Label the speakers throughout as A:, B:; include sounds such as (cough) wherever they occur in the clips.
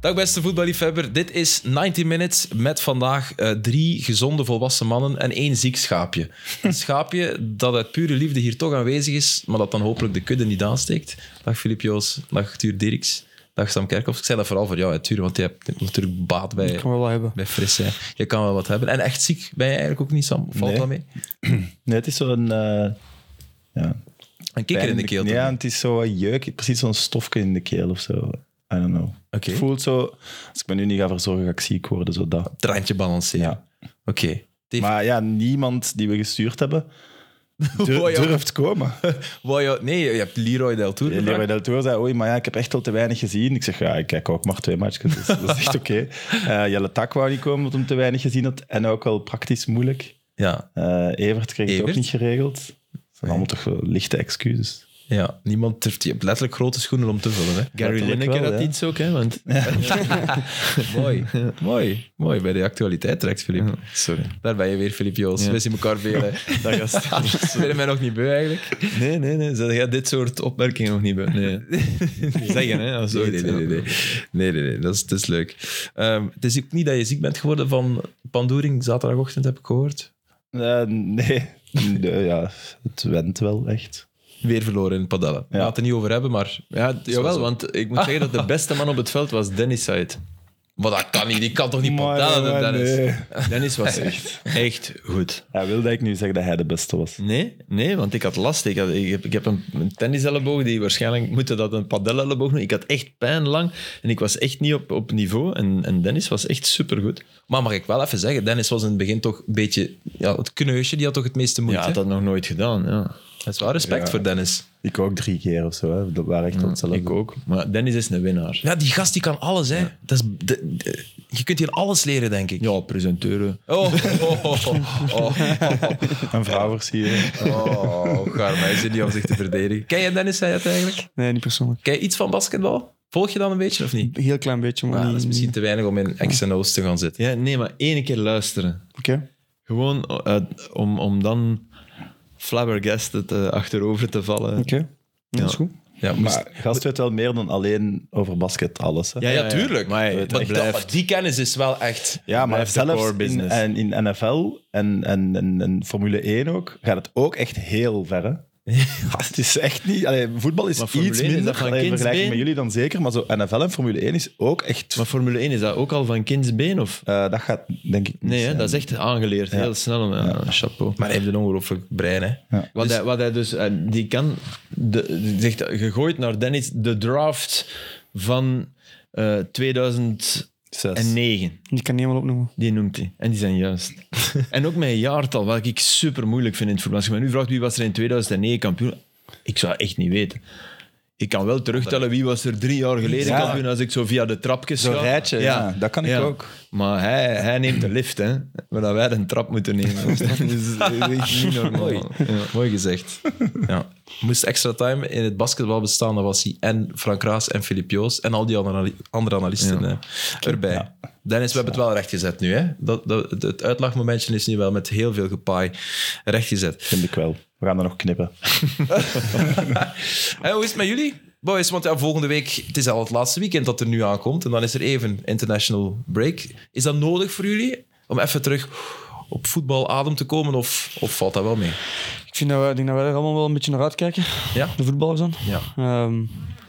A: Dag beste voetballiefhebber, dit is 90 Minutes met vandaag eh, drie gezonde volwassen mannen en één ziek schaapje.
B: (laughs)
A: Een schaapje dat uit pure liefde hier toch aanwezig is, maar dat dan hopelijk de kudde niet aansteekt. Dag Filip Joos, dag Tuur Dirks, dag Sam Kerkhoff. Ik zei dat vooral voor jou, hè, Tuur, want je hebt natuurlijk baat bij,
C: Ik kan wel wat hebben.
A: bij fris zijn. Je kan wel wat hebben. En echt ziek ben je eigenlijk ook niet, Sam? Of Valt
B: Nee.
A: dat mee?
B: Nee, het is zo'n... eh, ja,
A: Een kikker in de keel. toch?
B: Ja, en het is zo'n jeuk. Precies zo'n stofje in de keel of zo. I don't know.
A: Oké.
B: Het voelt zo... Als ik me nu niet ga verzorgen, ga ik ziek worden. Zo dat.
A: Het randje balanceren.
B: Ja.
A: Oké. Dave,
B: Maar ja, niemand die we gestuurd
A: (laughs)
B: hebben dur-
A: Wow, ja. (laughs)
B: durft komen.
A: wou je- nee, je hebt Leroy Del Tour.
B: En Leroy
A: gevraagd.
B: Del Tour zei, oei, maar ja, ik heb echt al te weinig gezien. Ik zeg, ja, ik kijk ook maar twee matchjes, dus dat
A: (laughs)
B: is echt oké. Eh, Jelle Tak wou niet komen, omdat hem te weinig gezien had. En ook wel praktisch moeilijk.
A: Ja,
B: Eh, Evert kreeg het
A: Evert?
B: ook niet geregeld. Dat zijn allemaal toch wel lichte excuses.
A: ja, niemand durft. Je hebt letterlijk grote schoenen om te vullen. Hè?
C: Gary
B: Letterlijk
C: Lineker
B: wel,
C: had
B: ja.
C: iets ook, hè? Want
D: (laughs)
A: mooi, mooi, mooi. Bij de actualiteit terecht, Filip. Sorry. Daar ben je weer, Filip Joos. We zien elkaar veel.
D: (laughs)
A: hè.
B: Dat gast.
A: Ze willen mij nog niet beu, eigenlijk.
D: Nee, nee, nee. Zeg jij dit soort opmerkingen nog niet bij? Nee. Zeggen, hè.
A: (laughs)
D: Als
A: Nee,
D: ooit,
A: nee, nee. nee, nee. nee, nee, nee. Dat, is, dat is leuk. Ehm, het is ook niet dat je ziek bent geworden van pandoering zaterdagochtend, heb ik gehoord.
B: Eh, nee. (laughs) Nee, ja, het went wel echt.
A: Weer verloren in Padella. We
B: Ja.
A: gaan het er niet over hebben, maar...
D: Ja, jawel,
A: zo.
D: want ik moet zeggen dat de beste man op het veld was Dennis Said.
A: Maar dat kan niet. Die kan toch niet
B: Maar,
A: Padella,
B: maar eh,
A: de Dennis?
B: nee.
D: Dennis was echt, echt goed.
B: Hij wilde eigenlijk nu zeggen dat hij de beste was.
D: Nee, nee, want ik had last. Ik, had, ik, heb, ik heb een, een tenniselleboog die waarschijnlijk moeten dat een padellelleboog noemen. Ik had echt pijn lang en ik was echt niet op, op niveau. En, en Dennis was echt supergoed.
A: Maar mag ik wel even zeggen, Dennis was in het begin toch een beetje... Ja, het kneusje, die had toch het meeste moeite.
D: Ja, had
A: dat...
D: dat nog nooit gedaan. Ja.
A: is wel respect voor Dennis.
B: Ik ook drie keer of zo. Hè. Dat waren
D: Mm.
B: echt hetzelfde.
D: Ik ook. Maar Dennis is een winnaar.
A: Ja, die gast die kan alles, hè. Dat is, de- de- je kunt hier alles leren, denk ik.
D: Ja, presenteuren.
A: Oh, oh, oh, oh,
B: Een vrouw versieren.
A: oh, oh, Garm, hij zit niet om zich te verdedigen. Ken je Dennis Sayat eigenlijk?
C: nee, niet persoonlijk.
A: Ken je iets van basketbal? Volg je dan een beetje of niet?
C: Een heel klein beetje, maar
A: Ja,
C: niet-
A: dat is misschien
C: niet-
A: te weinig om in X's en O's te gaan zitten.
D: Ja, nee, maar één keer luisteren.
C: Oké.
D: Gewoon eh, om, om dan flabbergasted eh, achterover te vallen.
C: Oké. Ja, Dat is goed.
A: Ja, moest-
D: eh,
B: Maar gast weet wel meer dan alleen over basket alles. Hè.
D: Ja, ja, tuurlijk. Maar,
B: Weet
D: dat
B: echt
A: dat-
D: blijft.
A: maar die kennis is wel echt...
B: Ja, maar
D: Blijft de
B: zelfs
D: core
B: in,
D: business.
B: en in NFL en, en, en, en Formule 1 ook, gaat het ook echt heel ver.
D: (laughs)
B: Hè? het is echt niet... allee, voetbal is
D: Maar
B: iets
D: Formule 1 is
B: minder
D: dat van
B: allee, in vergelijking
D: kindsbeen?
B: met jullie dan zeker, maar zo NFL en Formule 1 is ook echt...
D: maar Formule 1 is dat ook al van kindsbeen? Of?
B: eh, dat gaat denk ik niet
D: Nee, hè,
B: zijn.
D: dat is echt aangeleerd. Heel snel. Ja, Chapeau.
A: Maar hij heeft een ongelooflijk brein, hè.
D: Wat, hij, wat hij dus, eh, die kan, de, die zegt gegooid naar Dennis, de draft van eh, 2009.
B: Zes.
C: Die kan niet helemaal opnoemen.
D: Die noemt hij. En die zijn juist. (laughs) en ook mijn jaartal, wat ik super moeilijk vind in het voetbal. Als je mij nu vraagt wie was er in 2009 kampioen, ik zou echt niet weten. Ik kan wel terugtellen wie was er drie jaar geleden
B: Ja.
D: kampioen als ik zo via de trapjes
B: Zo'n
D: ga.
B: rijtje, ja, dat kan ik ook.
D: Maar hij, hij neemt de lift, hè. Maar dat wij de trap moeten nemen.
B: (laughs)
D: Dus dat is echt niet normaal.
A: Mooi. Mooi gezegd. Ja. Moest extra time in het basketbal bestaan, dan was hij en Frank Raas en Filip Joos en al die andere anali- andere analisten eh, erbij. Dennis, we hebben het wel rechtgezet nu. Hè? Dat, dat, het- het uitlachmomentje is nu wel met heel veel gepaai rechtgezet.
B: Vind ik wel. We gaan dat nog knippen.
A: En hoe is het met jullie? Boys, want ja, volgende week, het is al het laatste weekend dat er nu aankomt. En dan is er even international break. Is dat nodig voor jullie? Om even terug op voetbal adem te komen? Of, of valt dat wel mee?
C: Ik vind dat wij, ik denk dat wij er allemaal wel een beetje naar uitkijken.
A: Ja.
C: De voetballers dan.
A: Ja.
C: Ehm,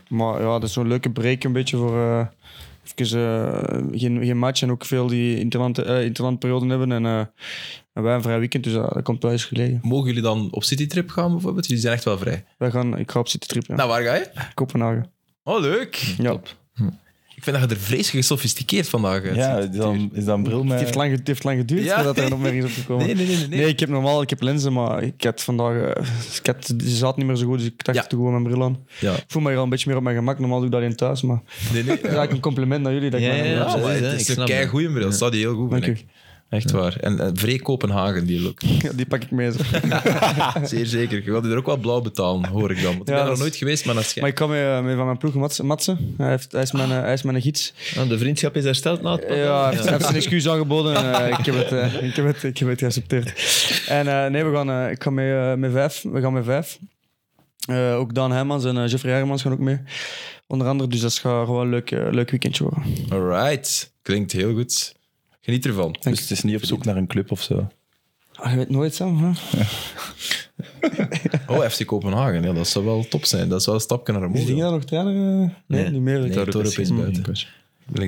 C: maar ja, dat is zo'n leuke break een beetje voor... eh, even eh, geen, geen match en ook veel die interland, eh, interlandperioden hebben. En, eh, en wij een vrij weekend, dus dat, dat komt wel eens gelegen.
A: Mogen jullie dan op citytrip gaan bijvoorbeeld? Jullie zijn echt wel vrij.
C: Wij gaan, ik ga op zitten trippen.
A: Nou, waar ga je?
C: Kopenhagen.
A: Oh, leuk.
C: Ja.
A: Ik vind dat je er vreselijk gesofisticeerd vandaag uit
B: Ja,
A: ziet.
B: is dan, is dan bril
C: Het
B: met...
C: heeft lang, het heeft lang geduurd
A: Ja.
C: voordat er een opmerking is
A: (laughs)
C: opgekomen.
A: Nee, nee, nee, nee, nee.
C: Nee, ik heb normaal ik heb lenzen, maar ik had vandaag. eh, ik had, ze zat niet meer zo goed, dus ik dacht
A: Ja.
C: ik doe gewoon mijn bril aan.
A: Ja.
C: Ik voel me hier al een beetje meer op mijn gemak. Normaal doe ik dat in thuis, maar.
A: Nee, nee.
C: Ja, ik een compliment naar jullie. Dat ik
D: Ja,
C: mijn
D: ja,
C: bril
A: Ja,
C: aan
D: ja.
C: zet.
A: maar
D: hè,
A: het
D: ik
A: is een
D: snap
A: kei
D: dat.
A: goede bril. Staat die heel goed, vind
C: Dank
A: ik. Echt waar. En, en vrij Kopenhagen, die look.
C: Ja, Die pak ik mee. zo.
A: Zeer zeker. Je wilde er ook wel blauw betalen, hoor ik dan. Want ik
C: Ja,
A: ben er
C: dat
A: nog
C: is-
A: nooit geweest, maar dat schijnt.
C: Maar ik kwam mee, mee van mijn ploeg, Mats- Matsen. Hij, heeft, hij, is mijn, eh, hij is mijn gids.
D: Ah, de vriendschap is hersteld na het
C: Ja, hij heeft, hij heeft zijn excuus aangeboden. En, eh, ik, heb het, eh, ik, heb het, ik heb het geaccepteerd. En eh, nee, we gaan, eh, ik ga mee, eh, met vijf. We gaan met vijf. Eh, ook Dan Hermans en eh, Jeffrey Hermans gaan ook mee. Onder andere, dus dat gaat gewoon een leuk, eh, leuk weekendje worden.
A: Alright. Klinkt heel goed. Geniet (laughs) ervan.
B: Dus het is niet op zoek naar een club of zo.
C: Ah, je weet nooit, Sam. Hè?
A: Oh, FC Kopenhagen. Ja, dat zou wel top zijn. Dat zou een stapje naar
C: Is
A: omhoog.
C: Dingen
A: zijn.
C: daar nog trainer? eh? Nee, niet meer.
A: Nee,
C: Torp
A: Torp is Mm. buiten. Ligt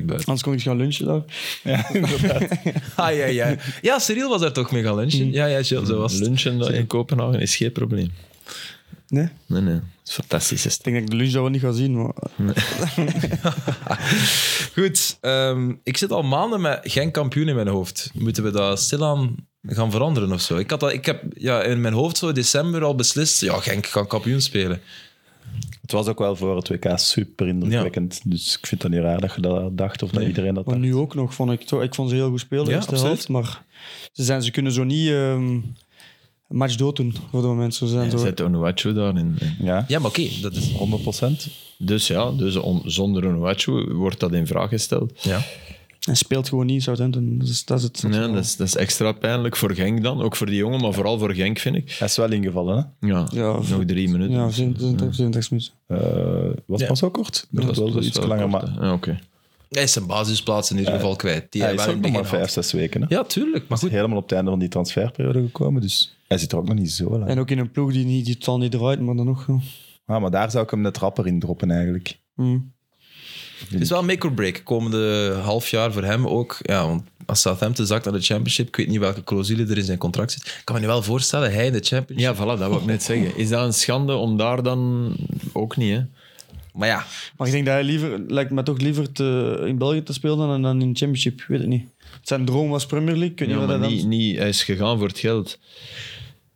A: buiten.
C: Anders kon ik gaan lunchen daar.
A: (laughs) Ah, ja, ja. ja, Cyril was daar toch mee gaan lunchen? Ja, ja, Jill, zo was het.
D: Lunchen dat in Kopenhagen is geen probleem.
C: Nee? Ik
D: Nee, nee. Het is fantastisch. is het.
C: denk dat ik de lunch dat we niet gaan zien. Maar...
A: Goed, ehm, ik zit al maanden met geen kampioen in mijn hoofd. Moeten we dat stilaan gaan veranderen of zo? Ik, had dat, ik heb ja, in mijn hoofd zo in december al beslist, ja, Genk kan kampioen spelen.
B: Het was ook wel voor het WK super indrukwekkend. Dus ik vind het niet raar dat je dat dacht of dat iedereen dat
C: Maar
B: dacht.
C: nu ook nog, vond ik, toch- ik vond ze heel goed spelen.
A: Ja,
C: Ja, de
A: absoluut.
C: helft, maar ze, zijn, ze kunnen zo niet ehm, een match dood doen voor het moment. Ze zijn
D: Er
C: zo,
D: zit Onuachu daarin.
B: Ja,
A: Ja, maar oké, dat is...
B: 100 procent.
D: Dus ja, dus on- zonder Onuachu wordt dat in vraag gesteld.
A: Ja.
C: en speelt gewoon niet in Southampton. Dus dat is het.
D: Ja, dat, is, dat is extra pijnlijk voor Genk dan. Ook voor die jongen, maar vooral voor Genk, vind ik.
B: Hij is wel ingevallen, hè?
D: Ja,
C: Ja,
D: nog drie minuten.
C: Ja, 37 37 minuten.
B: Eh, was
A: Ja.
B: het pas zo kort? Dat was wel iets langer, maar
D: maar... Ja, oké.
A: Hij is zijn basisplaats in ieder geval kwijt. Die
B: hij
A: hij
B: is
A: wel
B: ook
A: in
B: nog
A: het
B: maar
A: begin
B: vijf, zes weken. Hè?
A: had. Ja, tuurlijk. Maar goed,
B: Helemaal op het einde van die transferperiode gekomen, dus hij zit er ook nog niet zo lang.
C: En ook in een ploeg die, niet, die het al niet draait, maar dan nog. ja.
B: Ah, maar daar zou ik hem net rapper in droppen eigenlijk.
C: Mm.
A: het is wel make or break. Komende half jaar voor hem ook. Ja, want als Southampton zakt naar de championship, ik weet niet welke clausule er in zijn contract zit. Ik kan me nu wel voorstellen, hij in de championship.
D: ja, voilà, dat wou ik net zeggen. Is dat een schande om daar dan... Ook niet, hè?
A: Maar ja,
C: Maar ik denk dat hij liever, lijkt me toch liever te, in België te spelen dan, dan in de Championship. Ik weet het niet. Zijn droom was Premier League. Ik weet
D: Ja,
C: niet wat
D: maar
C: hij dan-
D: niet, niet, hij is gegaan voor het geld.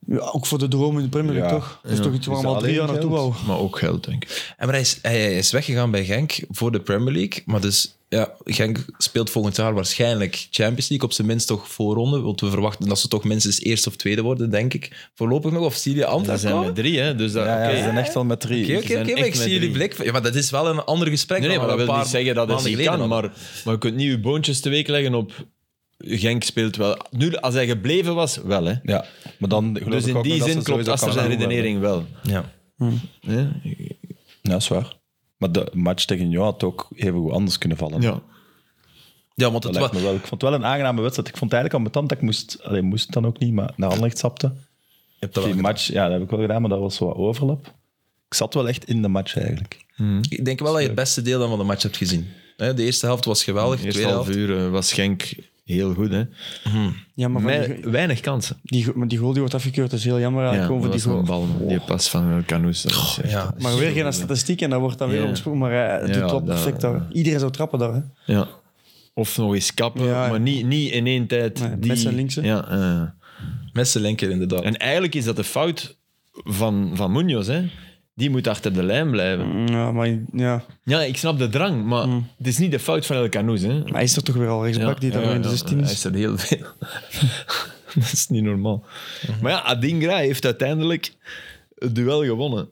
C: Ja, ook voor de droom in de Premier League,
B: Ja.
C: toch? Dat is toch iets waar
B: Is
C: we al
B: dat
C: drie jaar
B: alleen
C: naartoe
B: geld?
C: wou.
D: Maar ook geld, denk ik.
A: En maar hij, is, hij hij is weggegaan bij Genk voor de Premier League. Maar dus, ja, Genk speelt volgend jaar waarschijnlijk Champions League. Op zijn minst toch voorronde. Want we verwachten dat ze toch minstens eerste of tweede worden, denk ik. Voorlopig nog. Of Cilia
D: Daar
A: Antwerp
D: zijn
A: komen.
D: we drie, hè? Dus dat,
B: Ja, ja,
D: oké.
B: ze zijn echt al met drie.
A: Oké,
D: Ze
A: oké,
D: zijn
A: oké. maar
D: echt
A: Ik
D: met
A: zie jullie
D: drie.
A: blik. Ja, maar dat is wel een ander gesprek.
D: Nee, nee, maar
A: dan
D: dat
A: we een
D: wil niet
A: paar
D: zeggen dat het
A: maanden
D: niet
A: geleden
D: kan.
A: hadden.
D: Maar, maar je kunt niet je boontjes teweeg leggen op... Genk speelt wel... Nu, als hij gebleven was, wel, hè?
B: Ja, maar dan geloof
D: Dus
B: ik
D: in
B: ook nog
D: die
B: dat ze
D: zin klopt
B: sowieso
D: Aster zijn
B: Calhanoglu hebben.
D: redenering wel.
A: Ja.
D: hè?
B: Ja, dat is waar. Maar de match tegen Joa had ook even goed anders kunnen vallen.
D: Ja.
A: ja, want
B: Dat
A: het
B: lijkt
A: was...
B: me wel. Ik vond het wel een aangename wedstrijd. Ik vond het eigenlijk al betant dat ik moest... Alleen moest dan ook niet, maar naar Anderlecht sapte.
A: Je hebt dat wel
B: Die match, ja, dat heb ik wel gedaan, maar dat was zo wat overlap. Ik zat wel echt in de match eigenlijk.
D: hm.
A: gedaan. Ik denk wel dat je het beste deel dan van de match hebt gezien. Hè, De eerste helft was geweldig. De
D: Eerst
A: tweede
D: half
A: helft...
D: uur eh, was Genk heel goed, hè?
C: Ja, maar van die-
D: Met weinig kansen.
C: Die, go- maar die goal die wordt afgekeurd, Ah, dat is heel jammer. Ja, gewoon Oh. voor die
D: dat was
C: goal.
D: een bal, man. Die pas van El Canoes. dat was echt-
A: Ja.
C: Maar weer geen statistiek en dat wordt dan weer
D: Ja.
C: omgesproken. Maar eh, hij doet
D: Ja,
C: het wel
D: dat-
C: perfect daar. Iedereen zou trappen daar. Hè.
D: Ja. Of nog eens kappen,
C: Ja.
D: maar niet, niet in één tijd.
C: Nee,
D: die...
C: met zijn linkse.
D: Ja, eh.
A: Met zijn linker, inderdaad.
D: En eigenlijk is dat de fout van, van Munoz, hè? Die moet achter de lijn blijven.
C: Ja, maar ja.
D: Ja, ik snap de drang, maar het is niet de fout van El Canoes, hè?
C: Maar hij is er toch weer al rechtsbak Mm. die daar in de 16
D: Hij
C: is.
D: is er heel veel. (laughs) dat is niet normaal. Maar ja, Adingra heeft uiteindelijk het duel gewonnen.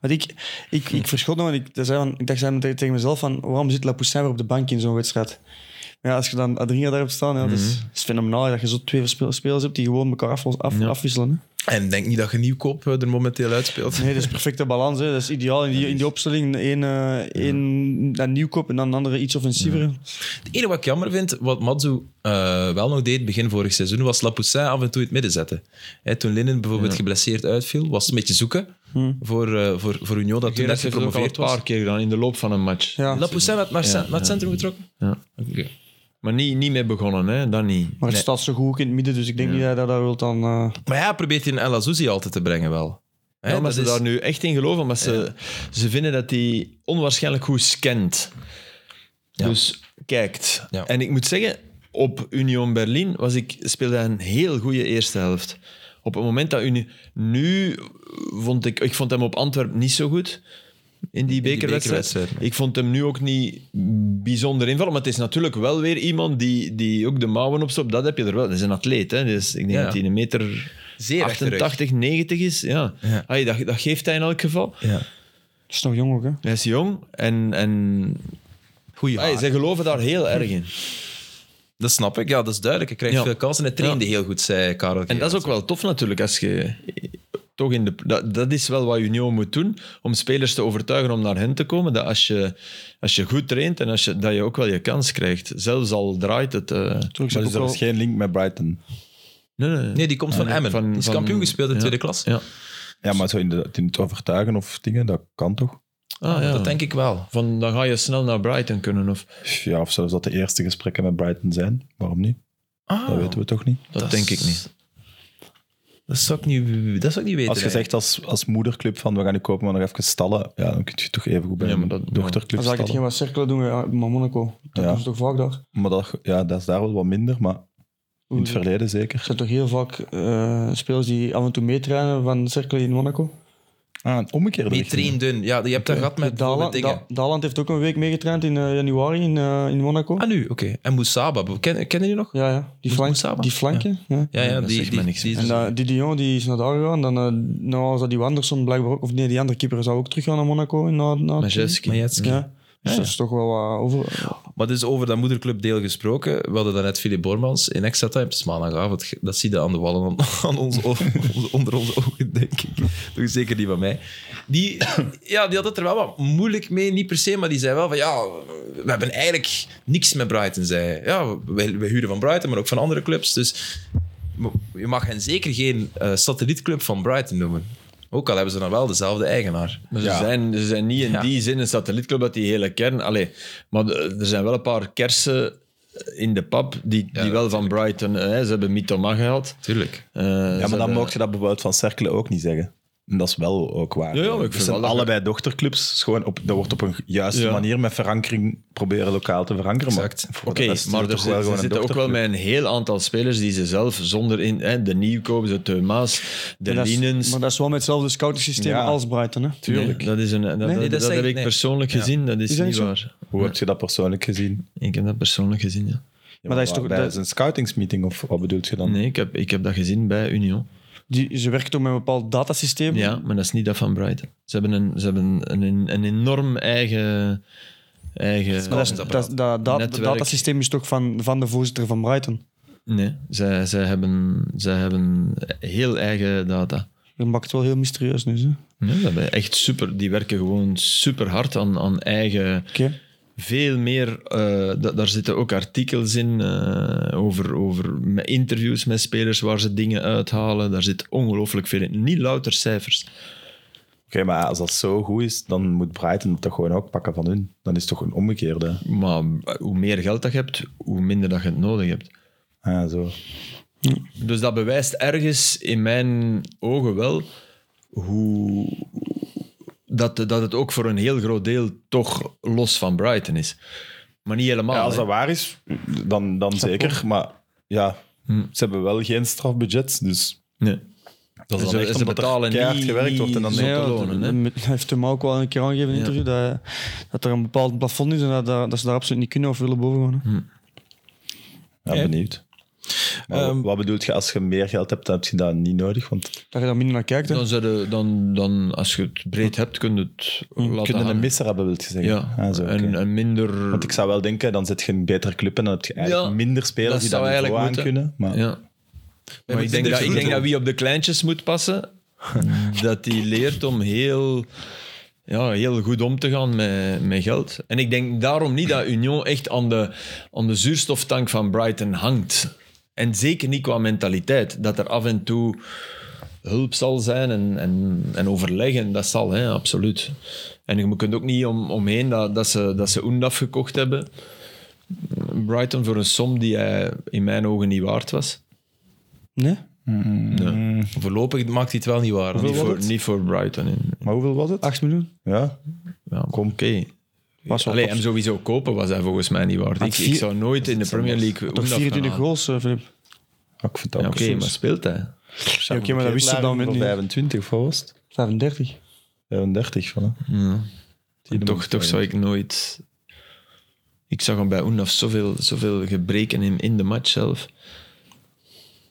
C: Want ik, ik, ik verschot nog en ik, dat zei van, ik dacht zei tegen tegen mezelf van waarom zit Lapoussin weer op de bank in zo'n wedstrijd? Maar ja, als je dan Adringa daar hebt staan, ja, dat is,
D: Mhm.
C: dat is fenomenaal dat je zo twee spel- spelers hebt die gewoon elkaar af, af- afwisselen. Hè.
A: En denk niet dat je Nieuwkoop eh, er momenteel uitspeelt.
C: Nee, dat is perfecte balans. Hè. Dat is ideaal in die, in die opstelling. Eén eh, één een nieuwkop en dan een andere iets offensiever.
A: Het enige wat ik jammer vind, wat Matsu eh, wel nog deed begin vorig seizoen, was Lapoussin af en toe in het midden zetten. Hè, toen Linnen bijvoorbeeld geblesseerd uitviel, was het een beetje zoeken voor, eh, voor, voor Union, dat toen net
D: Gerrit heeft het ook al een
A: gepromoveerd was.
D: paar keer gedaan in de loop van een match.
C: Ja.
A: Lapoussin werd naar, het cent- naar het centrum getrokken?
D: Ja.
A: Oké.
D: Maar niet, niet mee begonnen, hè? dat niet.
C: Maar het staat zo goed ook in het midden, dus ik denk niet dat hij dat wilt dan... eh,
A: Maar ja, hij probeert in El Azouzi altijd te brengen wel. Hè,
D: Ja, maar
A: dat
D: ze
A: is-
D: daar nu echt in geloven, maar ze, ze vinden dat hij onwaarschijnlijk goed scant. Dus kijkt.
A: Ja.
D: En ik moet zeggen, op Union Berlin was ik, speelde hij een heel goede eerste helft. Op het moment dat Union... Nu vond ik... Ik vond hem op Antwerpen niet zo goed. In die bekerwedstrijd.
A: bekerwedstrijd.
D: ik vond hem nu ook niet bijzonder invallen. Maar het is natuurlijk wel weer iemand die, die ook de mouwen opstopt. Dat heb je er wel. Dat is een atleet. Hè? Dus ik denk
A: Ja.
D: dat hij een meter
A: Zeer rechterrug.
D: 88, 90 is. Ja.
A: Ja.
D: Allee, dat, dat geeft hij in elk geval.
A: Ja.
C: Het is nog jong ook, hè?
D: Hij is jong en, en
A: Goeie
D: allee,
A: haar.
D: ze geloven daar heel erg in.
A: Dat snap ik, ja, dat is duidelijk. Hij krijgt
D: Ja.
A: veel kansen en hij trainde heel goed, zei Karel.
D: En dat is ook wel tof natuurlijk als je toch in de... Dat, dat is wel wat Union moet doen, om spelers te overtuigen om naar hen te komen. Dat als je, als je goed traint en als je, dat je ook wel je kans krijgt. Zelfs al draait het... eh,
C: Toen
B: Maar
C: ik
B: dus er is geen link met Brighton.
D: nee, nee.
A: Nee, die komt van
D: Ja,
A: Emmen.
D: van-
A: die is
D: van-
A: kampioen gespeeld in
D: ja.
A: tweede klas.
D: Ja.
B: Ja, maar zo in, de, in het overtuigen of dingen, dat kan toch?
D: Ah, ja.
A: Dat denk ik wel.
D: Van, dan ga je snel naar Brighton kunnen. Of,
B: Ja, of zelfs dat de eerste gesprekken met Brighton zijn. Waarom niet?
A: Ah,
B: Dat weten we toch niet.
D: dat denk ik niet.
A: Dat zou ik niet, dat zou ik niet weten.
B: Als je zegt als, als moederclub van we gaan nu kopen, maar nog even stallen, ja, dan kun je toch even goed bij
D: Ja, maar
B: een
D: dat-
B: dochterclub
C: Dan zou ik het
B: stallen.
C: geen wat cirkelen doen, ja, maar Monaco. Dat
B: Ja.
C: doen ze toch vaak daar?
B: Maar dat, ja, dat is daar wel wat minder, maar in het
C: Er
B: verleden zeker.
C: zijn toch heel vaak eh, spelers die af en toe meetrainen van cirkelen in Monaco?
B: Ah, een omgekeerde
A: Die
B: richting.
A: train dun. Ja, je hebt dat gehad met
C: Dala,
A: bijvoorbeeld dingen.
C: Da- Eh, Daland heeft ook een week meegetraind in eh, januari in, eh, in Monaco.
A: Ah, nu, oké. En Moussaba, kennen ken jullie nog?
C: Ja, ja. Die, flank,
A: Moesaba?
C: die flanken. Ja.
A: Ja, ja,
D: dat
A: die,
D: zegt
A: die,
D: mij niks.
A: die-
C: En eh, die Dion die is naar daar gegaan. Dan eh, nou, zou die Anderson blijkbaar ook... Of nee, die andere keeper zou ook teruggaan naar Monaco. en Naar, naar
D: Majewski.
A: Majewski.
C: Ja. Dus dat is toch wel wat over...
A: Maar dus over dat moederclubdeel gesproken, we hadden daarnet Philip Bormans in extra time. Het is maandagavond, dat zie je aan de wallen aan, (laughs) aan onze o- onze- onder onze ogen, denk ik. Toch zeker die van mij. Die, ja, die had het er wel wat moeilijk mee, niet per se, maar die zei wel van ja, we hebben eigenlijk niks met Brighton, zei hij. Ja, wij, wij huren van Brighton, maar ook van andere clubs. Dus je mag hen zeker geen eh, satellietclub van Brighton noemen. Ook al hebben ze dan wel dezelfde eigenaar.
D: Maar ze,
B: Ja.
D: zijn, ze zijn niet in
A: Ja.
D: die zin een satellietclub dat die hele kern. Allee, maar de- er zijn wel een paar kersen in de pap die, die wel van Brighton. Hè, ze hebben Mitoma gehad.
A: Tuurlijk.
D: Eh, ze
B: Ja, maar dan
D: hebben-
B: mocht je dat bijvoorbeeld van Cerkelen ook niet zeggen. En dat is wel ook waar.
D: Ja, ja, maar ik
B: Het
D: vind
B: zijn
D: wel dat-
B: allebei dochterclubs. is Gewoon op, dat wordt op een juiste
D: Ja.
B: manier met verankering proberen lokaal te verankeren. maar
A: Exact.
B: voor de
D: Oké,
B: rest is
D: maar
B: het
D: er
B: toch wel
D: zit-
B: gewoon
D: ze
B: een
D: zitten ook wel
B: dochterclub.
D: met een heel aantal spelers die ze zelf zonder in. Hè, de nieuwkopen, de Teuma's, de
C: Maar dat is-
D: Linens.
C: Maar dat is wel met hetzelfde scouting systeem
B: Ja.
C: als Brighton. Hè?
D: Nee, dat is een, dat, dat-
A: nee, dat
D: dat
A: zeg
D: heb
A: ik,
D: ik
A: nee.
D: persoonlijk gezien, dat is,
C: dat
D: niet
C: zo?
D: waar.
B: Hoe heb je dat persoonlijk gezien?
D: Ik heb dat persoonlijk gezien, ja.
C: Maar dat is toch-
B: bij
C: dat-
B: een scoutingsmeeting of wat bedoelt je dan?
D: Nee, ik heb, ik heb dat gezien bij Union.
C: Die, ze werken toch met een bepaald datasysteem. (laughs)
D: Ja, maar dat is niet dat van Brighton. Ze hebben een, ze hebben een, een, een enorm eigen... eigen
C: Maar dat, is- dat, dat, dat, dat
D: Netwerk.
C: datasysteem is toch van, van de voorzitter van Brighton.
D: Nee, zij, zij, hebben, zij hebben heel eigen data.
C: Dat maakt het wel heel mysterieus nu. Hè? Oké.
D: Nee, dat hebben echt super, die werken gewoon super hard aan, aan eigen... Veel meer, eh, da- daar zitten ook artikels in eh, over, over met interviews met spelers waar ze dingen uithalen. Daar zit ongelooflijk veel in. Niet louter cijfers.
B: Oké, maar als dat zo goed is, dan moet Brighton het toch gewoon ook pakken van hun. Dan is het toch een omgekeerde.
D: Maar hoe meer geld dat je hebt, hoe minder dat je het nodig hebt.
B: Ah, zo.
D: Dus dat bewijst ergens in mijn ogen wel hoe, dat, dat het ook voor een heel groot deel toch los van Brighton is. Maar niet helemaal.
B: Ja, als
D: hè.
B: dat waar is, dan, dan zeker. Maar ja,
D: Hm.
B: ze hebben wel geen strafbudget, dus...
D: Nee.
B: Dat
D: Ze-
B: is dan echt
D: ze
B: omdat er
D: betalen
B: keihard
D: niet-
B: gewerkt wordt en dan
D: niet
B: denk
D: zo
B: ik,
D: te
C: dat-
D: lonen, hè?
C: met- Hij heeft hem ook wel een keer aangegeven in een
D: Ja.
C: interview dat, dat er een bepaald plafond is en dat, dat, dat ze daar absoluut niet kunnen of willen boven gaan. hè.
D: Hm.
B: ja, benieuwd. Maar
A: Ehm,
B: wat bedoelt je als je meer geld hebt, dan heb je dat niet nodig, want
C: Dat je daar minder naar kijkt. Hè?
D: Dan, zou je- dan, dan, als je het breed hebt, kun je het
B: je
D: laten
B: kunt een
D: hangen.
B: misser hebben, wil je zeggen.
D: Ja,
B: Ah, zo, oké.
D: en, en minder...
B: Want ik zou wel denken, dan zit je een betere club en dan heb je eigenlijk
D: Ja,
B: minder spelers
D: dat
B: die
D: zou
B: dat niveau
D: eigenlijk
B: aan
D: moeten.
B: kunnen. Maar
D: Ja. Maar ik denk,
A: dit
D: dat, ik
A: goed,
D: denk
A: hoor.
D: dat wie op de kleintjes moet passen, dat die leert om heel, ja, heel goed om te gaan met, met geld. En ik denk daarom niet dat Union echt aan de, aan de zuurstoftank van Brighton hangt. En zeker niet qua mentaliteit. Dat er af en toe hulp zal zijn en, en, en overleggen, dat zal, hè, absoluut. En je kunt ook niet om, omheen dat, dat ze, dat ze Oendaf gekocht hebben. Brighton voor een som die hij in mijn ogen niet waard was.
C: Nee?
A: Voorlopig maakt hij het wel niet waar.
D: Niet
A: Die
D: voor, niet voor Brighton. In,
B: Maar hoeveel was het?
C: 8 miljoen?
B: Ja,
D: ja,
B: Kom.
D: Oké.
C: Was wel
D: Allee,
C: tof.
D: hem sowieso kopen was hij volgens mij niet waard.
C: Had
D: Ik, ik
C: vier-
D: zou nooit in de Premier League...
C: Toch
D: Oendaf
C: 24
D: gaan halen.
C: goals, eh, Filip.
B: Ah, ik vind dat
D: Ja,
B: ook
D: Oké,
B: zo.
D: maar speelt hij?
C: Ja, Oké, maar dat wist je dan met
B: Voor
C: niet.
B: 25, of wat was het?
C: 35.
B: 35, van. hè?
D: En Toch, toch zou ik nooit... Ik zag hem bij Oendaf zoveel, zoveel gebreken in, in de match zelf.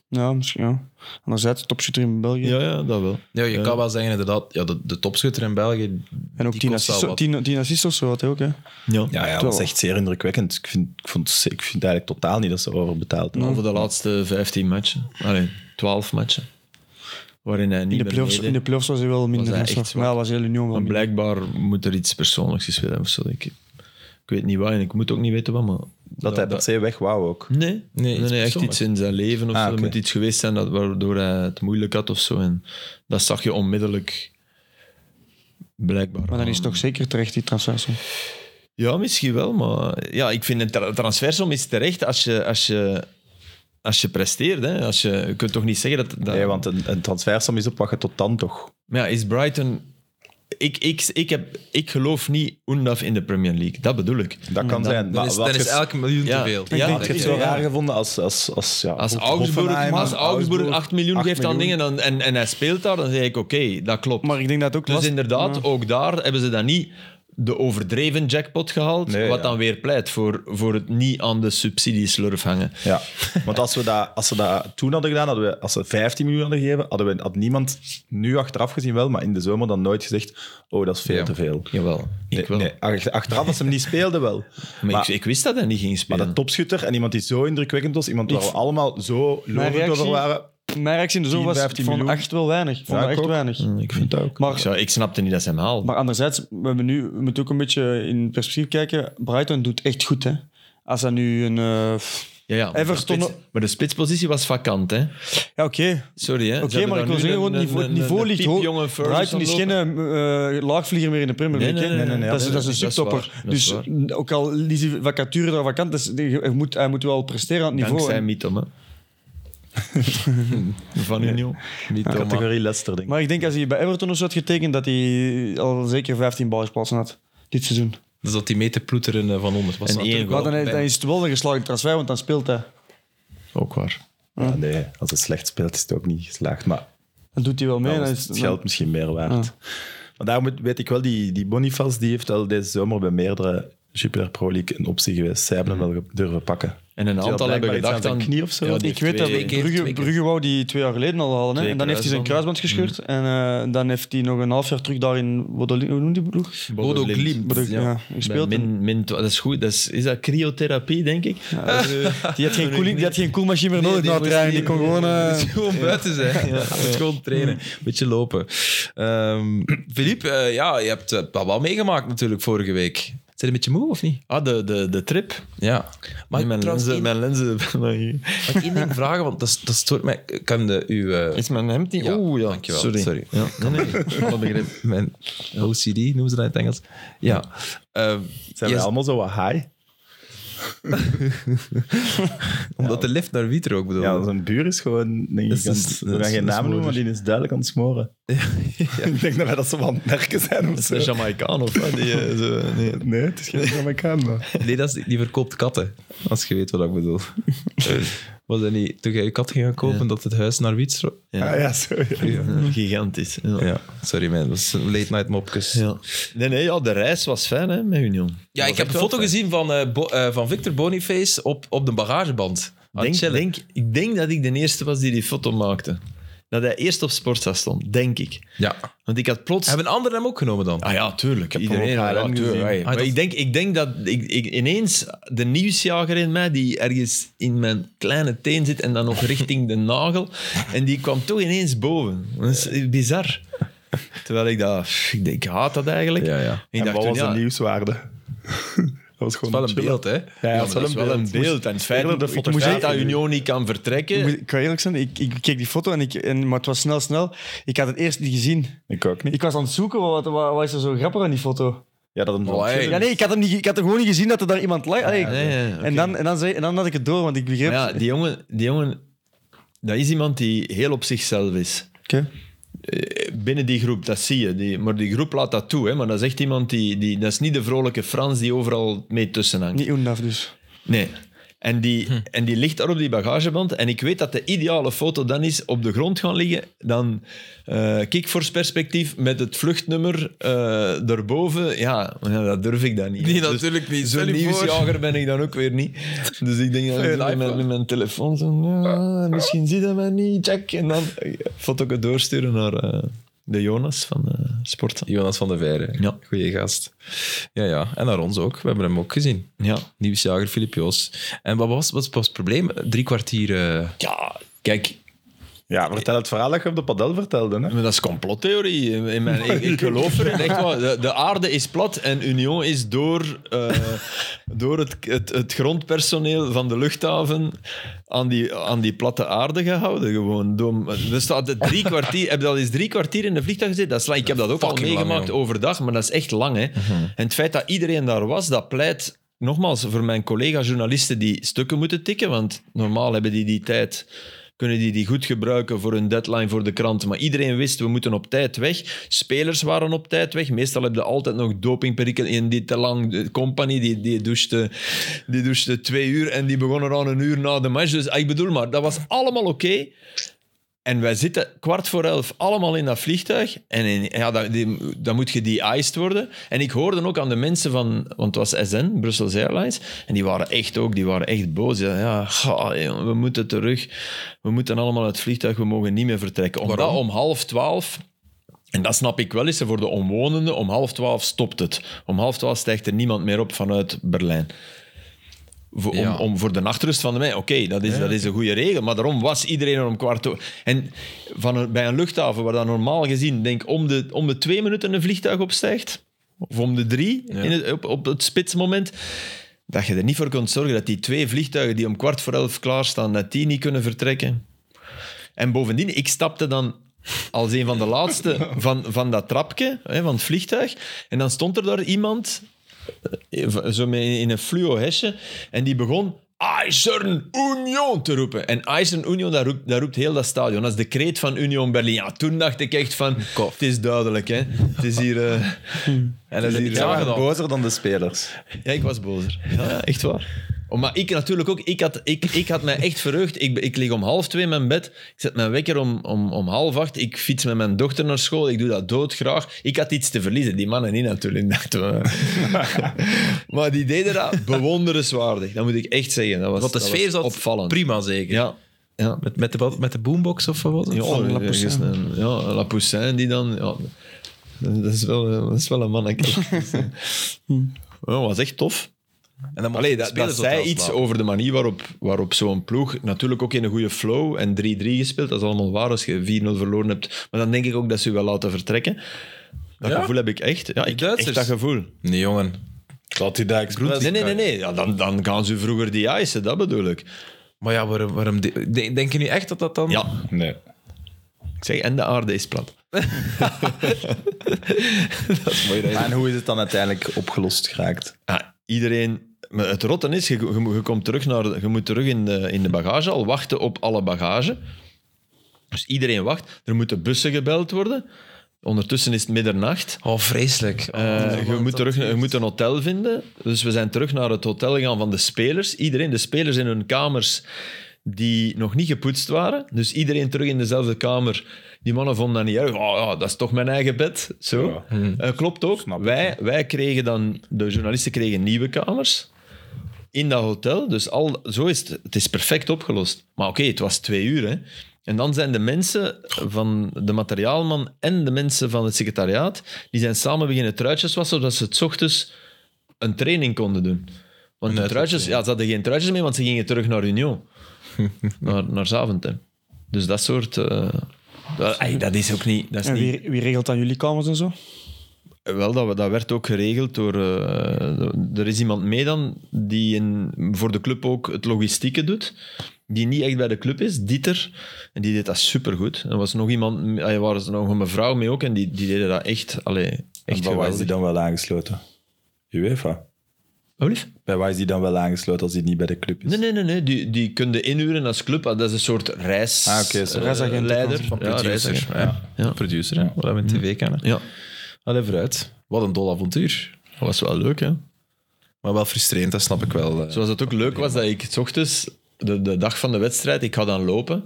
C: Ja, misschien ja. Anderzijds, topshooter in België.
D: Ja, ja, dat wel.
A: Ja, je kan wel zeggen inderdaad, ja, de, de topschutter in België...
C: En ook
A: die
C: 10
A: kost wel
C: assists,
A: wat.
C: 10, 10 assists of zo had hij ook, hè?
D: Ja.
B: Ja, ja, dat is echt zeer indrukwekkend. Ik vind, ik, vond, ik vind eigenlijk
D: Nou,
B: totaal niet dat ze overbetaald worden.
D: Over de laatste 15 matchen. Allee, 12 matchen. waarin hij niet
C: In de
D: meer
C: playoffs,
D: meedeed.
C: in de playoffs was hij wel minder
D: hij
C: van
D: echt
C: slag.
D: zwak.
C: Maar ja, was heel Union wel
D: Maar
C: minder.
D: blijkbaar moet er iets persoonlijks gespeeld hebben of zo. Ik, ik weet niet waar en ik moet ook niet weten wat, maar...
B: Dat hij per se weg wou ook.
D: Nee, nee,
A: iets
D: nee, echt
A: persoonlijks.
D: iets in zijn leven of
B: Ah,
D: zo.
B: oké.
D: Er moet iets geweest zijn dat, waardoor hij het moeilijk had of zo. En dat zag je onmiddellijk, blijkbaar.
C: Maar dan is
D: aan.
C: het toch zeker terecht, die transfersom.
D: Ja, misschien wel, maar ja, ik vind een tra- transfersom is terecht als je, als je, als je presteert. Hè. Als je, je kunt toch niet zeggen dat... dat
B: Nee, want een, een transfersom is op wat je tot dan toch...
D: Maar ja, is Brighton... Ik, ik, ik, heb, ik geloof niet Undaf in de Premier League. Dat bedoel ik.
B: Dat kan zijn.
A: Dan
B: maar
A: is,
B: wat
A: dan is
B: je-
A: elke miljoen
D: Ja,
A: te veel.
D: ja,
A: denk
B: Ik heb
A: ik.
B: het zo
D: Ja.
B: raar gevonden als... Als, als, ja,
D: Als
B: Hoff-
D: Augsburg,
B: Hoffenheim,
D: als Augsburg
B: Augsburg
D: 8 miljoen
B: 8
D: geeft aan
B: miljoen.
D: dingen dan, en, en hij speelt daar, dan zeg ik oké, dat klopt.
C: Maar ik denk dat het ook
D: dus
C: last-
D: inderdaad,
C: Ja.
D: ook daar hebben ze dan niet de overdreven jackpot gehaald,
B: Nee,
D: wat
B: ja.
D: dan weer pleit voor, voor het niet aan de subsidieslurf hangen.
B: Ja, want als we, dat, als we dat toen hadden gedaan, hadden we, als ze 15 miljoen hadden gegeven, hadden we, had niemand nu achteraf gezien wel, maar in de zomer dan nooit gezegd, oh, dat is veel
A: Ja.
B: te veel.
D: Jawel, ik
B: Nee,
D: wel.
B: nee, ach- achteraf als ze hem niet speelden wel.
D: Maar,
B: Maar-
D: ik, ik wist dat hij niet ging
B: Maar
D: spelen.
B: dat topschutter en iemand die zo indrukwekkend was, iemand waar we allemaal zo
C: Mijn
B: lovend
C: reactie,
B: over waren.
C: mijn reactie in de zomer
B: 10,
C: was
B: 15
C: van
B: miljoen.
C: echt wel weinig. Van
B: Ja, ik
C: echt
B: ook.
C: weinig.
D: ik vind
B: dat ook.
D: ik,
C: Maar,
D: zou, ik snapte niet dat ze hem haalden.
C: maar anderzijds, we, hebben nu, we moeten ook een beetje in perspectief kijken. Brighton doet echt goed, hè. Als dat nu een... eh, f-
D: ja, ja, maar, de
C: Everton-
D: spits- maar de spitspositie was vakant, hè.
C: Ja, oké.
D: Sorry, hè. Ze
C: Oké,
D: hebben
C: maar
D: daar nu
C: ik wil zeggen,
D: een-
C: gewoon het niveau,
D: een-
C: het niveau
D: een
C: ligt hoog.
D: piepjonge Ferguson
C: Brighton is
D: lopen.
C: geen eh, laagvlieger meer in de Premier
D: Nee,
C: League.
D: nee,
C: hè.
D: nee, nee,
C: dat, is,
D: nee,
C: dat is een
D: nee, dat is
C: subtopper.
D: waar, dat is
C: dus n- ook al liet die vacature daar vakant, dus die- hij moet, hij moet wel presteren aan het niveau.
D: Dankzij
C: hè.
D: Mitoma. Van Union. Mitoma.
B: Categorie Leicester, denk ik.
C: Maar ik denk als hij bij Everton of zo had getekend, dat hij al zeker 15 balsplaatsen had dit seizoen.
A: Dus dat die mee te ploeteren eh, van 100 was.
D: En
A: natuurlijk
D: één
C: Maar
A: wel
C: dan,
A: bij-
C: dan is het wel een geslaagde transfer, want dan speelt hij.
D: Ook waar.
B: Ja, Ah, nee, als het slecht speelt is het ook niet geslaagd, maar
C: Dan doet hij wel mee.
B: dan
C: dan
B: is
C: is-
B: het geld misschien meer waard. Maar daar moet, weet ik wel, die, die Boniface die heeft al deze zomer bij meerdere Jupiler Pro League een optie geweest. Zij hebben hem
A: Mhm.
B: wel ge- durven pakken.
D: En een aantal hebben
B: blijkbaar iets aan
D: gedacht
B: zijn
D: aan...
B: knie of zo.
D: Ja, die
C: ik
D: heeft
C: weet dat
D: twee-
A: keer-
C: Brugge,
A: twee keer.
C: Brugge wou die twee jaar geleden al halen. Hè?
D: Twee Mm.
C: En dan heeft hij zijn
D: kruisbanden.
C: kruisband gescheurd. En eh, dan heeft hij nog een half jaar terug daar in... Bodoli- Hoe noemt die ploeg?
A: Bodo Glimt.
C: Bodog-
A: Ja.
C: ja, gespeeld.
D: Bij Min, min, twa- dat is goed. Dat is, is dat cryotherapie, denk ik? (laughs)
C: Die had geen, koeling, die had geen koelmachine meer nodig na het
A: moest
C: rijden. Die
A: hier-
C: kon gewoon...
D: (laughs)
C: eh, (laughs)
A: moest gewoon buiten (laughs) zijn. Ja. moest gewoon trainen. Beetje lopen. Ehm Filip, eh, ja, je hebt eh, dat wel meegemaakt natuurlijk vorige week. Zijn je een beetje moe of niet?
D: Ah, de, de, de trip.
A: Ja. Maar
D: Nee, mijn,
A: trouwens,
D: lenzen,
A: één-
D: mijn lenzen... (laughs) nog hier.
A: mag ik één ding vragen, want dat, is- dat stoort mij. Ik kan de, uw, eh,
D: Is mijn hemd niet...
A: Ja,
D: Oeh, ja.
A: dankjewel.
D: Sorry.
A: Sorry.
D: Ja, nee, nee. Alle begrip.
A: mijn OCD, noemen ze dat in het Engels? Ja. Ehm,
B: Zijn
A: jij-
B: wij allemaal zo wat high?
A: omdat de lift naar Wieter ook bedoelde.
B: Ja, zijn buur is gewoon, denk ik,
A: Dat
B: aan
A: is-
B: het-
A: dat
B: we gaan
A: is-
B: geen
A: dat is
B: naam noemen, maar
A: moeilijk.
B: die is duidelijk aan het
A: (laughs)
B: smoren. (laughs) ik denk dat wij dat zo van het merken zijn of
D: De
B: zo.
D: Jamaicaan of wat? Die, eh, zo, nee.
B: Nee, het is geen Jamaican, maar...
A: Nee, dat is, die verkoopt katten. Als je weet wat ik
D: (laughs)
A: bedoel. Was dat niet toen jij je kat ging gaan kopen, dat het huis naar Wiet stro-
B: Ah ja, sorry.
D: Gigantisch. Ja.
A: Ja, sorry man, dat is een late night mopjes. Ja,
D: Ja. Nee, nee, ja, de reis was fijn hè, met Union.
A: ik heb de foto gezien van, eh, Bo- eh, van Victor Boniface op, op de bagageband. Aan
D: Denk,
A: het chillen.
D: denk, ik denk dat ik de eerste was die die foto maakte. Dat hij eerst op Sportza stond, denk ik.
A: Ja.
D: Want ik had plots...
A: Hebben anderen hem ook genomen dan?
D: Ah ja, tuurlijk. Iedereen
B: hem op
D: had
B: HLN
D: ja, tuurlijk,
B: gezien.
D: hey.
A: Ah,
D: Maar
A: dat-
D: ik denk, ik denk dat ik, ik ineens de nieuwsjager in mij, die ergens in mijn kleine teen zit en dan nog
A: (laughs)
D: richting de nagel, en die kwam toch ineens boven. Dat is bizar. Terwijl ik dacht, pff, ik, denk, ik haat dat eigenlijk.
A: Ja, ja.
D: En ik
B: en
D: dacht
B: wat
D: toen,
B: was
D: ja,
B: de nieuwswaarde? (laughs) dat was gewoon
A: Wel een
B: chillen.
A: beeld, hè?
B: Ja,
D: Ja,
B: ja,
D: maar dat is wel een beeld. En het feit
B: Eerder de
D: ik
B: fotografie.
D: moest zeggen dat Union niet kan vertrekken.
C: Ik moet- Ik kan eerlijk zijn, ik, ik keek die foto, en ik, en, maar het was snel, snel. Ik had het eerst niet gezien.
B: Ik ook niet.
C: Ik was aan het zoeken, wat, wat, wat is er zo grappig aan die foto?
B: Ja, dat hem zo
A: Oh, hey.
C: Ja, nee, ik had, hem niet, ik had hem gewoon niet gezien dat er daar iemand lag. Allee, ik-
D: ja, ja, ja,
C: en, dan, en, dan zei, en dan had ik het door, want ik begreep...
D: Maar ja, die jongen, die jongen, dat is iemand die heel op zichzelf is.
C: Oké.
D: Eh, Binnen die groep, dat zie je. Die, maar die groep laat dat toe. Hè, maar dat is echt iemand die, die... Dat is niet de vrolijke Frans die overal mee tussen hangt.
C: Niet Oendaf dus.
D: Nee. En die,
A: Hm.
D: en die ligt daar op die bagageband. En ik weet dat de ideale foto dan is op de grond gaan liggen. Dan eh kickforce perspectief met het vluchtnummer eh daarboven. Ja, maar ja, dat durf ik dan niet.
A: Nee,
D: Dus
A: natuurlijk niet. Stel
D: Zo'n
A: je voor.
D: nieuwsjager ben ik dan ook weer niet. Dus ik denk dat
A: Fair
D: ik met,
A: enough,
D: mijn- met mijn telefoon zo... Ja, misschien ziet hij mij niet, Jack. En dan eh, foto doorsturen naar eh, de Jonas van eh Sport.
A: Jonas van der Veijren.
D: Ja.
A: Goeie gast. Ja, ja. En naar ons ook. We hebben hem ook gezien.
D: Ja.
A: Nieuwsjager Filip Joos. En wat was, wat was het probleem? Drie kwartier... eh,
D: Ja, kijk,
B: Ja, vertel het verhaal dat je op de padel vertelde. Hè?
D: Maar dat is complottheorie. In- in mijn, ik, ik geloof erin. Echt waar. De, de aarde is plat en Union is door, eh, door het, het, het grondpersoneel van de luchthaven aan die, aan die platte aarde gehouden. Gewoon. Door, er staat drie kwartier, heb je al eens drie kwartier in de vliegtuig gezeten? Dat is lang. Ik heb dat ook al
A: Fucking lang,
D: meegemaakt
A: jong. Mhm.
D: overdag, maar dat is echt lang. Hè. En het feit dat iedereen daar was, dat pleit... Nogmaals, voor mijn collega-journalisten die stukken moeten tikken, want normaal hebben die die tijd kunnen die die goed gebruiken voor hun deadline voor de krant. Maar iedereen wist, we moeten op tijd weg. Spelers waren op tijd weg. Meestal heb je altijd nog dopingperikelen in die te lang eh, company. Die, die, douchte, die douchte twee uur en die begonnen aan een uur na de match. Dus ah, ik bedoel maar, dat was allemaal oké. En wij zitten kwart voor elf allemaal in dat vliegtuig. En in- ja, dan, die, dan moet je de-iced worden. En ik hoorde ook aan de mensen van... Want het was SN, Brussels Airlines. En die waren echt ook, die waren echt boos. Ja, ja ga, jongen, we moeten terug. We moeten allemaal uit het vliegtuig. We mogen niet meer vertrekken. Omdat om half twaalf... En dat snap ik wel eens. hè, Voor de omwonenden, om half twaalf stopt het. Om half twaalf stijgt er niemand meer op vanuit Berlijn. Voor, om,
A: Ja.
D: om voor de nachtrust van de mij. Oké, dat, is, dat is een goede regel. Maar daarom was iedereen er om kwart over. En van een- bij een luchthaven waar dan normaal gezien, denk om de, om de twee minuten een vliegtuig opstijgt. Of om de drie in het, op, op het spitsmoment. Dat je er niet voor kunt zorgen dat die twee vliegtuigen die om kwart voor elf klaarstaan, dat die niet kunnen vertrekken. En bovendien, ik stapte dan als een van de (laughs) laatste van, van dat trapje, hè, van het vliegtuig. En dan stond er daar iemand, eh, v- zo met- in een fluo hesje, en die begon IJzeren Union te roepen. En IJzeren Union, dat roept, dat roept heel dat stadion. Dat is de kreet van Union Berlin. Ja, toen dacht ik echt van, het is duidelijk, hè. (laughs) Het is hier... eh,
B: En
D: is
B: dan
D: hier
B: is hij
A: aangedaan.
B: bozer dan de spelers.
D: ja, ik was bozer. Ja, ja, echt waar. Oh, maar ik natuurlijk ook. Ik had, ik, ik had mij echt verheugd. Ik, ik lig om half twee in mijn bed. Ik zet mijn wekker om, om, om half acht. Ik fiets met mijn dochter naar school. Ik doe dat doodgraag. Ik had iets te verliezen. Die mannen niet natuurlijk. (laughs) dachten we.
A: (laughs)
D: maar die deden dat bewonderenswaardig. Dat moet ik echt zeggen. Dat was,
A: Want de
D: dat
A: sfeer
D: was
A: zat
D: opvallend.
A: prima zeker.
D: Ja. ja.
A: Met, met, de, wat- met de boombox of wat was het?
D: Ja,
C: Van La Poussin.
D: ergens een- ja, La Poussin die dan... Ja, dat, is wel, eh, dat is wel een
A: (laughs)
D: mannetje. Ja, was echt tof.
A: En dan mochten
D: Allee,
A: de
D: dat, dat
A: spelers
D: zei
A: hotels
D: iets
A: laten.
D: over de manier waarop, waarop zo'n ploeg natuurlijk ook in een goede flow en 3-3 gespeeld. Dat is allemaal waar als je 4-0 verloren hebt. Maar dan denk ik ook dat ze je wel laten vertrekken. Dat
A: Ja?
D: gevoel heb ik echt. Ja, ik, echt
A: Duitsers?
D: dat gevoel.
A: Nee, jongen.
B: Laat hij daar expres-
D: Nee, nee, nee. nee. Ja, dan, dan gaan ze vroeger die eisen, dat bedoel ik.
A: Maar ja, waarom, waarom de- de- denk je nu echt dat dat dan...
D: Ja,
B: Nee.
D: ik zeg, en de aarde is plat.
B: En hoe is het dan uiteindelijk opgelost geraakt?
D: Ja, iedereen... Maar het rotten is, je, je, je komt terug naar, je moet terug in de, in de bagage al, wachten op alle bagage. Dus iedereen wacht. Er moeten bussen gebeld worden. Ondertussen is het middernacht.
A: Oh, vreselijk. Oh,
D: Eh,
A: wat
D: je, moet
A: dat
D: terug, je
A: duurt.
D: moet een hotel vinden. Dus we zijn terug naar het hotel gegaan van de spelers. Iedereen, de spelers in hun kamers die nog niet gepoetst waren. Dus iedereen terug in dezelfde kamer. Die mannen vonden dat niet erg. Oh, ja, dat is toch mijn eigen bed. Zo.
B: Ja.
D: Eh, klopt ook.
B: Snap ik,
D: Wij, wij kregen dan, de journalisten kregen nieuwe kamers in dat hotel. Dus al, zo is het, het is perfect opgelost. Maar oké, het was twee uur. Hè. En dan zijn de mensen van de materiaalman en de mensen van het secretariaat, die zijn samen beginnen truitjes wassen, zodat ze het ochtends een training konden doen. Want de truitjes, ja, ze hadden geen truitjes mee, want ze gingen terug naar Union. naar, naar Zaventem. Dus dat soort... eh, dat, ey, dat is ook niet... Dat is
C: En
D: niet
C: wie, wie regelt dan jullie kamers en zo?
D: wel, dat, we- dat werd ook geregeld door... eh, er is iemand mee dan die in, voor de club ook het logistieke doet. Die niet echt bij de club is, Dieter. En die deed dat supergoed. Er was nog iemand... Er was nog een mevrouw mee ook en die, die deden dat echt... Allee, echt
B: Echt bij waar
D: geweldig.
B: is die dan wel aangesloten? UEFA.
D: Oh, lief?
B: Bij waar is die dan wel aangesloten als hij niet bij de club is?
D: Nee, nee, nee. nee. Die, die konden inhuren als club. Ah, Dat is een soort reis...
B: Ah, oké, zo.
D: eh,
C: Reisagent.
D: leider.
A: Van
D: Ja,
A: producer.
D: reisagent.
A: Ja,
D: Ja.
A: Producer, hè, wat we in tv kennen.
D: Ja,
A: Allee, vooruit. Wat een dol avontuur.
D: dat was wel leuk, hè.
A: Maar wel frustrerend, dat snap ik wel. eh.
D: Zoals het ook leuk was dat ik 's ochtends, de, de dag van de wedstrijd, ik ga dan lopen.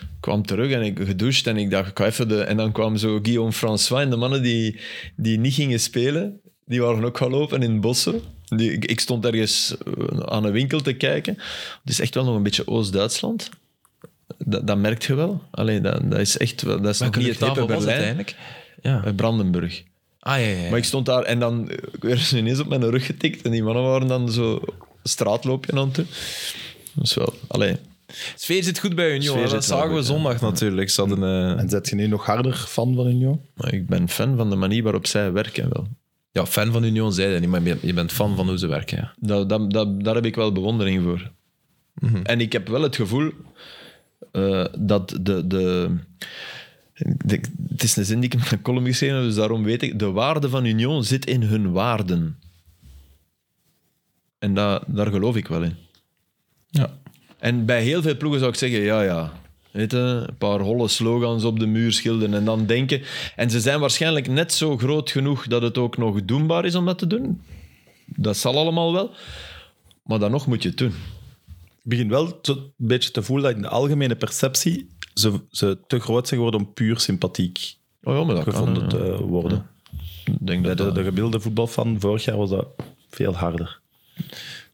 D: Ik kwam terug en ik gedoucht en ik dacht, ik ga even de... En dan kwam zo Guillaume François en de mannen die, die niet gingen spelen, die waren ook gaan lopen in bossen. Die, ik, ik stond ergens eh, aan een winkel te kijken. Het is echt wel nog een beetje Oost-Duitsland. Dat, dat merk je wel. Allee, dat, dat is echt wel... Dat is nog
A: Welke
D: niet het hippe
A: luchthaven was het
D: Berlijn.
A: eigenlijk? Ja.
D: Eh, Brandenburg.
A: Ah, ja, ja. ja.
D: Maar ik stond daar en dan eh, werd ze ineens op mijn rug getikt. En die mannen waren dan zo straatloopje aan het doen. Dat is wel... Allee,
A: Sfeer zit goed bij Union.
D: Sfeer
A: hè. Dat
D: zit wel
A: zagen we
D: goed, ja.
A: zondag natuurlijk. Ze hadden, eh,
B: En zet je nu nog harder fan van Union?
D: Maar ik ben fan van de manier waarop zij werken wel.
A: ja, fan van Union zei dat niet, maar je- je bent fan van hoe ze werken. Ja.
D: Dat, dat, dat, daar heb ik wel bewondering voor. En ik heb wel het gevoel eh, dat de, de, de- Het is een zin die ik in mijn column geschreven heb, dus daarom weet ik... De waarde van Union zit in hun waarden. En da, daar geloof ik wel in.
A: Ja.
D: En bij heel veel ploegen zou ik zeggen, ja, ja. Weet je, een paar holle slogans op de muur schilderen en dan denken... En ze zijn waarschijnlijk net zo groot genoeg dat het ook nog doenbaar is om dat te doen. Dat zal allemaal wel. Maar dan nog moet je het doen.
B: Ik begin wel te- een beetje te voelen dat in de algemene perceptie ze, ze te groot zijn geworden om puur sympathiek
D: Oh ja, maar dat kan.
B: gevonden te
D: ja.
B: worden.
D: Ik denk
B: Bij
D: dat
B: de,
D: dat-
B: de gemiddelde voetbalfan vorig jaar was dat veel harder.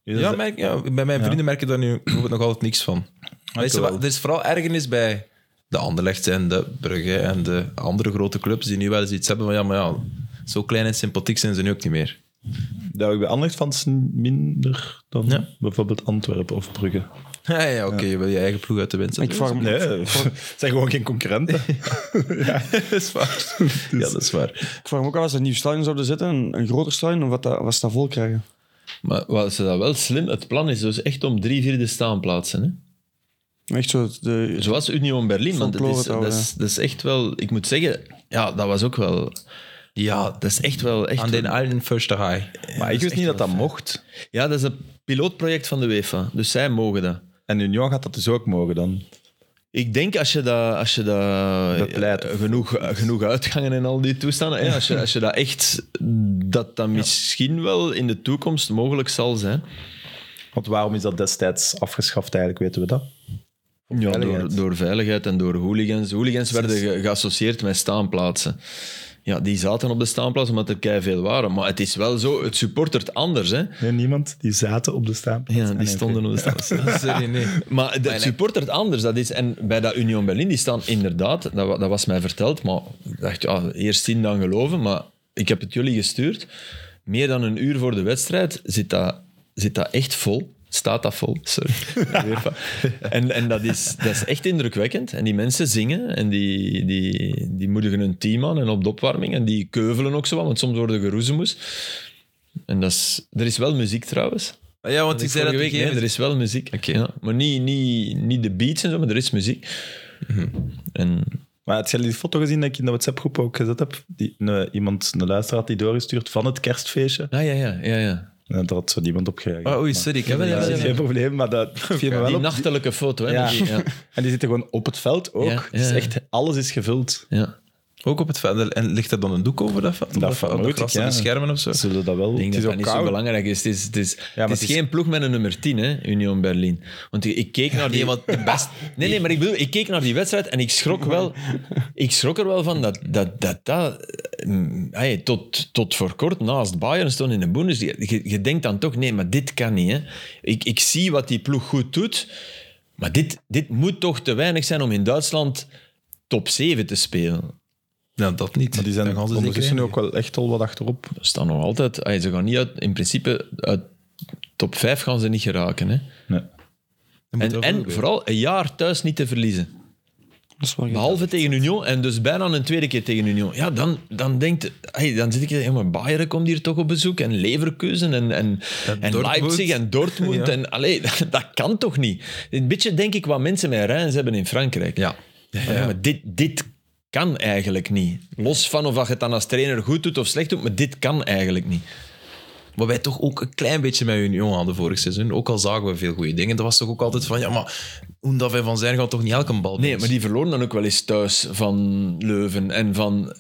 B: Nu is
A: Ja,
B: dat-
A: merk- Dus- ja, bij mijn vrienden merk je daar nu bijvoorbeeld nog altijd niks van. Weet je
B: wel.
A: wat, er is vooral ergernis bij de Anderlecht en de Brugge en de andere grote clubs die nu wel eens iets hebben van ja, maar ja, zo klein en sympathiek zijn ze nu ook niet meer.
B: dat heb ik bij Anderlecht fans minder dan
A: Ja.
B: bijvoorbeeld Antwerpen of Brugge.
A: (laughs) Ja, ja oké, je wil je eigen ploeg uit de wind zetten.
C: Ik vraag me
B: Nee, (laughs) het zijn gewoon geen concurrenten.
A: dat is waar. Ja, dat is waar.
C: Ik vraag me ook af als ze een nieuw stadion zouden zetten, een, een groter stadion, of wat, dat, wat ze dat vol krijgen.
D: Maar wat ze dat wel slim... Het plan is dus echt om drie vierde staanplaatsen. Hè?
C: Echt zo, de,
D: Zoals Union Berlin. Want het is,
C: Folklore
D: dat,
C: het
D: is, dat is echt wel... Ik moet zeggen, ja, dat was ook wel... Ja, dat is echt wel... Echt
A: Aan den allen first high.
B: Maar ik wist niet dat dat mocht.
D: Ja, dat is een pilootproject van de UEFA. Dus zij mogen dat.
B: (laughs) En Union gaat dat dus ook mogen dan.
D: Ik denk als je dat, als je dat,
B: Bepleit.
D: eh, genoeg, eh, genoeg uitgangen en al die toestanden, hè, als, je, als je dat echt, dat dat misschien wel in de toekomst mogelijk zal zijn.
B: Want waarom is dat destijds afgeschaft eigenlijk, weten we dat?
D: Ja,
B: veiligheid.
D: Door, door veiligheid en door hooligans. Hooligans werden ge- geassocieerd met staanplaatsen. Ja, die zaten op de staanplaats omdat er kei veel waren. Maar het is wel zo, het supportert anders. Hè?
B: Nee, niemand. Die zaten op de staanplaats.
D: Ja,
B: Ah,
D: die
B: nee,
D: stonden
B: oké.
D: op de
A: (laughs)
D: staanplaats.
B: (laughs)
A: Sorry, nee.
D: (laughs) Maar het supportert anders. Dat is, en bij dat Union Berlin, die staan inderdaad, dat, wa- dat was mij verteld, maar ik dacht, ja, eerst zien dan geloven. Maar ik heb het jullie gestuurd. Meer dan een uur voor de wedstrijd zit dat, zit dat echt vol. Staat dat vol, sorry. UEFA. en en dat, is, dat is echt indrukwekkend. En die mensen zingen en die, die, die moedigen hun team aan en op de opwarming. En die keuvelen ook zo wat, want soms worden geroezemoes. En dat is, er is wel muziek trouwens.
A: Maar Ja, want ik zei dat
D: Vorige
A: ik
D: week, nee, er is wel muziek. Ja, maar niet, niet, niet de beats en zo, maar er is muziek. Mhm. En
B: Maar had je die foto gezien dat ik in de WhatsApp-groep ook gezet heb? Die, een- iemand, een luisteraar had die doorgestuurd van het kerstfeestje.
D: ah, ja, ja, ja, ja.
B: En daar had zo niemand op gereageerd.
A: Ah, oei, sorry, ik heb
B: Maar-
A: het
B: Ja,
A: niet
B: dat is
A: gezien.
B: geen probleem, maar
D: (laughs)
B: dat viel me wel
D: Oh, Die
B: op.
D: nachtelijke foto, hè?
B: Ja.
D: met die- ja.
B: (laughs) En die zitten gewoon op het veld ook.
D: Ja, ja,
B: Dus
D: ja.
B: echt, alles is gevuld.
D: ja.
A: Ook op het verder. En ligt er dan een doek over dat veld? Op
B: Dat
A: Dat veld, op
B: vermoed
A: de
B: ik,
A: gras
B: ja.
A: en de schermen of zo?
B: Zullen we dat wel?
D: Ik denk
B: het
D: dat
B: is
D: dat
B: ook
D: niet zo
B: koud.
D: belangrijk is. Het is, het is,
B: maar
D: het is
B: het is-
D: geen ploeg met een nummer 10, hè, Union Berlin. Want ik, ik keek naar die...
A: want de
B: (laughs)
A: best-
D: Nee, nee, maar ik bedoel, ik keek naar die wedstrijd en ik schrok, wel, ik schrok er wel van dat dat... dat, dat mm, hey, tot, tot voor kort naast Bayern stond in de Bundesliga. Je, je denkt dan toch, nee, maar dit kan niet. Hè. Ik, ik zie wat die ploeg goed doet, maar dit, dit moet toch te weinig zijn om in Duitsland top 7 te spelen.
A: Nou, dat niet.
B: Maar die zijn
A: Dan gaan ze
B: ondertussen
A: zeker
B: ook wel echt al wat achterop.
D: Ze staan nog altijd... ay, ze gaan niet uit... In principe, uit top 5 gaan ze niet geraken. Hè.
B: Nee.
A: in.
D: En, en vooral een jaar thuis niet te verliezen.
C: dat is wel geen-
D: Behalve tegen Union en dus bijna een tweede keer tegen Union. Ja, dan, dan, denkt, hey, dan zit ik hier, ja, maar Bayern komt hier toch op bezoek en Leverkusen en, en, en,
A: Dortmund.
D: Leipzig en Dortmund.
A: Ja.
D: En, allee, (laughs) dat, dat kan toch niet? Een beetje denk ik wat mensen met Reims hebben in Frankrijk.
A: Ja.
D: Van, ja, maar dit, dit kan eigenlijk niet. Los van of dat je het dan als trainer goed doet of slecht doet, maar dit kan eigenlijk niet.
A: Wat wij toch ook een klein beetje met Union hadden vorig seizoen. Ook al zagen we veel goede dingen. Dat was toch ook altijd van, ja, maar Oendaf en Van Zijn gaan toch niet elke bal bij
D: Nee,
A: ons?
D: maar die verloren dan ook wel eens thuis van Leuven en van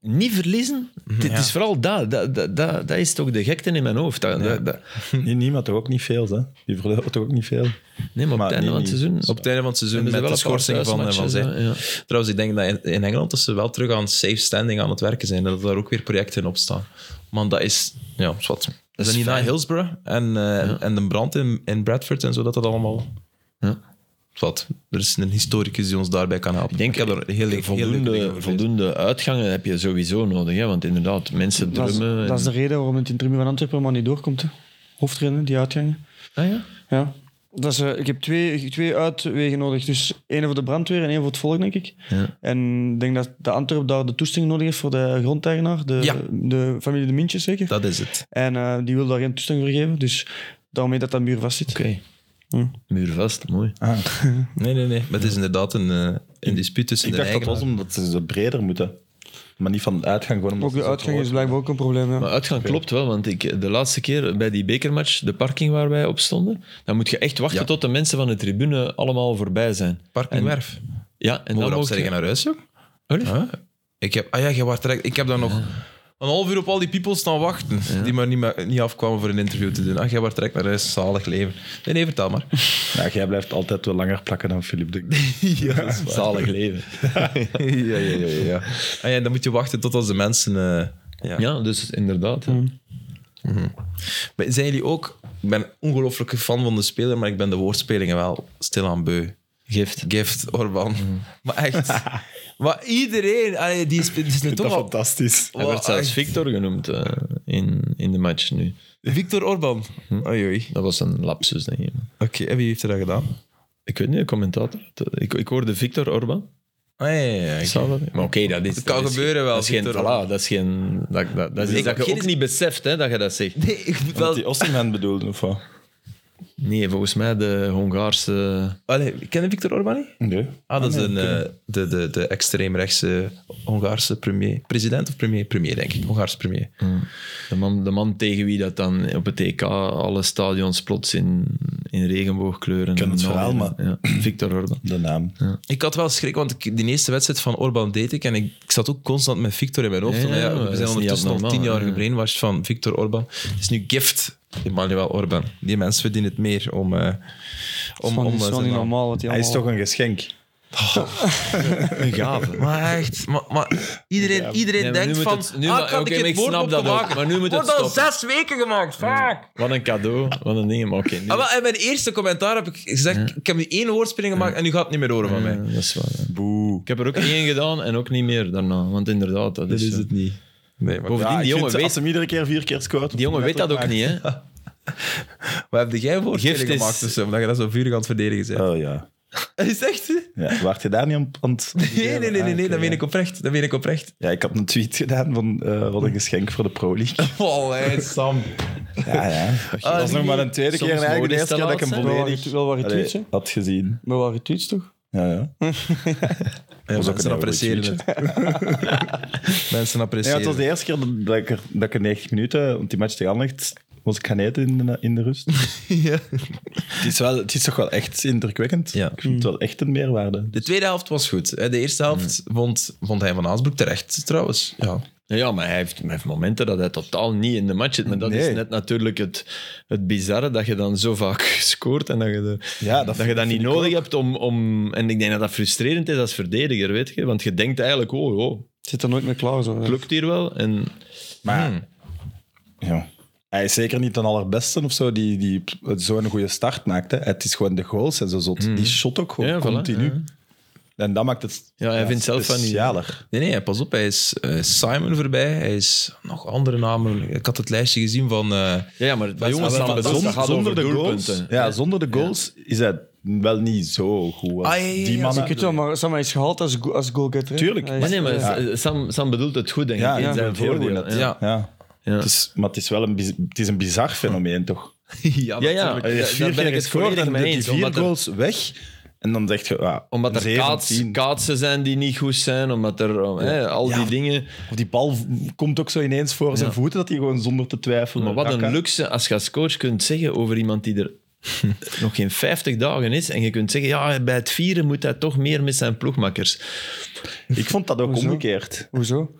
D: niet verliezen.
C: Mhm,
D: Het is vooral dat. Dat, dat, dat. dat is toch de gekte in mijn hoofd. Dat, dat- dat-
B: (laughs) Nee, niemand toch ook niet veel, hè? Die verloren toch ook niet veel.
D: Nee, maar op
B: Maar
D: het einde
B: niet-
D: van het seizoen.
A: Op het einde van het seizoen
D: Hebben
A: met
D: ze
A: de
D: wel een
A: schorsing
D: paar
A: van, eh, van
D: thuismatches,
A: Zij.
D: hè? Ja.
A: Trouwens, ik denk dat in, in Engeland dat ze wel terug aan safe standing aan het werken zijn. Dat daar ook weer projecten op staan. Man, dat is... Ja, zwart. Dat is
D: is
A: niet na
D: fijn.
A: Hillsborough en, eh, en de brand in, in Bradford en zo, dat dat allemaal...
D: Ja.
A: Wat? Er is een historicus die ons daarbij kan helpen. Ik
D: denk,
A: heb er heel, heel leuke dingen
D: voldoende,
A: over gelezen.
D: voldoende uitgangen heb je sowieso nodig. Hè? Want inderdaad, mensen
C: dat, is,
D: drummen. en-
C: dat is de reden waarom het in het tribune van Antwerpen maar niet doorkomt. hè. Hoofdrennen, die uitgangen.
D: Ah, ja?
C: Ja. Dat is, eh, ik heb twee, twee uitwegen nodig. Dus één voor de brandweer en één voor het volk, denk ik.
D: Ja.
C: En ik denk dat de Antwerp daar de toestemming nodig heeft voor de grondeigenaar, de,
A: Ja.
C: de familie De Mintjes zeker.
A: Dat is het.
C: En eh, die wil daar geen toestemming voor geven, dus daarmee dat dat muur vast zit.
D: Oké.
C: Hm.
D: Muurvast, mooi.
B: Ah.
A: Nee, nee, nee. Maar het is inderdaad een, eh, een dispuut tussen
B: Ik
A: de
B: dacht dat was
A: eigenaar.
B: omdat ze ze breder moeten. Maar niet van de uitgang, gewoon omdat
C: Ook
B: ze
C: de
B: zo
C: uitgang
B: groot
C: is blijkbaar ook een probleem.
D: Maar
C: Ja.
D: uitgang klopt wel, want ik, de laatste keer bij die bekermatch, de parking waar wij op stonden, dan moet je echt wachten
A: Ja.
D: tot de mensen van de tribune allemaal voorbij zijn.
A: Parkingwerf.
D: Ja, en
A: Mogen
D: dan
A: we
D: ook...
A: zeggen naar huis, joh?
D: Allee?
A: Huh? Ik heb, ah ja, jij was direct- ik heb daar nog een half uur op al die people staan wachten. Die maar niet, ma- niet afkwamen voor een interview te doen. Ah, jij was direct naar huis, zalig leven. Nee, nee, vertel maar.
B: Ja, jij blijft altijd wel langer plakken dan Filip. denk (laughs) ik.
D: Zalig (laughs) leven.
A: (laughs) ja, ja, ja, ja. Ah, ja, dan moet je wachten tot als de mensen... eh, ja.
D: Ja, dus inderdaad.
C: Hm.
D: hè.
A: Maar Zijn jullie ook... Ik ben een ongelooflijke fan van de speler, maar ik ben de woordspelingen wel stilaan beu.
D: Gift.
A: Gift, Orban. (laughs) Maar echt... maar iedereen... allee, die is, die is
B: Ik vind
A: toch
B: dat
A: al-
B: fantastisch.
D: Hij werd
A: Wow,
D: zelfs
A: echt.
D: Victor genoemd eh, in, in de match nu.
A: Victor Orban. Oei, oei.
D: Dat was een lapsus, denk ik.
A: Oké, en wie heeft er dat gedaan?
D: Ik weet niet, een commentator. Ik, ik hoorde Victor Orban.
A: Ah, ja, ja, ja.
D: Zou dat- Maar oké, dat is...
A: Het kan
D: dat is
A: gebeuren
D: geen-
A: wel,
D: Dat is geen...
A: Victor
D: Voilà, dat is geen... Dat, dat, dat, is
A: Ik
D: dat
A: heb
D: je ook
A: geen-
D: niet beseft, hè, dat je dat zegt.
A: Nee, ik moet
B: Wat
A: wel...
B: die Osterman bedoelde, of wat?
D: Nee, volgens mij de Hongaarse...
A: Allee, ken je Victor Orban niet?
B: Nee.
A: Ah, dat is
B: nee,
A: een, eh, de, de, de extreemrechtse Hongaarse premier. President of premier? Premier, denk ik. Hongaarse premier.
D: Hmm. De man, de man tegen wie dat dan op het EK alle stadions plots in, in regenboogkleuren... Ik
B: ken het verhaal, maar-
D: Ja, Victor Orban.
B: De naam.
A: Ik had wel schrik, want ik, die eerste wedstrijd van Orban deed ik en ik, ik zat ook constant met Victor in mijn hoofd.
D: Ja,
A: Van,
D: maar
A: ja,
D: dat
A: we
D: is niet
A: zijn ondertussen al
D: abnormaal,
A: tien jaar
D: ja.
A: gebrainwashed van Victor Orban. Het is nu gift, Emmanuel Orban. Die mensen verdienen het meer om... eh om, om
C: Het is
A: eh,
C: wel
A: zijn
C: niet
A: naam.
C: normaal wat die
B: Hij is
C: allemaal...
B: toch een geschenk.
D: Een gave.
A: Maar echt, maar, maar iedereen, iedereen
D: Nee, maar nu
A: denkt
D: moet
A: van...
D: het- nu
A: ah,
D: maar-
A: ik had
D: oké,
A: ik
D: maar
A: het
D: ik
A: woord
D: snap
A: op
D: dat
A: te
D: ook,
A: maken.
D: maar nu moet het
A: Wordt al
D: stoppen.
A: zes weken gemaakt, vaak.
D: Wat een cadeau, wat een ding. Maar oké, nu-
A: Ah, wel, in mijn eerste commentaar heb ik gezegd, ik heb nu één woordspeling gemaakt en nu gaat het niet meer horen van
D: Ja,
A: mij.
D: dat is waar. ja. Ik heb er ook één gedaan en ook niet meer daarna. Want inderdaad, dat is... eh,
A: niet. Nee, maar,
D: Bovendien,
B: Ja, Ah, ik
D: die jongen
B: vind,
D: weet...
B: Als hem iedere keer vier keer scoort...
D: Die jongen weet dat ook
B: (laughs)
D: niet, hè?
A: maar heb jij een woordspeling
D: Gift is-
A: gemaakt tussen, omdat je dat zo vurig aan het verdedigen bent?
B: Oh ja.
A: Is het echt?
B: ja. Waart je daar niet aan- aan het...
A: Nee, nee, nee, nee, nee, dat meen ik oprecht. Dat meen ik oprecht.
B: Ja, ik had een tweet gedaan van eh, wat een geschenk voor de Pro League.
A: Oh, hey, Sam.
B: Ja, Ah, ja. dat is nog maar een tweede
D: Soms
B: keer en
D: moet
B: eigenlijk de
D: je
B: eerste
D: te
B: keer dat ik hem
D: laat
C: Wel
B: volledig
C: waren, wel waren
B: allee,
C: tweets, hè?
B: had gezien.
C: Maar waren tweets, toch?
B: Ja, ja.
A: Ja,
B: was ook
A: mensen
B: een
A: appreciëren
B: heel
A: het. (laughs) Mensen
B: Ja, het
A: appreciëren
B: was de eerste keer dat- dat ik, er, dat ik er 90 minuten, want die match tegen Anderlecht, was ik gaan eten in de, in de rust.
A: Ja.
B: het, is wel, het is toch wel echt indrukwekkend.
A: Ja.
B: Ik vind het wel echt een meerwaarde.
A: De tweede helft was goed. hè. De eerste helft vond, vond hij van Haasbroek terecht, trouwens. Ja.
D: Ja, maar hij heeft, hij heeft momenten dat hij totaal niet in de match zit. Maar dat
B: Nee.
D: is net natuurlijk het, het bizarre dat je dan zo vaak (laughs) scoort en dat je, de,
B: Ja, dat
D: dat
B: vind-
D: je dat
B: vind
D: niet
B: ik
D: nodig hebt om, om... En ik denk dat dat frustrerend is als verdediger, weet je. Want je denkt eigenlijk, oh, oh
C: Zit er nooit meer klaar, zo.
D: het lukt hier wel. En
B: Maar
D: Hmm.
B: ja. hij is zeker niet de allerbeste of zo die, die zo'n goede start maakt. Hè. Het is gewoon de goals en zo zot. Die shot ook gewoon
D: Hmm. Ja, voilà,
B: continu.
D: ja.
B: En dat maakt het
D: Ja, hij vindt zelf van niet-
B: specialer.
A: Nee, nee, pas op. Hij is eh, Simon voorbij. Hij is nog andere namen. Ik had het lijstje gezien van... eh,
D: ja, ja, maar bij jongens
A: wel
D: staan
A: fantastisch.
D: zonder,
B: Zonder, zonder de goals,
D: doelpunten.
B: ja, zonder de goals is hij wel niet zo goed als
A: Ah, ja, ja, ja,
B: die mannen.
C: Ik weet wel, maar Sam hij is gehaald als, go- als goalgetter. hè?
B: Tuurlijk.
C: Hij is-
D: Maar nee, maar eh,
C: ja.
D: Sam, Sam bedoelt het goed, denk ik.
B: Ja,
D: in
B: ja,
D: zijn
B: het heel
D: voordeel.
B: goed, dat-
D: Ja.
A: ja. (laughs)
B: Ja.
D: Ja.
B: Het is, maar het is wel een, biz- het is een bizar fenomeen, toch?
A: ja,
D: Ja, ja,
B: Hij heeft
D: daar- daar ben ik het
B: gescoord
D: volledig
B: en
D: mee
B: die
D: eens.
B: vier
D: omdat er-
B: goals weg. En dan zeg je, ja,
D: Omdat
B: een
D: er
B: zeven,
D: kaats-
B: tien.
D: kaatsen zijn die niet goed zijn, omdat er eh, hè, al
B: Ja.
D: die dingen.
B: Of die bal v- komt ook zo ineens voor zijn voeten, dat hij gewoon zonder te twijfelen...
D: Maar wat een
B: Raka.
D: luxe als je als coach kunt zeggen over iemand die
B: (laughs)
D: er nog geen 50 dagen is. En je kunt zeggen, ja, bij het vieren moet hij toch meer met zijn ploegmakkers.
B: Ik vond dat ook
C: Hoezo?
B: omgekeerd.
C: Hoezo?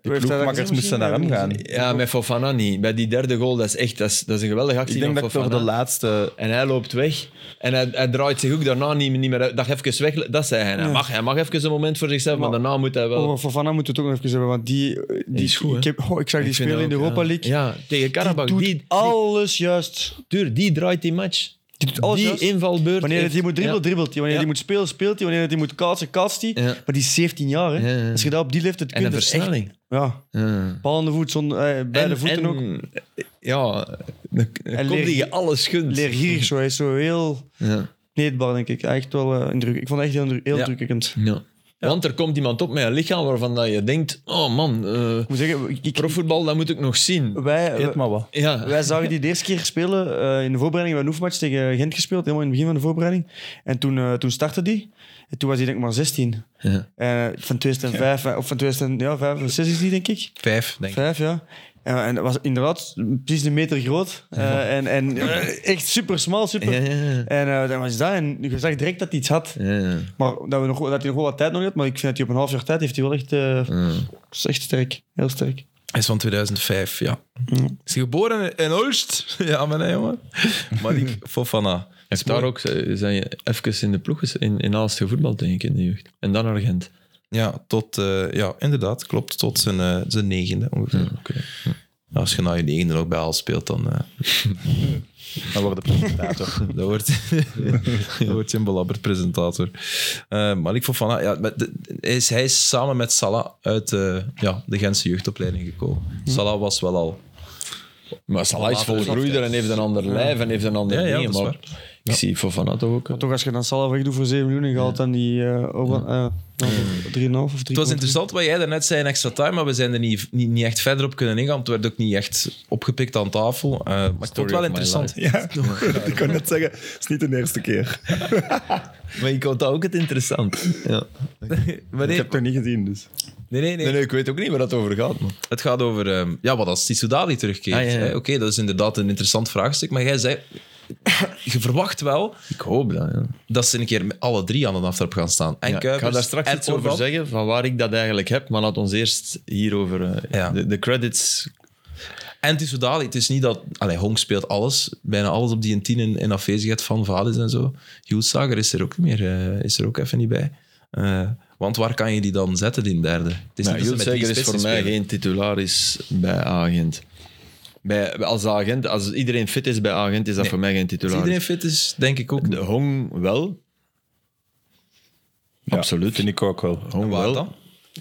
B: Die ploegmakkers moesten naar hem gaan.
D: Ja, met Fofana niet. Bij die derde goal, dat is echt dat is, dat is een geweldige actie
B: Ik denk
D: van
B: dat ik door
D: Fofana.
B: de laatste...
D: En hij loopt weg. En hij, hij draait zich ook daarna niet, niet meer uit. Dat even weg. Dat zei hij. Hij, mag, hij mag even een moment voor zichzelf, maar,
C: Oh, Maar-
D: daarna moet hij wel...
C: Over Fofana moeten we het ook nog even hebben, want die... die,
D: is goed, hè?
C: ik, heb, oh, ik zag die
D: Ik vind
C: spelen in de
D: dat ook,
C: Europa
D: ja.
C: League.
D: Ja, tegen Karabakh.
C: doet
D: Die,
C: alles juist.
D: Duur, die draait die match. Die,
C: doet alles juist.
D: invalbeurt.
C: Wanneer
D: heeft-
C: hij moet dribbelen,
D: Ja.
C: dribbelt hij. Wanneer
D: Ja.
C: hij moet spelen, speelt hij. Wanneer hij moet kaatsen, kaatst hij.
D: Ja.
C: Maar die is 17 jaar, hè.
D: Ja, ja, ja.
C: Als je dat op die leeftijd
D: En
C: kunt...
D: een
C: dat is echt-
D: versnelling.
C: Ja,
D: Ja.
C: bal aan de voet, zonder, eh, beide
D: En-
C: voeten
D: en,
C: ook.
D: Ja, Dan
C: leer-
D: komt die je alles gunt.
C: Leergierig zo, hij is zo heel
D: Ja.
C: kneedbaar, denk ik. Echt wel eh, indruk. Ik vond het echt heel, indru- heel
A: Ja.
C: indrukwekkend.
D: Ja. Want er komt iemand op met een lichaam waarvan dat je denkt, oh man, eh,
C: Ik moet zeggen, ik, ik-
D: profvoetbal, dat moet ik nog zien.
C: wij,
B: Eet maar wat.
D: Ja,
C: Wij zagen die de eerste keer spelen eh, in de voorbereiding. We hebben een oefenmatch tegen Gent gespeeld, helemaal in het begin van de voorbereiding. En toen, eh, toen startte die. En toen was hij denk ik maar 16.
D: Ja.
C: En, eh, van 2005, eh, of van 2005 of 6 is die denk ik.
A: Vijf, denk ik.
C: Vijf, ja. En, en dat was inderdaad precies een meter groot. Eh, en en eh, echt super smal, super.
D: ja, ja.
C: En eh, dan was dat. En je zag direct dat hij iets had.
D: ja, ja.
C: Maar dat, we nog, dat hij nog wel wat tijd nodig had. Maar ik vind dat hij op een half jaar tijd heeft hij wel echt, eh, is echt sterk. Heel sterk.
A: Hij is van 2005, ja. Is hij geboren in Ulst? (laughs) Ja, maar nee, jongen. Malik Fofana.
D: Heeft daar ook, eh, zijn je even in de ploeg ges- in, in Aalst gevoetbald, denk ik, in de jeugd. En dan naar Gent.
A: Ja, tot, eh, ja, inderdaad, klopt. Tot zijn, eh, zijn negende ongeveer. Ja, Als je na je negende nog bij Al speelt, dan, eh,
B: Dan wordt de (laughs) presentator.
A: dan, wordt, dan word je een belabberd presentator. Eh Malik Fofana, ja, met de- hij, is, hij is samen met Salah uit eh, ja, de Gentse jeugdopleiding gekomen. Salah was wel al.
D: Maar Salah is
A: Later
D: volgroeider en heeft een ander lijf en heeft een ander
A: Ja, ja,
D: nee,
A: dat is
D: maar ik zie Fofana toch ook.
C: Toch als je dan Salah wegdoet voor 7 miljoen en je haalt dan die eh, Oban- eh, dan 3,5 of 3,5.
A: Het was interessant wat jij daarnet zei in extra time, maar we zijn er niet, niet, niet echt verder op kunnen ingaan. Het werd ook niet echt opgepikt aan tafel. eh, maar ik vond het
D: Story
A: wel
D: of my
A: interessant.
B: ja, ik kan net zeggen, het is niet de eerste keer.
D: Maar ik vond dat ook het interessant. Ja.
A: Maar
B: Ik
A: nee,
B: heb het nog niet gezien, dus.
A: nee, nee, nee.
D: Nee, nee, ik weet ook niet waar dat over gaat. man.
A: Het gaat over ehm, ja, wat als Tissou Dali terugkeert.
D: Ah, ja, ja.
A: hè. Oké, dat is inderdaad een interessant vraagstuk. Maar jij zei, je verwacht wel
D: Ik hoop dat, ja.
A: dat ze een keer met alle drie aan de aftrap gaan staan. En
D: Ja, ik
A: Kuipers
D: ga daar straks
A: en
D: iets over
A: Orban.
D: zeggen, van waar ik dat eigenlijk heb. Maar laat ons eerst hierover... eh,
A: Ja.
D: de, de credits...
A: En Tissou Dali, het is niet dat... Allee, Hong speelt alles, bijna alles op die een tien in, in afwezigheid van Valis en zo. Hulsager is er ook niet meer, eh, is er ook even niet bij. Eh, want waar kan je die dan zetten, die derde? Het is
D: Maar
A: niet dat ze met drie
D: Hulsager Nou, is
A: spitsen
D: voor mij
A: spelen.
D: geen titularis bij agent. Bij, als, de agent als iedereen fit is bij agent, is dat voor mij geen
A: Als
D: titularis.
A: iedereen fit is, denk ik ook.
D: De Hong wel.
B: Ja,
D: Absoluut.
B: Vind ik ook wel. Oh.
D: Hong
A: Waar
D: wel.
A: dan?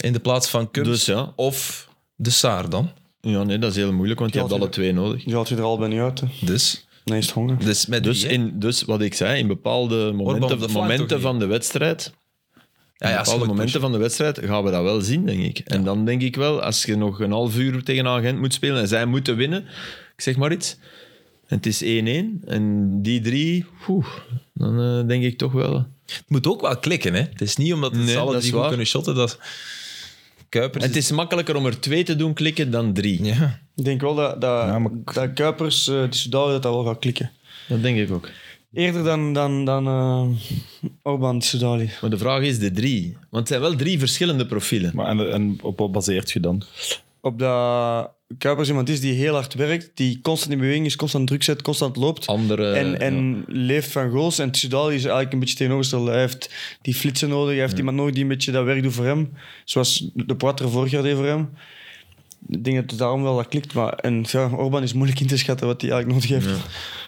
A: In de plaats van Cubs
D: Dus ja.
A: of de Saar dan.
D: Ja, nee, dat is heel moeilijk, want je
C: Ja,
D: hebt alle twee nodig.
C: Je haalt je er al bij niet uit. hè.
A: Dus,
C: Nee, is het honger.
A: dus met
D: Dus,
A: drie, hè.
D: in, dus wat ik zei, in bepaalde
A: op de
D: momenten,
A: flank toch
D: momenten
A: niet?
D: van de wedstrijd.
A: Ja,
D: in
A: ja,
D: bepaalde
A: natuurlijk,
D: momenten van de wedstrijd gaan we dat wel zien, denk ik. En dan denk ik wel, als je nog een half uur tegen agent moet spelen en zij moeten winnen, ik zeg maar iets. En het is 1-1. En die drie, oeh, dan eh, denk ik toch wel.
A: Het moet ook wel klikken, hè? Het is niet omdat het
D: Nee,
A: alle
D: dat is
A: drie goed
D: waar.
A: kunnen shotten dat Kuipers.
D: Het is makkelijker om er twee te doen klikken dan drie.
A: Ja.
C: Ik denk wel dat, dat,
B: Ja, maar-
C: dat Kuipers, eh die Soudal, dat dat wel gaat klikken.
D: Dat denk ik ook.
C: Eerder dan, dan, dan eh Orban die Soudali.
D: Maar de vraag is de drie. Want het zijn wel drie verschillende profielen.
B: Maar en, en op wat baseert je dan?
C: Op dat Kuipers iemand is die heel hard werkt, die constant in beweging is, constant druk zet, constant loopt.
D: Andere...
C: en en leeft van goals. En Soudali is eigenlijk een beetje tegenovergesteld. Hij heeft die flitsen nodig. Hij heeft iemand nodig die een beetje dat werk doet voor hem. Zoals de Poitre vorig jaar deed voor hem. Ik denk dat het daarom wel dat klikt. Maar en, ja, Orban is moeilijk in te schatten wat hij eigenlijk nodig heeft. (laughs)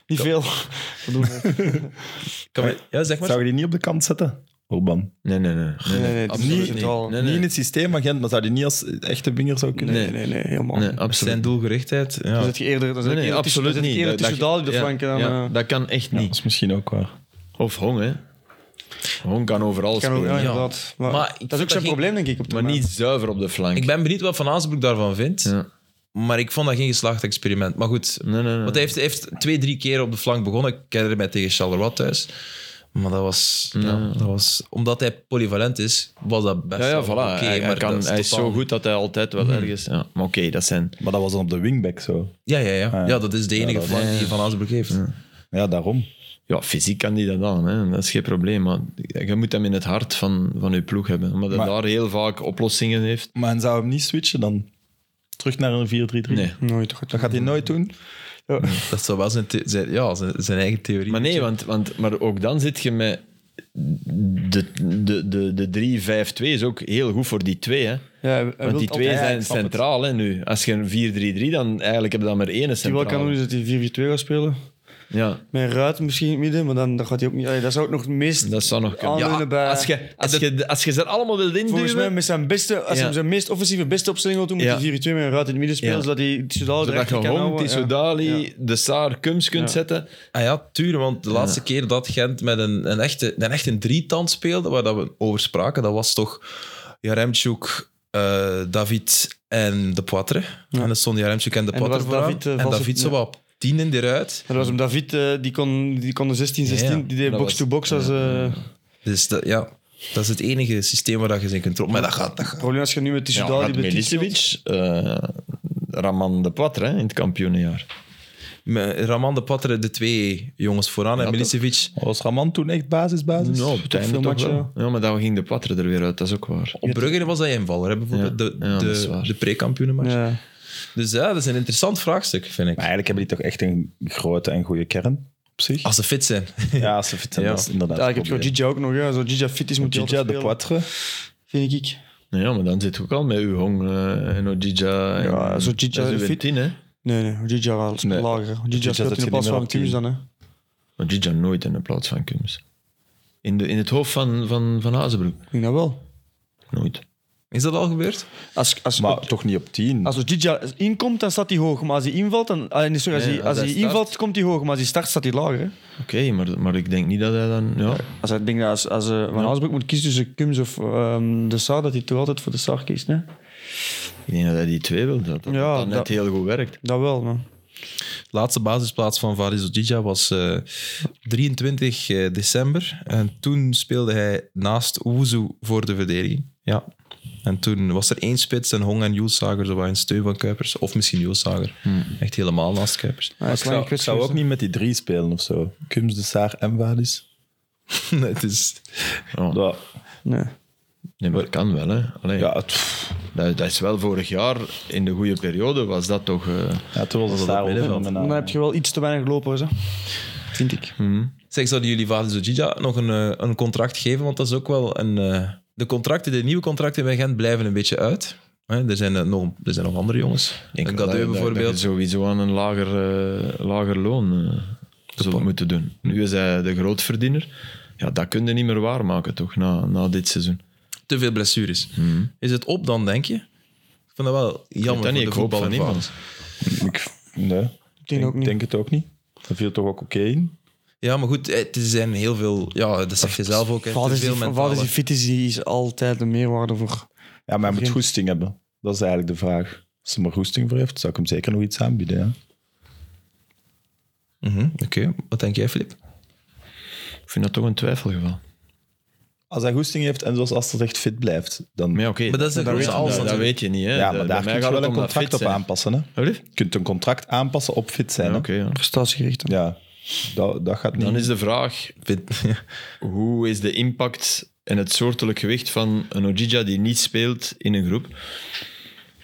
C: Niet veel.
D: (laughs)
C: Voldoende.
A: Kan we- ja, zeg maar.
B: Zou je die niet op de kant zetten, Orban?
D: Nee, nee, nee.
C: Nee, nee, het is
D: absoluut
C: niet centraal.
D: Nee,
B: Niet
D: nee.
B: in het systeemagent, maar zou die niet als echte winger zou kunnen?
C: Nee, nee, nee, helemaal
D: Nee,
C: niet.
D: absoluut.
A: Zijn doelgerichtheid. Ja.
C: Dan zet je eerder, dan zet
D: Nee,
C: je
D: nee,
C: eerder
D: absoluut
C: tussen, dan zet
D: niet.
C: je eerder tussen Dali op de
D: ja,
C: flank en dan...
D: ja,
C: eh,
D: dat kan echt
B: Ja,
D: niet.
B: dat is misschien ook waar.
D: Of Hong, hè. Hong kan overal
C: kan ook,
D: spelen.
C: ja, inderdaad. Maar,
A: Maar ik vind
C: dat
A: dat
C: is ook zijn
A: geen-
C: probleem, denk ik, op de
D: Maar niet zuiver op de flank.
A: Ik ben benieuwd wat Van Azenbroek daarvan vindt.
D: Ja.
A: Maar ik vond dat geen geslaagd experiment. Maar goed,
D: Nee, nee, nee.
A: want hij heeft, hij heeft twee, drie keer op de flank begonnen. Ik herinner mij tegen Charleroi thuis. Maar dat was, ja, dat was... Omdat hij polyvalent is, was dat best
D: Ja, ja, voilà.
A: wel oké,
D: hij, hij
A: maar
D: kan,
A: dat is
D: hij is
A: totaal Mhm.
D: zo
A: niet-
D: goed dat hij altijd wel ergens... Ja. Maar oké, dat zijn...
B: Maar dat was dan op de wingback zo.
A: Ja, ja, ja. ja, dat is de enige flank die Van Azenbroek heeft.
B: Ja, daarom.
D: Ja, fysiek kan die dat aan, hè. dat is geen probleem. Maar je moet hem in het hart van, van je ploeg hebben. Omdat hij
B: Maar-
D: daar heel vaak oplossingen heeft.
B: Maar en zou hem niet switchen dan? Terug naar een 4-3-3?
D: Nee.
C: Nooit, toch?
B: Dat gaat hij nooit doen.
A: Dat zou wel zijn, the- zijn, ja, zijn, zijn eigen theorie.
D: Maar nee, want, want maar ook dan zit je met... De, de, de, de 3-5-2 is ook heel goed voor die twee, hè.
C: Ja, hij- hij wil
D: Want die
C: het
D: twee
C: altijd.
D: zijn
B: ik snap het.
D: centraal hè, nu. Als je een 4-3-3, dan eigenlijk heb je dan maar één
C: Die wel kan
D: centraal.
C: doen, is dat hij 4-4-2 gaat spelen.
D: Ja,
C: Met Ruit misschien in het midden, maar dan, dan gaat hij ook niet... Allee, dat zou ook nog het meest
D: dat zou nog kunnen.
C: aanleunen
D: Ja,
C: bij...
D: als je, als je, als je ze er allemaal wilt induwen...
C: Volgens mij met zijn beste, als
D: Ja.
C: hij zijn meest offensieve beste opstelling wil doen, moet
D: Ja.
C: hij 4-2 met een ruit in het midden spelen,
D: Ja.
C: zodat hij Soudal
D: zodat
C: direct
D: je
C: kan
D: Hong,
C: houden.
D: Tissot
C: Ja.
D: Dali, de Saar, Kums kunt zetten.
A: Ah ja, tuurlijk, want de laatste keer dat Gent met een, een echte, een echte drietand speelde, waar dat we over spraken, dat was toch Jaremchuk, eh, David en De Poitre. En dan stonden Jaremchuk en De
C: En dat
A: Poitre
C: was
A: vooraan.
C: David, eh,
A: en
C: vals-
A: David zo
C: ja.
A: wat op tien in die ruit.
C: Dat was hem David, eh, die kon, die kon de 16, 16,
A: Ja, ja.
C: die deed
A: Dat
C: box-to-box
A: was-
C: als... eh,
A: Dus dat, ja, dat is het enige systeem waar dat je ze in kunt roepen. Maar dat gaat, dat gaat.
C: probleem als je nu met Tissot Dali...
D: had
C: bij Tissot-
D: Milicevic, eh, Raman de Poitre hè, in het kampioenenjaar.
A: Met Raman De Poitre, de twee jongens vooraan, en
D: Ja,
A: Milicevic.
B: Was Raman toen echt basisbasis?
D: Nou,
B: basis?
D: op het einde
C: veel
D: toch
C: matchen,
D: wel. Ja, maar dan ging de Poitre er weer uit, dat is ook waar.
A: Op Brugge was dat invaller, hè, bijvoorbeeld
D: Ja,
A: de,
D: ja, dat is
A: de,
D: waar.
A: de pre-kampioenenmatch.
C: Ja.
A: Dus ja, dat is een interessant vraagstuk, vind ik.
B: Maar eigenlijk hebben die toch echt een grote en goede kern op zich.
A: Als ze fit zijn. (laughs)
B: Ja, als ze fit zijn,
A: Ja.
B: dat is inderdaad
C: Ja, ik heb
B: het
C: gewoon
B: probleem.
C: Gigi ook nog. Ja. Als Gigi fit is, moet hij altijd
B: Gigi de
C: spelen,
B: Poitre.
C: vind ik.
D: Nou Ja, maar dan zit je ook al met Uhong eh, en Ojija. en-
C: Ja, als Ojija
D: dat is
C: fit-
D: uw tien, hè?
C: Nee, nee, Gigi was
B: Nee.
C: lager.
B: Ojija
C: Gigi
B: zet
C: speelt in
B: je
C: de plaats
B: niet meer
C: van
B: op tien.
C: Kums dan. Hè.
D: Ojija nooit in de plaats van Kums. In, de, in het hoofd van, van, van Hazenbroek.
C: Ik denk dat wel.
D: Nooit.
A: Is dat al gebeurd?
C: Als, als,
B: Maar toch niet op 10.
C: als Gigi inkomt, dan staat hij hoog. Maar als hij invalt, dan, ah, nee, sorry, als,
D: Nee,
C: hij,
D: als
C: als
D: hij
C: hij
D: start-
C: invalt, komt hij hoog. Maar als hij start, staat hij lager. Hè.
D: Oké, maar, maar ik denk niet dat hij dan... Ja,
C: Als hij denkt, dat als, als eh, Van Haasbroek moet kiezen tussen Kums of ehm, de Saar, dat hij toch altijd voor de Saar kiest. Hè?
D: ik denk dat hij die twee wil. Dat, dat,
C: Ja,
D: dat net
C: dat-
D: heel goed werkt.
C: Dat wel, man.
A: laatste basisplaats van Faris Ojija was eh, 23 eh, december. En toen speelde hij naast Wuzu voor de verdediging. Ja. En toen was er één spits en Hong en Jules Sager, zowel in steun van Kuipers. Of misschien Jules Sager.
D: Hmm.
A: Echt helemaal naast Kuipers. (laughs)
C: Hij
B: ik
C: is lang
B: zou, ik
C: gekwetst
B: zou ook
C: geweest,
B: niet met die drie spelen of zo. Kums, de Saar en Vadis.
A: Nee, het is...
D: Ja.
B: Ja,
C: hè. Nee.
B: Nou,
D: Nee, maar dat kan wel, hè. Allee,
B: ja, het, pff,
D: dat, dat is wel vorig jaar, in de goede periode, was dat toch... eh,
B: ja toen was de Saar wel
D: middenveld.
B: fenomenaal.
C: Dan heb je wel iets te weinig lopers, hè. vind ik.
A: Zeg, zouden jullie Faris Ojija nog een, eh, een contract geven? Want dat is ook wel een... eh, De contracten, de nieuwe contracten bij Gent blijven een beetje uit. Hè, er, zijn, eh, nog, er zijn nog andere jongens.
D: Ik
A: Een
D: denk
A: Gadeu bijvoorbeeld.
D: je sowieso aan een lager, eh, lager loon eh zou moeten doen. Nu is hij de grootverdiener. Ja, dat kun je niet meer waarmaken, toch, na, na dit seizoen.
A: te veel blessures.
D: Mhm.
A: Is het op dan, denk je? Ik vind dat wel jammer voor
D: dat niet,
A: de
D: ik hoop van
A: voetbalervaring.
B: Ik, nee, ik
C: denk ook niet.
B: denk het ook niet. Dat viel toch ook oké in.
A: Ja, maar goed, het zijn heel veel... Ja, dat zeg je zelf ook. hè, te
C: Vaders
A: veel
C: die, vaders die
A: mentale...
C: fit is, die is altijd een meerwaarde voor.
B: Ja, maar hij moet
C: Geen-
B: goesting hebben. Dat is eigenlijk de vraag. Als hij maar goesting voor heeft, zou ik hem zeker nog iets aanbieden. Ja.
A: Mhm, Oké, wat denk jij, Filip?
D: Ik vind dat toch een twijfelgeval.
B: Als hij goesting heeft en zoals Aster zegt fit blijft, dan...
D: Maar
B: Ja,
D: ja, oké.
A: Maar dat is de
D: dat,
A: grootste
D: weet-
A: als
D: dat, dat weet je niet, hè.
B: maar daar kun je wel een contract op aanpassen. Hè?
D: aanpakken.
B: Je kunt een contract aanpassen op fit zijn.
D: Oké,
B: hè.
D: ja.
C: Prestatiegericht. hè.
B: Ja, dat, dat gaat niet.
D: Dan is de vraag,
A: Vind- (laughs)
D: hoe is de impact en het soortelijk gewicht van een Ojija die niet speelt in een groep?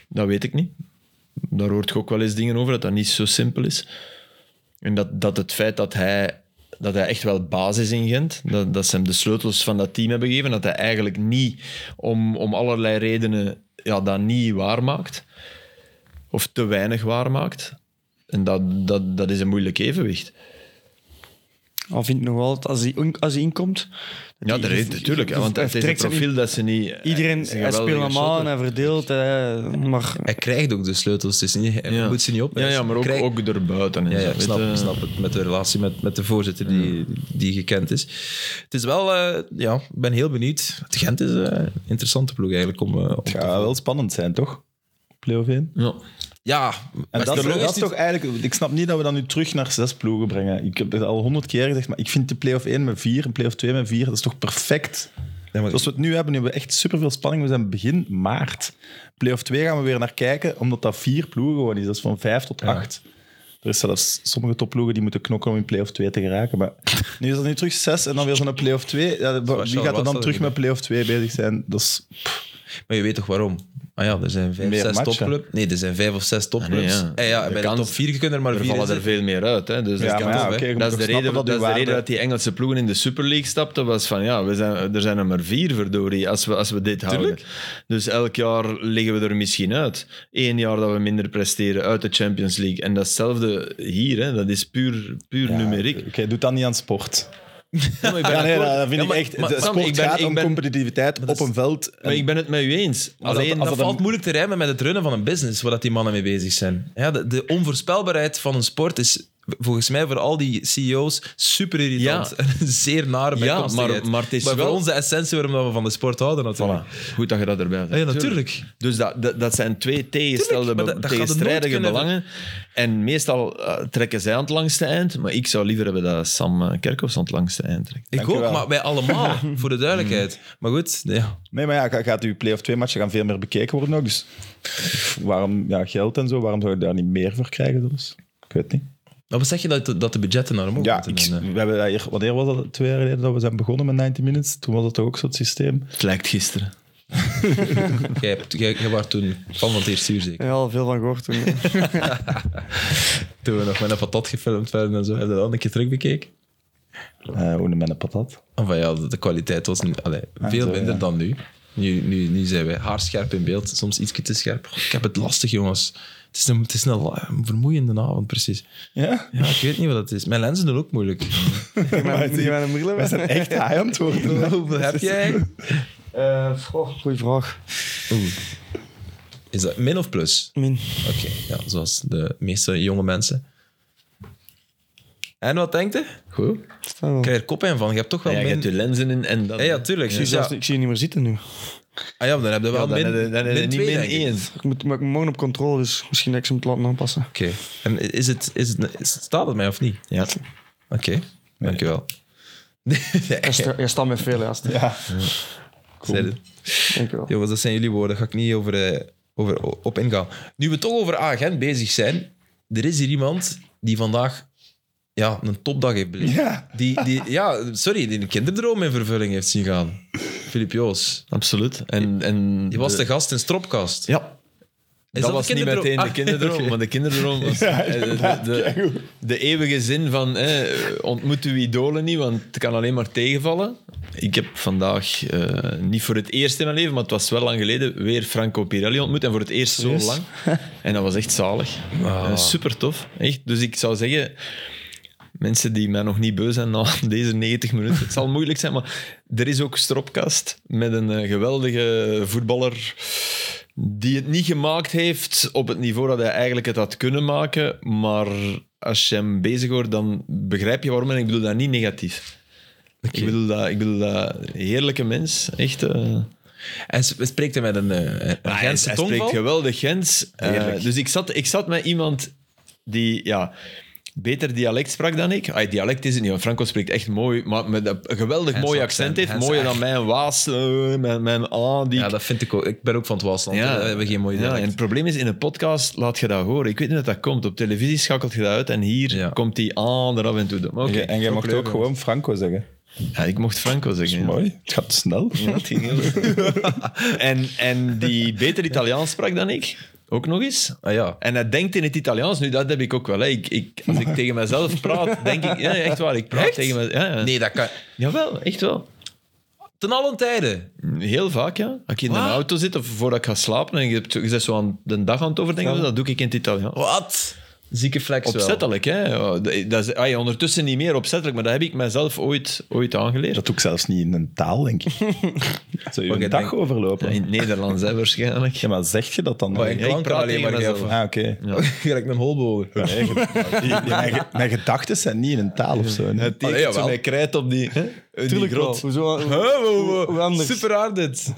D: Dat weet ik niet. Daar hoort je ook wel eens dingen over, dat dat niet zo simpel is. En dat, dat het feit dat hij, dat hij echt wel basis in Gent, dat, dat ze hem de sleutels van dat team hebben gegeven, dat hij eigenlijk niet, om, om allerlei redenen, ja, dat niet waarmaakt. Of te weinig waarmaakt. En dat, dat, dat is een moeilijk evenwicht.
C: Al vindt nog wel dat als hij, in- als hij inkomt.
D: Ja, dat is natuurlijk. hè, Want
C: hij
D: het is een
C: vertrekt zich
D: profiel dat ze niet...
C: Iedereen,
D: het is een
C: hij speelt
D: geweldige
C: normaal en
D: shotter.
C: hij verdeelt. Hij, maar
A: Hij krijgt ook de sleutels, dus niet, hij
D: Ja.
A: moet ze niet op.
D: Ja, ja maar ook,
A: Krijg-
D: ook erbuiten. En
A: Ja,
D: zo,
A: ja, ik
D: weet
A: snap,
D: je.
A: ik snap het. Met de relatie met, met de voorzitter die, die gekend is. Het is wel... eh, ja, ik ben heel benieuwd. Het Gent is eh, een interessante ploeg eigenlijk om... eh, om
B: Het
A: te-
B: gaat wel spannend zijn, toch? Play-off 1.
D: Ja.
A: Ja,
B: En dat,
A: Westerlo
B: dat is
A: niet-
B: toch eigenlijk... Ik snap niet dat we dan nu terug naar zes ploegen brengen. Ik heb het al honderd keer gezegd, maar ik vind de play-off 1 met vier en play-off 2 met vier, dat is toch perfect?
A: Ja, maar-
B: Zoals we het nu hebben, nu hebben we echt superveel spanning. We zijn begin maart. Play-off 2 gaan we weer naar kijken, omdat dat vier ploegen gewoon is. Dat is van vijf tot acht. Er is zelfs sommige topploegen die moeten knokken om in play-off 2 te geraken. Maar nu is dat nu terug zes en dan weer zo'n play-off 2. Ja, wie
A: Charleroi
B: gaat er dan
A: zal
B: terug
A: winnen.
B: met play-off 2 bezig zijn? Dat is... pff.
A: Maar je weet toch waarom? Ah ja, er zijn vijf,
B: Meer
A: zes
B: matchen.
A: topclubs. Nee, er zijn vijf of zes topclubs.
D: Ah, nee, ja.
A: En ja,
D: De
A: bij
D: kans-
A: de top vier kunnen er maar
D: Er
A: vier in
D: vallen er
A: zitten.
D: veel meer uit. Hè? Dus
B: Ja,
D: dat,
B: maar
A: kan
B: ja,
A: toch, hè.
B: oké, je moet
D: dat is
B: ook
D: de
B: snappen
D: reden dat,
B: uw
D: is de reden
B: waarde-
D: dat die Engelse ploegen in de Super League stapten. Was van ja, we zijn, er zijn er maar vier, verdorie, als we, als we dit houden. Dus elk jaar liggen we er misschien uit. Eén jaar dat we minder presteren uit de Champions League. En datzelfde hier, hè? dat is puur, puur numeriek.
B: Oké, doe dat niet aan sport.
D: Ja, maar ik ben
B: Ja, nee,
D: akkoord.
B: dat vind
A: Ja,
B: ik
A: maar-
B: echt...
A: maar
B: de
A: Sam,
B: sport
A: ik ben-
B: gaat
A: ik
B: om
A: ben-
B: competitiviteit op een veld.
D: Maar ik ben het met u eens.
A: Alleen
D: Alleen
A: dat,
B: dat
A: valt
B: een-
A: moeilijk te rijmen met het runnen van een business, waar dat die mannen mee bezig zijn. Ja, de, de onvoorspelbaarheid van een sport is volgens mij voor al die CEO's super irritant.
D: Ja.
A: En zeer nare
D: Ja,
A: bijkomstigheid.
D: maar- maar het is
A: voor
D: wel-
A: ons de essentie waarom dat we van de sport houden natuurlijk.
D: Goed dat je dat erbij zegt.
A: Ja, natuurlijk.
D: Dus dat, dat, dat zijn twee tegenstelde,
A: Tuurlijk, maar dat- dat gaat het
D: tegenstrijdige
A: nooit kunnen
D: belangen. En meestal eh, trekken zij aan het langste eind. Maar ik zou liever hebben dat Sam eh, Kerkhoffs aan het langste eind trekt.
A: Ik ook,
B: Dankjewel.
A: maar wij
B: (laughs)
A: allemaal, voor de duidelijkheid.
D: Mm.
A: Maar goed, ja.
B: Nee, maar ja, ga- gaat uw play-off 2 matchen gaan veel meer bekeken worden ook. Dus waarom, ja, geld en zo, waarom zou je daar niet meer voor krijgen? Dus? Ik weet niet.
A: Nou, wat zeg je dat, de- dat de budgetten naar omhoog
B: Ja,
A: moeten?
B: ik,
A: En, eh,
B: we hebben dat hier, wanneer was dat? Twee jaar geleden dat we zijn begonnen met 90 Minutes. Toen was dat toch ook zo'n systeem.
D: Het lijkt gisteren.
A: Jij, hebt- jij, jij was toen fan van het eerste uur, zeker?
C: Ja, al veel van
B: (laughs)
C: gehoord toen.
A: Toen we nog met een patat gefilmd werden en zo, heb je dat een keer terug bekeken?
B: Eh hoe met een patat.
A: Ah, Van ja, de, de kwaliteit was niet- allee, veel
B: zo,
A: minder
B: ja.
A: dan nu. Nu, nu. nu zijn wij haarscherp in beeld, soms ietsje te scherp. Goh, ik heb het lastig, jongens. Het is een, het is een, la- een vermoeiende avond, precies.
B: Ja?
A: Ja, ik weet niet wat dat is. Mijn lenzen doen ook (laughs) moeilijk.
C: Moet
B: Maar
C: je
B: die-
C: mijn bril
B: Wij
C: hebben?
B: zijn echt high aan het worden.
A: (laughs) Hoeveel heb jij?
C: Eh, goh, Goeie vraag.
A: Is dat min of plus?
C: Min.
A: Oké, ja, zoals de meeste jonge mensen. En wat denkt je? Goed. Ik
C: Staat wel.
A: krijg er kopijn van. Je hebt toch wel
D: Ja, je
A: min...
D: hebt je lenzen in en dat.
A: Ja, ja, tuurlijk.
C: Ik
A: Dus
C: zie
A: ja.
C: zelfs- Ik zie je niet meer zitten nu.
A: Ah ja, maar dan heb je wel
D: Ja, dan heb je-
A: min,
D: dan heb je
A: min
D: niet
A: twee,
D: min
A: denk ik.
D: één.
C: Ik moet, maar ik moet morgen op controle, dus misschien dat ik ze moet laten aanpassen.
A: Oké. En is het, is het, is het- staat het mij of niet?
D: Ja.
A: Oké, dankjewel. Nee,
C: Jij sta- Jij staat met veel, gast.
B: Ja.
A: zei het.
C: Dank je wel.
A: Jongens, dat zijn jullie woorden. Daar ga ik niet over, eh, over, o- op ingaan. Nu we toch over agent bezig zijn. Er is hier iemand die vandaag ja, een topdag heeft beleefd.
B: Ja.
A: Die, die, ja, sorry, die een kinderdroom in vervulling heeft zien gaan. Filip Joos.
D: Absoluut. En, en
A: Die was de gast in Stropkast.
D: Ja.
A: Is
D: dat,
A: dat
D: was
A: de
D: niet
A: kinderdroom?
D: meteen de
A: Ah,
D: kinderdroom,
A: oké.
D: maar de kinderdroom was eh, de, de, de, de eeuwige zin van eh, ontmoet uw idolen niet, want het kan alleen maar tegenvallen. Ik heb vandaag, eh, niet voor het eerst in mijn leven, maar het was wel lang geleden, weer Franco Pirelli ontmoet. En voor het eerst zo
A: (laughs)
D: lang. En dat was echt zalig.
A: Ah.
D: super tof, echt. Dus ik zou zeggen, mensen die mij nog niet beu zijn na (laughs) deze 90 minuten. Het zal moeilijk zijn, maar er is ook Stropkast met een eh, geweldige voetballer die het niet gemaakt heeft op het niveau dat hij eigenlijk het had kunnen maken. Maar als je hem bezig hoort, dan begrijp je waarom. En ik bedoel dat niet negatief. Ik bedoel dat, ik bedoel dat heerlijke mens, echt... eh,
A: En sp- spreekt (laughs) hij met een, eh, een
D: maar hij-
A: Gentse
D: hij,
A: tongval?
D: spreekt geweldig Gens. Eh,
B: Heerlijk.
D: dus ik zat, ik zat met iemand die ja, beter dialect sprak dan ik. Ah, dialect is het niet, want Franco spreekt echt mooi, maar met een geweldig
A: Gens
D: mooi accent
A: accent,
D: heeft.
A: Gens
D: mooier
A: echt.
D: dan mijn Waas, eh, mijn, mijn A. Die
A: Ja, dat vind ik ook. Ik ben ook van het Waasland.
D: ja.
A: hè. We hebben geen mooie
D: Ja,
A: dialect.
D: en het probleem is, in een podcast laat je dat horen. Ik weet niet dat dat komt. Op televisie schakelt je dat uit en hier
A: Ja.
D: komt die aan er af en toe. door. Maar oké.
B: En jij mocht ook gewoon Franco zeggen.
D: Ja, ik mocht Franco zeggen. ja.
B: Mooi. Het gaat snel.
D: En, en die beter Italiaans sprak dan ik, ook nog eens.
A: Ah, ja.
D: En hij denkt in het Italiaans. Nu, dat heb ik ook wel. Hè. Ik, ik, als ik tegen mezelf praat, denk ik... Ja, echt waar, ik praat
A: Echt?
D: tegen mezelf. Ja, ja.
A: Nee, dat kan...
D: Jawel, echt wel.
A: Ten allen tijde.
D: Heel vaak, ja. Als ik in
A: Wat?
D: een auto zit of voordat ik ga slapen en je, hebt, je bent zo aan de dag aan het overdenken, dat doe ik in het Italiaans.
A: Wat? Zieke flex wel.
D: Opzettelijk, hè. Ja, Dat is, ah ja, ondertussen niet meer opzettelijk, maar dat heb ik mezelf ooit, ooit aangeleerd.
B: Dat doe ik zelfs niet in een taal, denk ik. Zou je
A: Oké,
B: een dag
A: denk-
B: overlopen?
D: Ja, in het Nederlands, hè, (laughs) waarschijnlijk.
B: Ja, maar zeg je dat dan?
A: Maar ik
D: ik
A: klank er
D: praat
A: alleen
D: tegen
A: maar jij
D: mezelf.
A: van.
B: Ah, oké.
A: (laughs) Gelijk een holbogen.
B: Ja, (laughs) nee, ge- die- die- mijn, ge- mijn gedachten zijn niet in een taal of zo. nee.
D: Allee, jawel. Hij krijt op die, hè, die
C: Tuurlijk wel.
D: grot.
C: Hoezo? Hoe, hoe- hoe anders?
A: Super hard dit.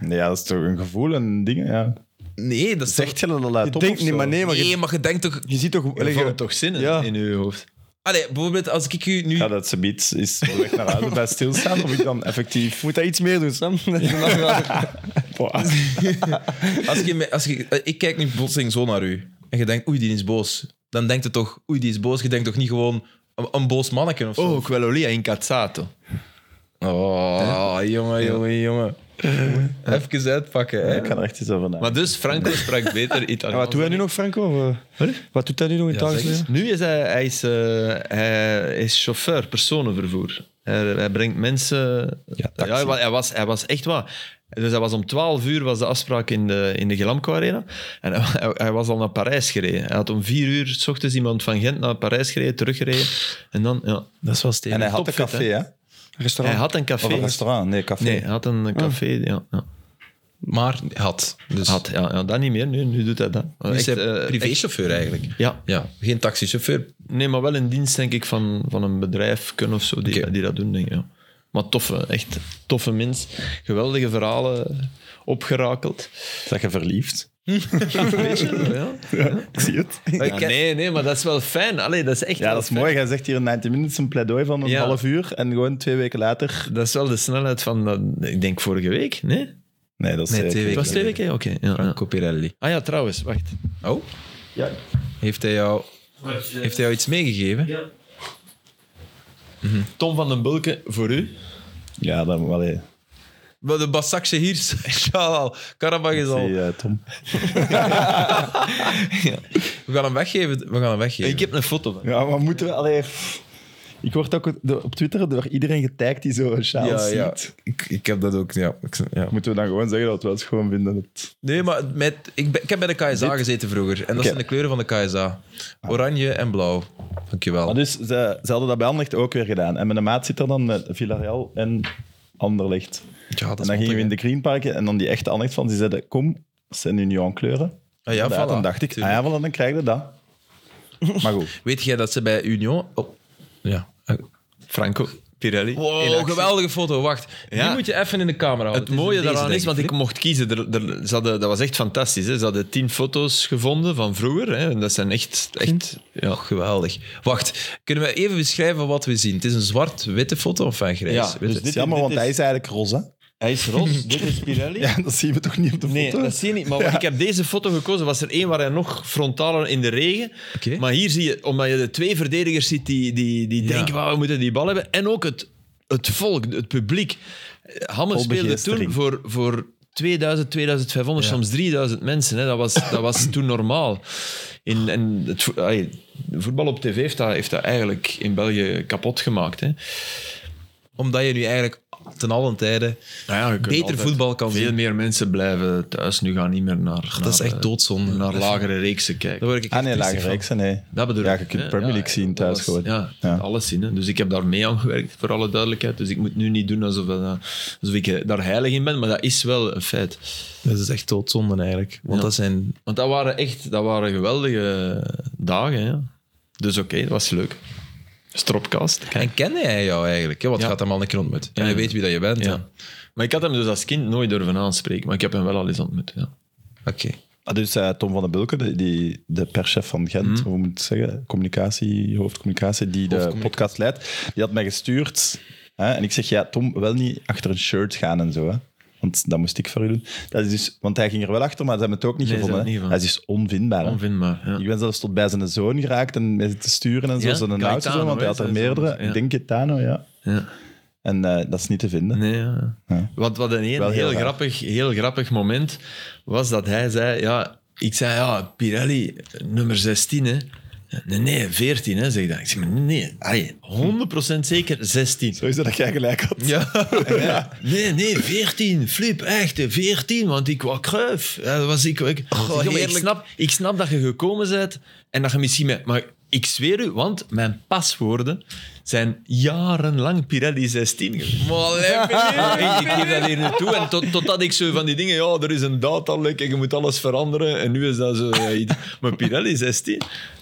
B: Nee, ja, dat is toch een gevoel en dingen, ja.
A: Nee, dat is
B: Zegt je dat al
C: Je
B: uit op
C: denkt
B: of
C: niet,
B: zo?
C: maar nee,
A: toch...
C: maar
A: Nee,
C: je,
A: maar je denkt toch...
C: je ziet toch...
D: Er
C: allee, je-
D: vallen toch zinnen
C: Ja.
D: in uw hoofd?
A: Allee, bijvoorbeeld als ik u nu...
B: Ja, dat ze iets is weg naar huis bij stilstaan of ik dan effectief...
C: moet dat iets meer doen, Sam. Dat is een afspraak.
B: Boah.
A: Als ik, in mijn- als ik, eh, ik kijk nu plotseling zo naar u. En je denkt, oei, die is boos. Dan denkt je toch, oei, die is boos. Je denkt toch niet gewoon een, een boos
C: Oh,
A: manneken of zo?
D: Oh, quello lì è incazzato.
A: Oh, jongen, jongen, jongen. Even uitpakken. Hè.
B: Ik kan er echt iets over nadenken.
D: Maar dus, Franco sprak beter
C: En wat
D: Italiaans.
C: doet hij nu nog, Franco? Of, eh, Wat doet hij nu nog in het dagelijks leven?
D: Nu is hij, hij, is, eh, hij is chauffeur, personenvervoer. Hij, hij brengt mensen... Ja, hij, wa- hij was, hij was echt waar. Dus hij was om 12 uur was de afspraak in de, in de Gelamco Arena. En hij, hij- hij was al naar Parijs gereden. Hij had om 4 uur s ochtends iemand van Gent naar Parijs gereden, teruggereden. En dan, ja.
A: Dat is wel stevig.
B: En hij had een
D: Topfit,
B: café, hè? Of
D: Hij
C: Restaurant.
D: had een
A: Oh,
D: café.
B: een restaurant? Nee, café.
D: Nee, hij had
A: Ah.
D: een café. Ja, ja.
A: Maar had. Dus
D: Had, ja, ja, dat niet meer. Nu, nu doet hij dat.
A: nu is
D: Echt,
A: hij
D: eh, echt-
A: privéchauffeur eigenlijk.
D: ja,
A: Ja, geen taxichauffeur.
D: Nee, maar wel in dienst, denk ik, van, van een bedrijf kunnen of zo, die,
A: Oké.
D: die dat doen, denk ik. Ja. Maar toffe, echt toffe mens. Geweldige verhalen opgerakeld.
B: Zeg je verliefd? (laughs)
D: Ja.
B: Ik zie het.
D: Maar ik- nee, nee, maar dat is wel fijn. Allee, dat is echt
B: Ja,
D: wel
B: dat is
D: fijn.
B: mooi. Jij zegt hier in 90 minutes een pleidooi van een
D: Ja.
B: half uur en gewoon twee weken later...
D: Dat is wel de snelheid van, dat, ik denk, vorige week. Nee?
B: Nee, dat is...
A: Nee,
B: eh,
A: twee weken.
D: Het was twee weken? ja, Oké. ja, ja.
A: Franco Pirelli.
D: Ah ja, trouwens, wacht.
A: Oh? Heeft hij jou, heeft hij jou iets meegegeven?
D: Tom van den Bulke, voor u.
B: Ja, dan... Allee,
A: Wel, De Basakse hier. (laughs) Shalal. Karabach is
B: zie
A: al.
B: je, eh, Tom.
A: We gaan hem weggeven. We gaan hem weggeven.
D: Ik heb een foto van
B: Ja, maar moeten we... Allee... pff. Ik word ook de- op Twitter door iedereen getagd die zo
A: ja,
B: Charles
A: ja.
B: ziet.
A: Ik, ik heb dat ook. Ja. Ik- ja.
B: Moeten we dan gewoon zeggen dat we het gewoon vinden? Dat...
A: Nee, maar met, ik, ben- ik heb bij de KSA gezeten vroeger. En dat zijn de kleuren van de KSA: oranje en blauw. Dankjewel.
B: Maar dus ze, ze hadden dat bij Anderlecht ook weer gedaan. En mijn maat zit er dan met Villarreal en Anderlecht.
A: ja, dat
B: en dan
A: is
B: gingen we in
A: mottig,
B: de Greenparken en dan die echte Anderlecht van, die zeiden, kom, dat zijn Union kleuren.
A: hè. Ah, ja,
B: Daar,
A: voilà.
B: dan dacht ik, ah ja, voilà, dan krijg je dat. Maar
D: (laughs)
B: goed.
A: Weet jij dat ze bij Union. Oh, ja.
D: Franco Pirelli. In
A: Wow,
D: actie.
A: geweldige foto. Wacht.
D: Ja.
A: Die moet je even in de camera houden.
D: Het mooie daaraan is, want ik
A: kom.
D: mocht kiezen. Er, er, ze hadden, dat was echt fantastisch. Hè. Ze hadden tien foto's gevonden van vroeger. Hè. En dat zijn echt... echt
A: Ja, geweldig. Wacht, kunnen we even beschrijven wat we zien? Het is een zwart-witte foto of een grijs?
D: Ja,
A: Witte.
D: dus
B: Het is
D: dit-
B: jammer,
D: dit
B: want
D: is-
B: hij is eigenlijk roze.
D: hij is rood, (laughs) dit is Pirelli.
B: Ja, dat zien we toch niet op de
D: Nee,
B: foto?
D: dat zie je (laughs) niet. Maar ik heb deze foto gekozen. Was er één waar hij nog frontaler in de regen.
A: Oké.
D: Maar hier zie je, omdat je de twee verdedigers ziet die, die, die
A: Ja.
D: denken: "Wauw, we moeten die bal hebben. En ook het, het volk, het publiek. Hammers
B: Vol
D: speelde toen
B: begeestering.
D: voor, voor 2000, 2500,
A: Ja.
D: soms 3000 mensen. Hè. Dat, was, dat was toen normaal. In, en het, vo- ai, voetbal op tv heeft dat, heeft dat eigenlijk in België kapot gemaakt. Hè.
A: Omdat je nu eigenlijk ten allen tijde...
D: Nou ja, je kunt
A: Beter
D: altijd-
A: voetbal kan
D: Veel
A: zien.
D: meer mensen blijven thuis nu gaan niet meer naar. eh,
A: Dat is echt doodzonde.
D: naar lagere reeksen kijken.
A: Daar word ik
B: Ah
A: echt
B: nee,
A: triestig
B: lager
A: van.
B: reeks. Nee.
D: Dat bedoel
B: Ja,
D: ik,
B: je kunt
D: hè.
B: Premier League zien
D: dat
B: thuis
D: was-
B: gewoon.
D: Ja,
B: Ja.
D: alles zien. Hè. Dus ik heb daar mee aan gewerkt, voor alle duidelijkheid. Dus ik moet nu niet doen alsof, dat, eh, alsof ik eh, daar heilig in ben, maar dat is wel een feit.
A: Dat is echt doodzonde eigenlijk. Want
D: Ja.
A: dat zijn...
D: Want dat waren echt dat waren geweldige dagen. Hè. Dus oké, dat was leuk. Stropkast.
A: En kende hij jou eigenlijk? Hè? Want
D: Ja.
A: gaat hem al een keer ontmoeten. En
D: Ja.
A: hij weet wie dat je bent. hè?
D: Ja. Maar ik had hem dus als kind nooit durven aanspreken, maar ik heb hem wel al eens ontmoet. Ja.
A: Oké.
B: Ah, dus eh, Tom van den Bulke, de, die, de perschef van Gent,
D: Mhm.
B: hoe moet ik het zeggen, communicatie, hoofdcommunicatie, die de podcast leidt, die had mij gestuurd. Hè, en ik zeg, ja, Tom, wel niet achter een shirt gaan en zo. Hè, want dat moest ik voor u doen. Dat is dus, want hij ging er wel achter, maar ze hebben het ook niet
D: Nee, ze
B: gevonden.
D: hebben het
B: hè.
D: niet
B: Hij is dus onvindbaar. hè.
D: Onvindbaar. Ja.
B: Ik ben zelfs tot bij zijn zoon geraakt en mee te sturen en zo.
D: Ja?
B: Zijn
D: Gaetano,
B: auto, zo, want hij had
D: hè,
B: er
D: zijn zoon,
B: meerdere.
D: ja.
B: Ik denk Gaetano, ja.
D: Ja.
B: En eh, dat is niet te vinden.
D: Nee, ja.
B: Ja.
D: Wat, wat een heel,
B: Wel heel
D: heel,
B: raar.
D: grappig, heel grappig moment was dat hij zei... Ja, ik zei, ja, Pirelli, nummer 16, hè. Nee, nee, 14, hè, zeg ik dan. Ik zeg, maar nee, nee, allee, 100% zeker 16.
B: Zo is dat dat jij gelijk had. (laughs)
D: Nee, nee, 14. Flip, echt, hè, 14. Want ik was kruif. Ja, dat was ik, ik, Oh, Ik zeg, maar ik,
A: heerlijk.
D: snap, ik snap dat je gekomen bent en dat je misschien... Met, maar ik zweer u, want mijn paswoorden zijn jarenlang Pirelli 16 geweest. (laughs) Ja, ik, ik geef dat hier nu toe. En tot, totdat ik zo van die dingen, ja, er is een datalek en je moet alles veranderen. En nu is dat zo. ja, iets. Maar Pirelli 16,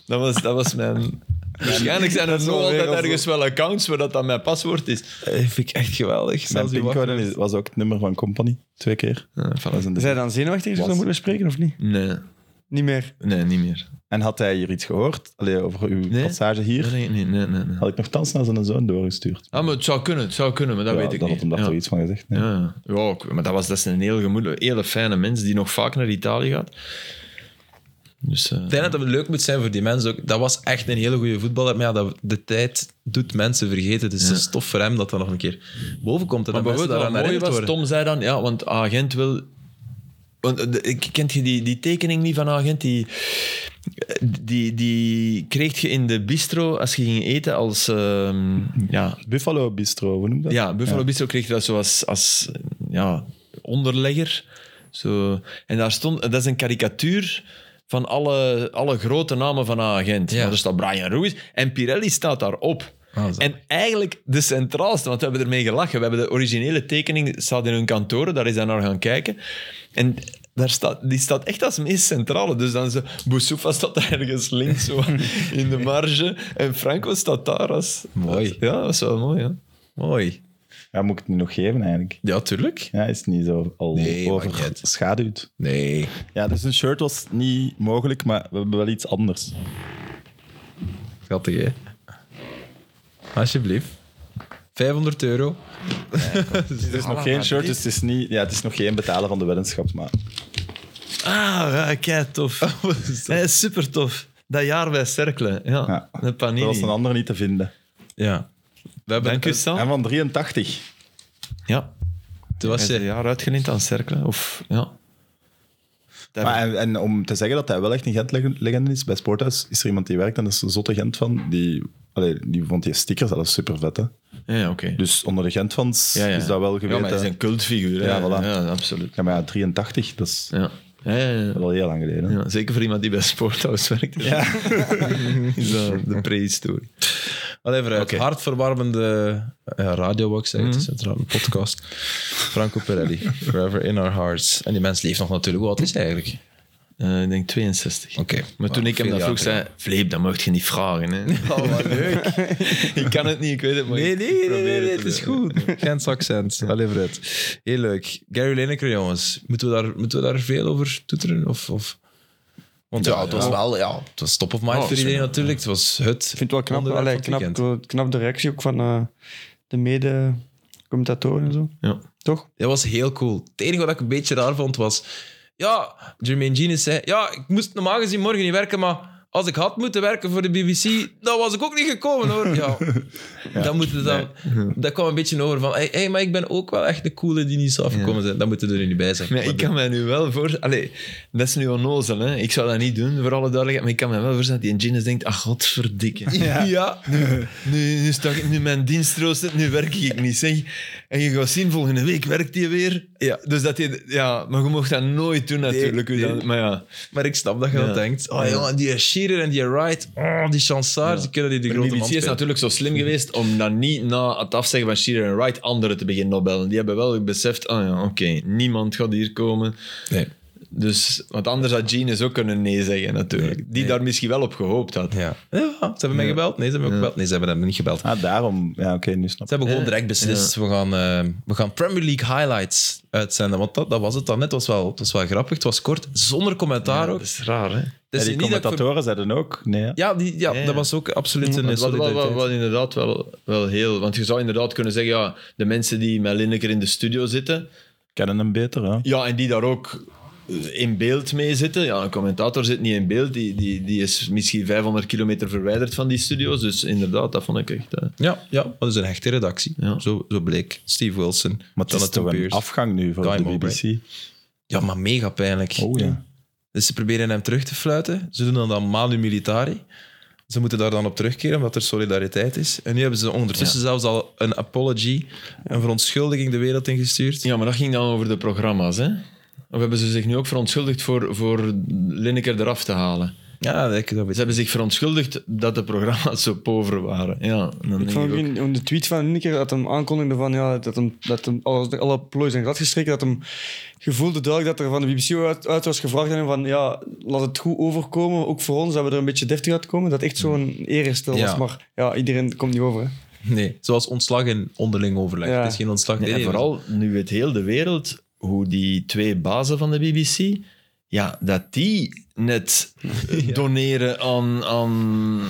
D: dat was, dat was mijn. Waarschijnlijk zijn er
B: is
D: nog
B: wel
D: altijd
B: weer als-
D: ergens wel accounts waar dat, dat mijn paswoord is.
A: vind ik echt geweldig.
B: Mijn pincode is- was ook het nummer van Company. Twee keer. Dat is een-
C: Zijn dan zenuwachtig als je dat
B: Was.
C: moet bespreken of niet?
D: Eh, Nee,
C: Niet meer.
D: nee, niet meer.
B: En had hij hier iets gehoord? Allee, over uw
D: Nee.
B: passage hier?
D: Dat denk ik niet. Nee, nee, nee.
B: Had ik nogthans naar zijn zoon doorgestuurd.
D: Ah, maar het zou kunnen, het zou kunnen, maar dat
B: ja,
D: weet ik
B: dan
D: niet.
B: had hem daar
D: Ja.
B: toch iets van gezegd. nee.
D: Ja, ja ook. maar dat, was, dat is een heel gemoedelijke, hele fijne mens die nog vaak naar Italië gaat. Dus, eh,
A: Ik denk dat het leuk moet zijn voor die mensen ook. Dat was echt een hele goede voetballer. Maar ja, dat, de tijd doet mensen vergeten. Dus het is tof voor hem dat dat nog een keer boven komt. En
D: Maar
A: dat mensen
D: bijvoorbeeld,
A: daaraan
D: wat mooi
A: herinnerd
D: was,
A: worden.
D: Tom zei dan, ja, want agent wil... Want, eh, de- ik- kent je die, die tekening niet van agent? Die, die, die kreeg je in de bistro als je ging eten als... ehm, ja,
B: Buffalo Bistro, hoe noem je dat?
D: ja, Buffalo Bistro kreeg je dat zo als, als ja, onderlegger. Zo. En daar stond... Dat is een karikatuur van alle, alle grote namen van agent.
A: Ja.
D: Ja. Er staat Brian Ruiz en Pirelli staat daarop.
A: Ah, zo.
D: En eigenlijk de centraalste, want we hebben ermee gelachen. We hebben de originele tekening, staat in hun kantoren, daar is hij naar gaan kijken. En daar staat, die staat echt als meest centrale. Dus dan zo, Boussoufa staat daar ergens links
A: (laughs)
D: zo in de marge. En Franco staat daar als...
A: Mooi.
D: Ja, dat is wel mooi, ja.
A: Mooi.
B: Ja, moet ik het nu nog geven eigenlijk?
A: Ja, tuurlijk.
B: Ja, is het niet zo al
A: Nee, maakt niet uit.
B: overschaduwd.
A: Nee.
B: Ja, dus een shirt was niet mogelijk, maar we hebben wel iets anders.
A: Schattig, hè? Alsjeblieft. 500 euro.
B: Het is nog geen shirt, dus het is, niet, ja, het is nog geen betalen van de weddenschap. Maar
D: Ah, ja, kei tof. Eh, super tof. Dat jaar bij Cercle, ja.
B: ja,
D: De
B: er was
D: panini.
B: een andere niet te vinden.
A: Ja. We hebben
D: Dank u, Sam.
B: En van 83.
D: Ja,
A: Toen
D: hij
A: was eh,
D: is
A: je
D: een jaar uitgeleend aan Cercle. Of, ja. Daar-
B: Maar en, en om te zeggen dat hij wel echt een Gent-legende is, bij Sporthuis is er iemand die werkt en dat is een zotte Gent van. Die, allee, die vond die stickers alles super vet. Hè?
D: Ja, ja, oké.
B: Dus onder de Gent-fans
D: Ja, ja.
B: is dat wel
D: Ja,
B: geweten.
D: maar hij is een cultfiguur. hè.
B: Ja, voilà.
D: Ja, absoluut.
B: Ja, maar ja, 83, dat is
D: Ja. Ja, ja, ja.
B: wel heel lang geleden. hè.
D: Ja, zeker voor iemand die bij Sporthouse werkt. Ja. (laughs) is dat de prehistorie.
A: Allee, vooruit.
D: Oké.
A: Hartverwarmende eh, radiobox, mm het is uiteraard een podcast. Franco
D: (laughs)
A: Pirelli, Forever in Our Hearts. En die mens leeft nog natuurlijk. Hoe oud is hij eigenlijk?
D: Eh, ik denk 62.
A: Oké.
D: Maar toen
A: Wow,
D: ik hem
A: veel
D: dat vroeg,
A: jaar
D: zei hij, Vleep, dat mocht je niet vragen. Hè.
A: Oh, wat leuk.
D: (laughs) ik kan het niet, ik weet het, maar
A: Nee,
D: ik
A: nee, nee,
D: probeer
A: nee,
D: te
A: het is
D: doen.
A: goed. Gens accent. (laughs) Allee, vooruit. Heel leuk. Gary Lineker, jongens. Moeten we daar, moeten we daar veel over toeteren? Of, of? Want ja, oh. het was wel... Ja, het was top of mind voor iedereen natuurlijk. Het was het
C: Ik vind het wel knap,
A: onderwerp
C: allee,
A: van het
C: knap,
A: weekend.
C: knap de reactie ook van eh, de mede-commentatoren en zo.
D: Ja.
C: Toch?
A: Dat was heel cool. Het enige wat ik een beetje raar vond was... Ja, Jermaine Genius zei... Ja, ik moest normaal gezien morgen niet werken, maar als ik had moeten werken voor de BBC, dan was ik ook niet gekomen, hoor. (laughs) Ja, dat, moet het dan, dat kwam een beetje over van... Hé, hey, maar ik ben ook wel echt de coole die niet is afgekomen zijn. Dat moeten we er niet bij zijn.
D: Maar ik kan mij nu wel voor... Allee, dat is nu onnozel, hè. Ik zou dat niet doen, voor alle duidelijkheid. Maar ik kan mij wel voorstellen dat die Genius denkt... Ach, godverdikke. (laughs)
A: Ja.
D: Nu, nu, sta ik, nu mijn dienstrooster, nu werk ik niet, zeg. En je gaat zien, volgende week werkt hij weer.
A: Ja.
D: Dus dat die, ja, maar je mocht dat nooit doen, natuurlijk. hoe
A: nee.
D: dat- maar ja.
A: Maar ik snap dat je
D: Ja.
A: dat denkt. Oh
D: Ja.
A: jongen, die Shearer en die Wright, oh, die Chansard, die kunnen die de
D: De
A: grote man
D: BBC is
A: spelen.
D: natuurlijk zo slim geweest om dan niet na het afzeggen van Shearer en Wright anderen te beginnen opbellen. Die hebben wel beseft, ah ja, oké, niemand gaat hier komen.
A: Nee.
D: Dus, want anders had Genius ook kunnen nee zeggen natuurlijk. Die daar misschien wel op gehoopt had.
A: Ja. ja, ze hebben mij gebeld. Nee, ze hebben me ook gebeld. Nee, ze hebben hem niet gebeld.
B: Ah, daarom. Ja, oké, nu snap
A: Ze hebben gewoon direct beslist, we, gaan, eh, we gaan Premier League highlights uitzenden. Want dat, dat was het dan net. Het was, wel, het was wel grappig, het was kort, zonder commentaar ook. Dus
D: Dat is raar, hè?
A: Het is
B: ja, die
A: niet dat ik ver-
B: commentatoren zeiden ook. Nee, ja.
A: Ja, die, ja,
D: Ja.
A: dat was ook absoluut een
D: Wat, wat, wat,
A: solidariteit.
D: wat inderdaad wel, wel heel... Want je zou inderdaad kunnen zeggen, ja, de mensen die met Lineker in de studio zitten,
B: kennen hem beter. Hè?
D: Ja, en die daar ook in beeld mee zitten. Ja, een commentator zit niet in beeld. Die, die, die is misschien 500 kilometer verwijderd van die studio's. Dus inderdaad, dat vond ik echt... eh,
A: Ja, ja, maar dat is een hechte redactie.
D: Ja.
A: Zo, zo bleek. Steve Wilson,
B: Maar het is
A: Jonathan
B: toch een
A: Pearce.
B: afgang nu voor
A: Guy
B: de
A: Mowbray.
B: BBC.
A: Ja, maar mega pijnlijk.
B: Oh ja.
A: Dus ze proberen hem terug te fluiten. Ze doen dan dan manu militari. Ze moeten daar dan op terugkeren, omdat er solidariteit is. En nu hebben ze ondertussen zelfs al een apology, een verontschuldiging de wereld ingestuurd.
D: Ja, maar dat ging dan over de programma's, hè? Of hebben ze zich nu ook verontschuldigd voor, voor Lineker eraf te halen?
A: Ja, dat, dat weet
D: Ze hebben zich verontschuldigd dat de programma's zo pover waren. Ja, dan
C: Ik
D: denk
C: vond
D: ik
C: ook
D: ook.
C: in, in de tweet van Lineker dat hem aankondigde van ja, dat, hem, dat hem alle, alle plooien zijn glad gestreken. Dat hem gevoelde duidelijk dat er van de BBC uit, uit was gevraagd en van ja, laat het goed overkomen, ook voor ons, dat we er een beetje deftig uitkomen. Dat echt zo'n eerherstel
A: Ja.
C: was, maar ja, iedereen komt niet over. Hè.
A: Nee, zoals ontslag en onderling overleg.
C: Ja.
A: Het is geen ontslag.
D: Nee, en vooral nu weet heel de wereld hoe die twee bazen van de BBC, ja, dat die
A: (laughs)
D: net doneren aan, aan,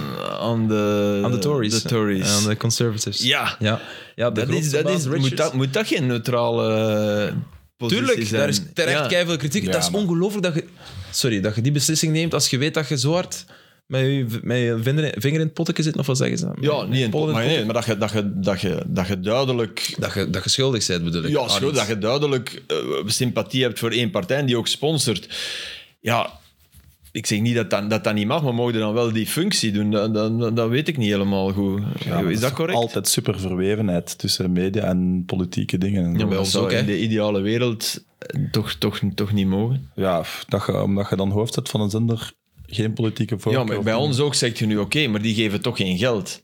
D: aan, de,
A: aan de Tories.
D: De Tories.
A: Aan de conservatives.
D: Ja.
A: Ja, ja de
D: dat is,
A: grootste
D: dat
A: baas,
D: is,
A: Richards.
D: moet, dat, moet dat geen neutrale toppositie
A: Tuurlijk,
D: zijn.
A: daar is terecht
D: Ja.
A: keiveel kritiek.
B: Ja,
A: dat is
B: maar-
A: ongelooflijk dat je, sorry, dat je die beslissing neemt als je weet dat je zo hard met je, met je vinger, vinger in het potteke zit, of wat zeggen ze?
D: Ja, niet in
A: Pollen
D: het pot,
A: in
D: maar,
A: het
D: nee, maar dat je, dat je, dat je, dat je duidelijk...
A: Dat je, dat je schuldig bent, bedoel ik. Ah,
D: Ja,
A: aan
D: schuld,
A: iets.
D: dat je duidelijk eh, sympathie hebt voor één partij en die ook sponsort. Ja, ik zeg niet dat dat, dat, dat niet mag, maar mogen dan wel die functie doen? Dat, dat, dat weet ik niet helemaal goed.
B: maar
D: is dat
B: is
D: correct?
B: Altijd super verwevenheid tussen media en politieke dingen.
D: Ja,
B: Ja,
D: maar
A: bij
D: dat
A: ons
D: zou
A: ook, hè.
D: in de ideale wereld eh, toch, toch, toch niet mogen.
B: pff, dat je, omdat je dan hoofd hebt van een zender, geen politieke voorkeur.
D: Ja, maar bij ons ook zegt je nu oké, maar die geven toch geen geld.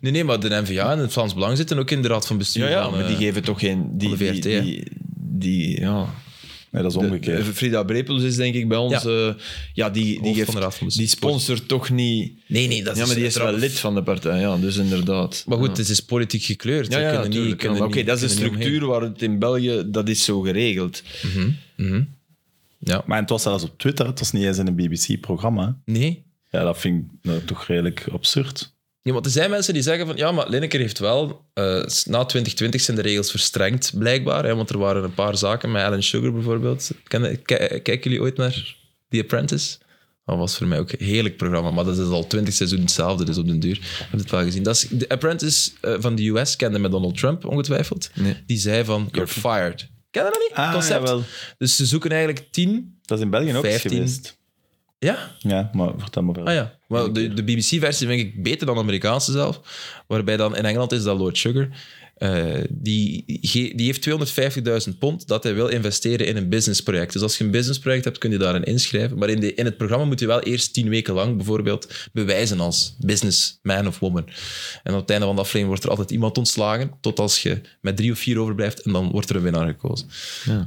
A: Nee, nee, maar de NVA en het Vlaams Belang zitten ook in de raad van bestuur.
D: Ja, ja
A: van,
D: maar die
A: eh,
D: geven toch geen... Die,
A: van de
D: die,
A: VRT,
D: die,
A: hè.
D: die- ja.
B: Nee, dat is omgekeerd.
D: De- Eh, Frida Brepels is denk ik bij ons... eh,
A: Ja.
D: Ja, die, die,
A: Hoofd van de Raad
D: geeft,
A: van Bestuur.
D: die sponsort toch niet...
A: Nee, nee, dat
D: ja, maar die is wel
A: trouwens-
D: lid van de partij, ja, dus inderdaad.
A: Maar goed,
D: ja.
A: het is politiek gekleurd.
D: Ja,
A: We
D: ja,
A: kunnen niet-
D: tuurlijk,
A: kunnen
D: ja. Oké,
A: niet-
D: dat is de
A: kunnen niet
D: structuur waar het in België, dat is zo geregeld.
A: omheen. Mhm, mhm. Ja,
B: Maar het was zelfs op Twitter, het was niet eens in een BBC-programma.
A: nee.
B: Ja, dat vind ik nou, toch redelijk absurd.
A: Ja, want er zijn mensen die zeggen van ja, maar Lineker heeft wel, eh, na 2020 zijn de regels verstrengd, blijkbaar. Hè, want er waren een paar zaken met Alan Sugar bijvoorbeeld. Kennen- ki- kijken jullie ooit naar The Apprentice? Dat was voor mij ook een heerlijk programma, maar dat is al 20 seizoenen hetzelfde, dus op den duur. Ik heb het wel gezien. Dat is, The Apprentice eh, van de US kende met Donald Trump, ongetwijfeld.
D: Nee.
A: Die zei van, you're fired. Ken je dat niet?
B: Ah,
A: Concept.
B: jawel.
A: Dus ze zoeken eigenlijk tien.
B: Dat is in België ook eens
A: 15.
B: geweest.
A: Ja,
B: Ja, maar vertel maar verder.
A: Ah ja, wel, de, de BBC-versie vind ik beter dan de Amerikaanse zelf. Waarbij dan in Engeland is dat Lord Sugar. Eh, die, ge- die heeft 250.000 pond dat hij wil investeren in een businessproject. Dus als je een businessproject hebt, kun je daarin inschrijven. Maar in, de, in het programma moet je wel eerst tien weken lang bijvoorbeeld bewijzen als businessman of woman. En op het einde van de aflevering wordt er altijd iemand ontslagen, tot als je met drie of vier overblijft en dan wordt er een winnaar gekozen.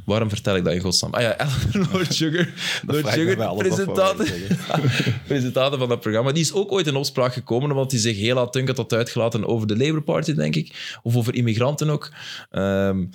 A: Waarom vertel ik dat in godsnaam? Ah ja, (laughs) Ellen Lord Sugar, Lord
B: vraag ik me bij
A: Sugar
B: alles af, wat wij
A: presentator, (laughs) presentator van dat programma. Die is ook ooit in opspraak gekomen, omdat hij zich heel aantunkend had uitgelaten over de Labour Party, denk ik. Of over immigranten ook. Ehm,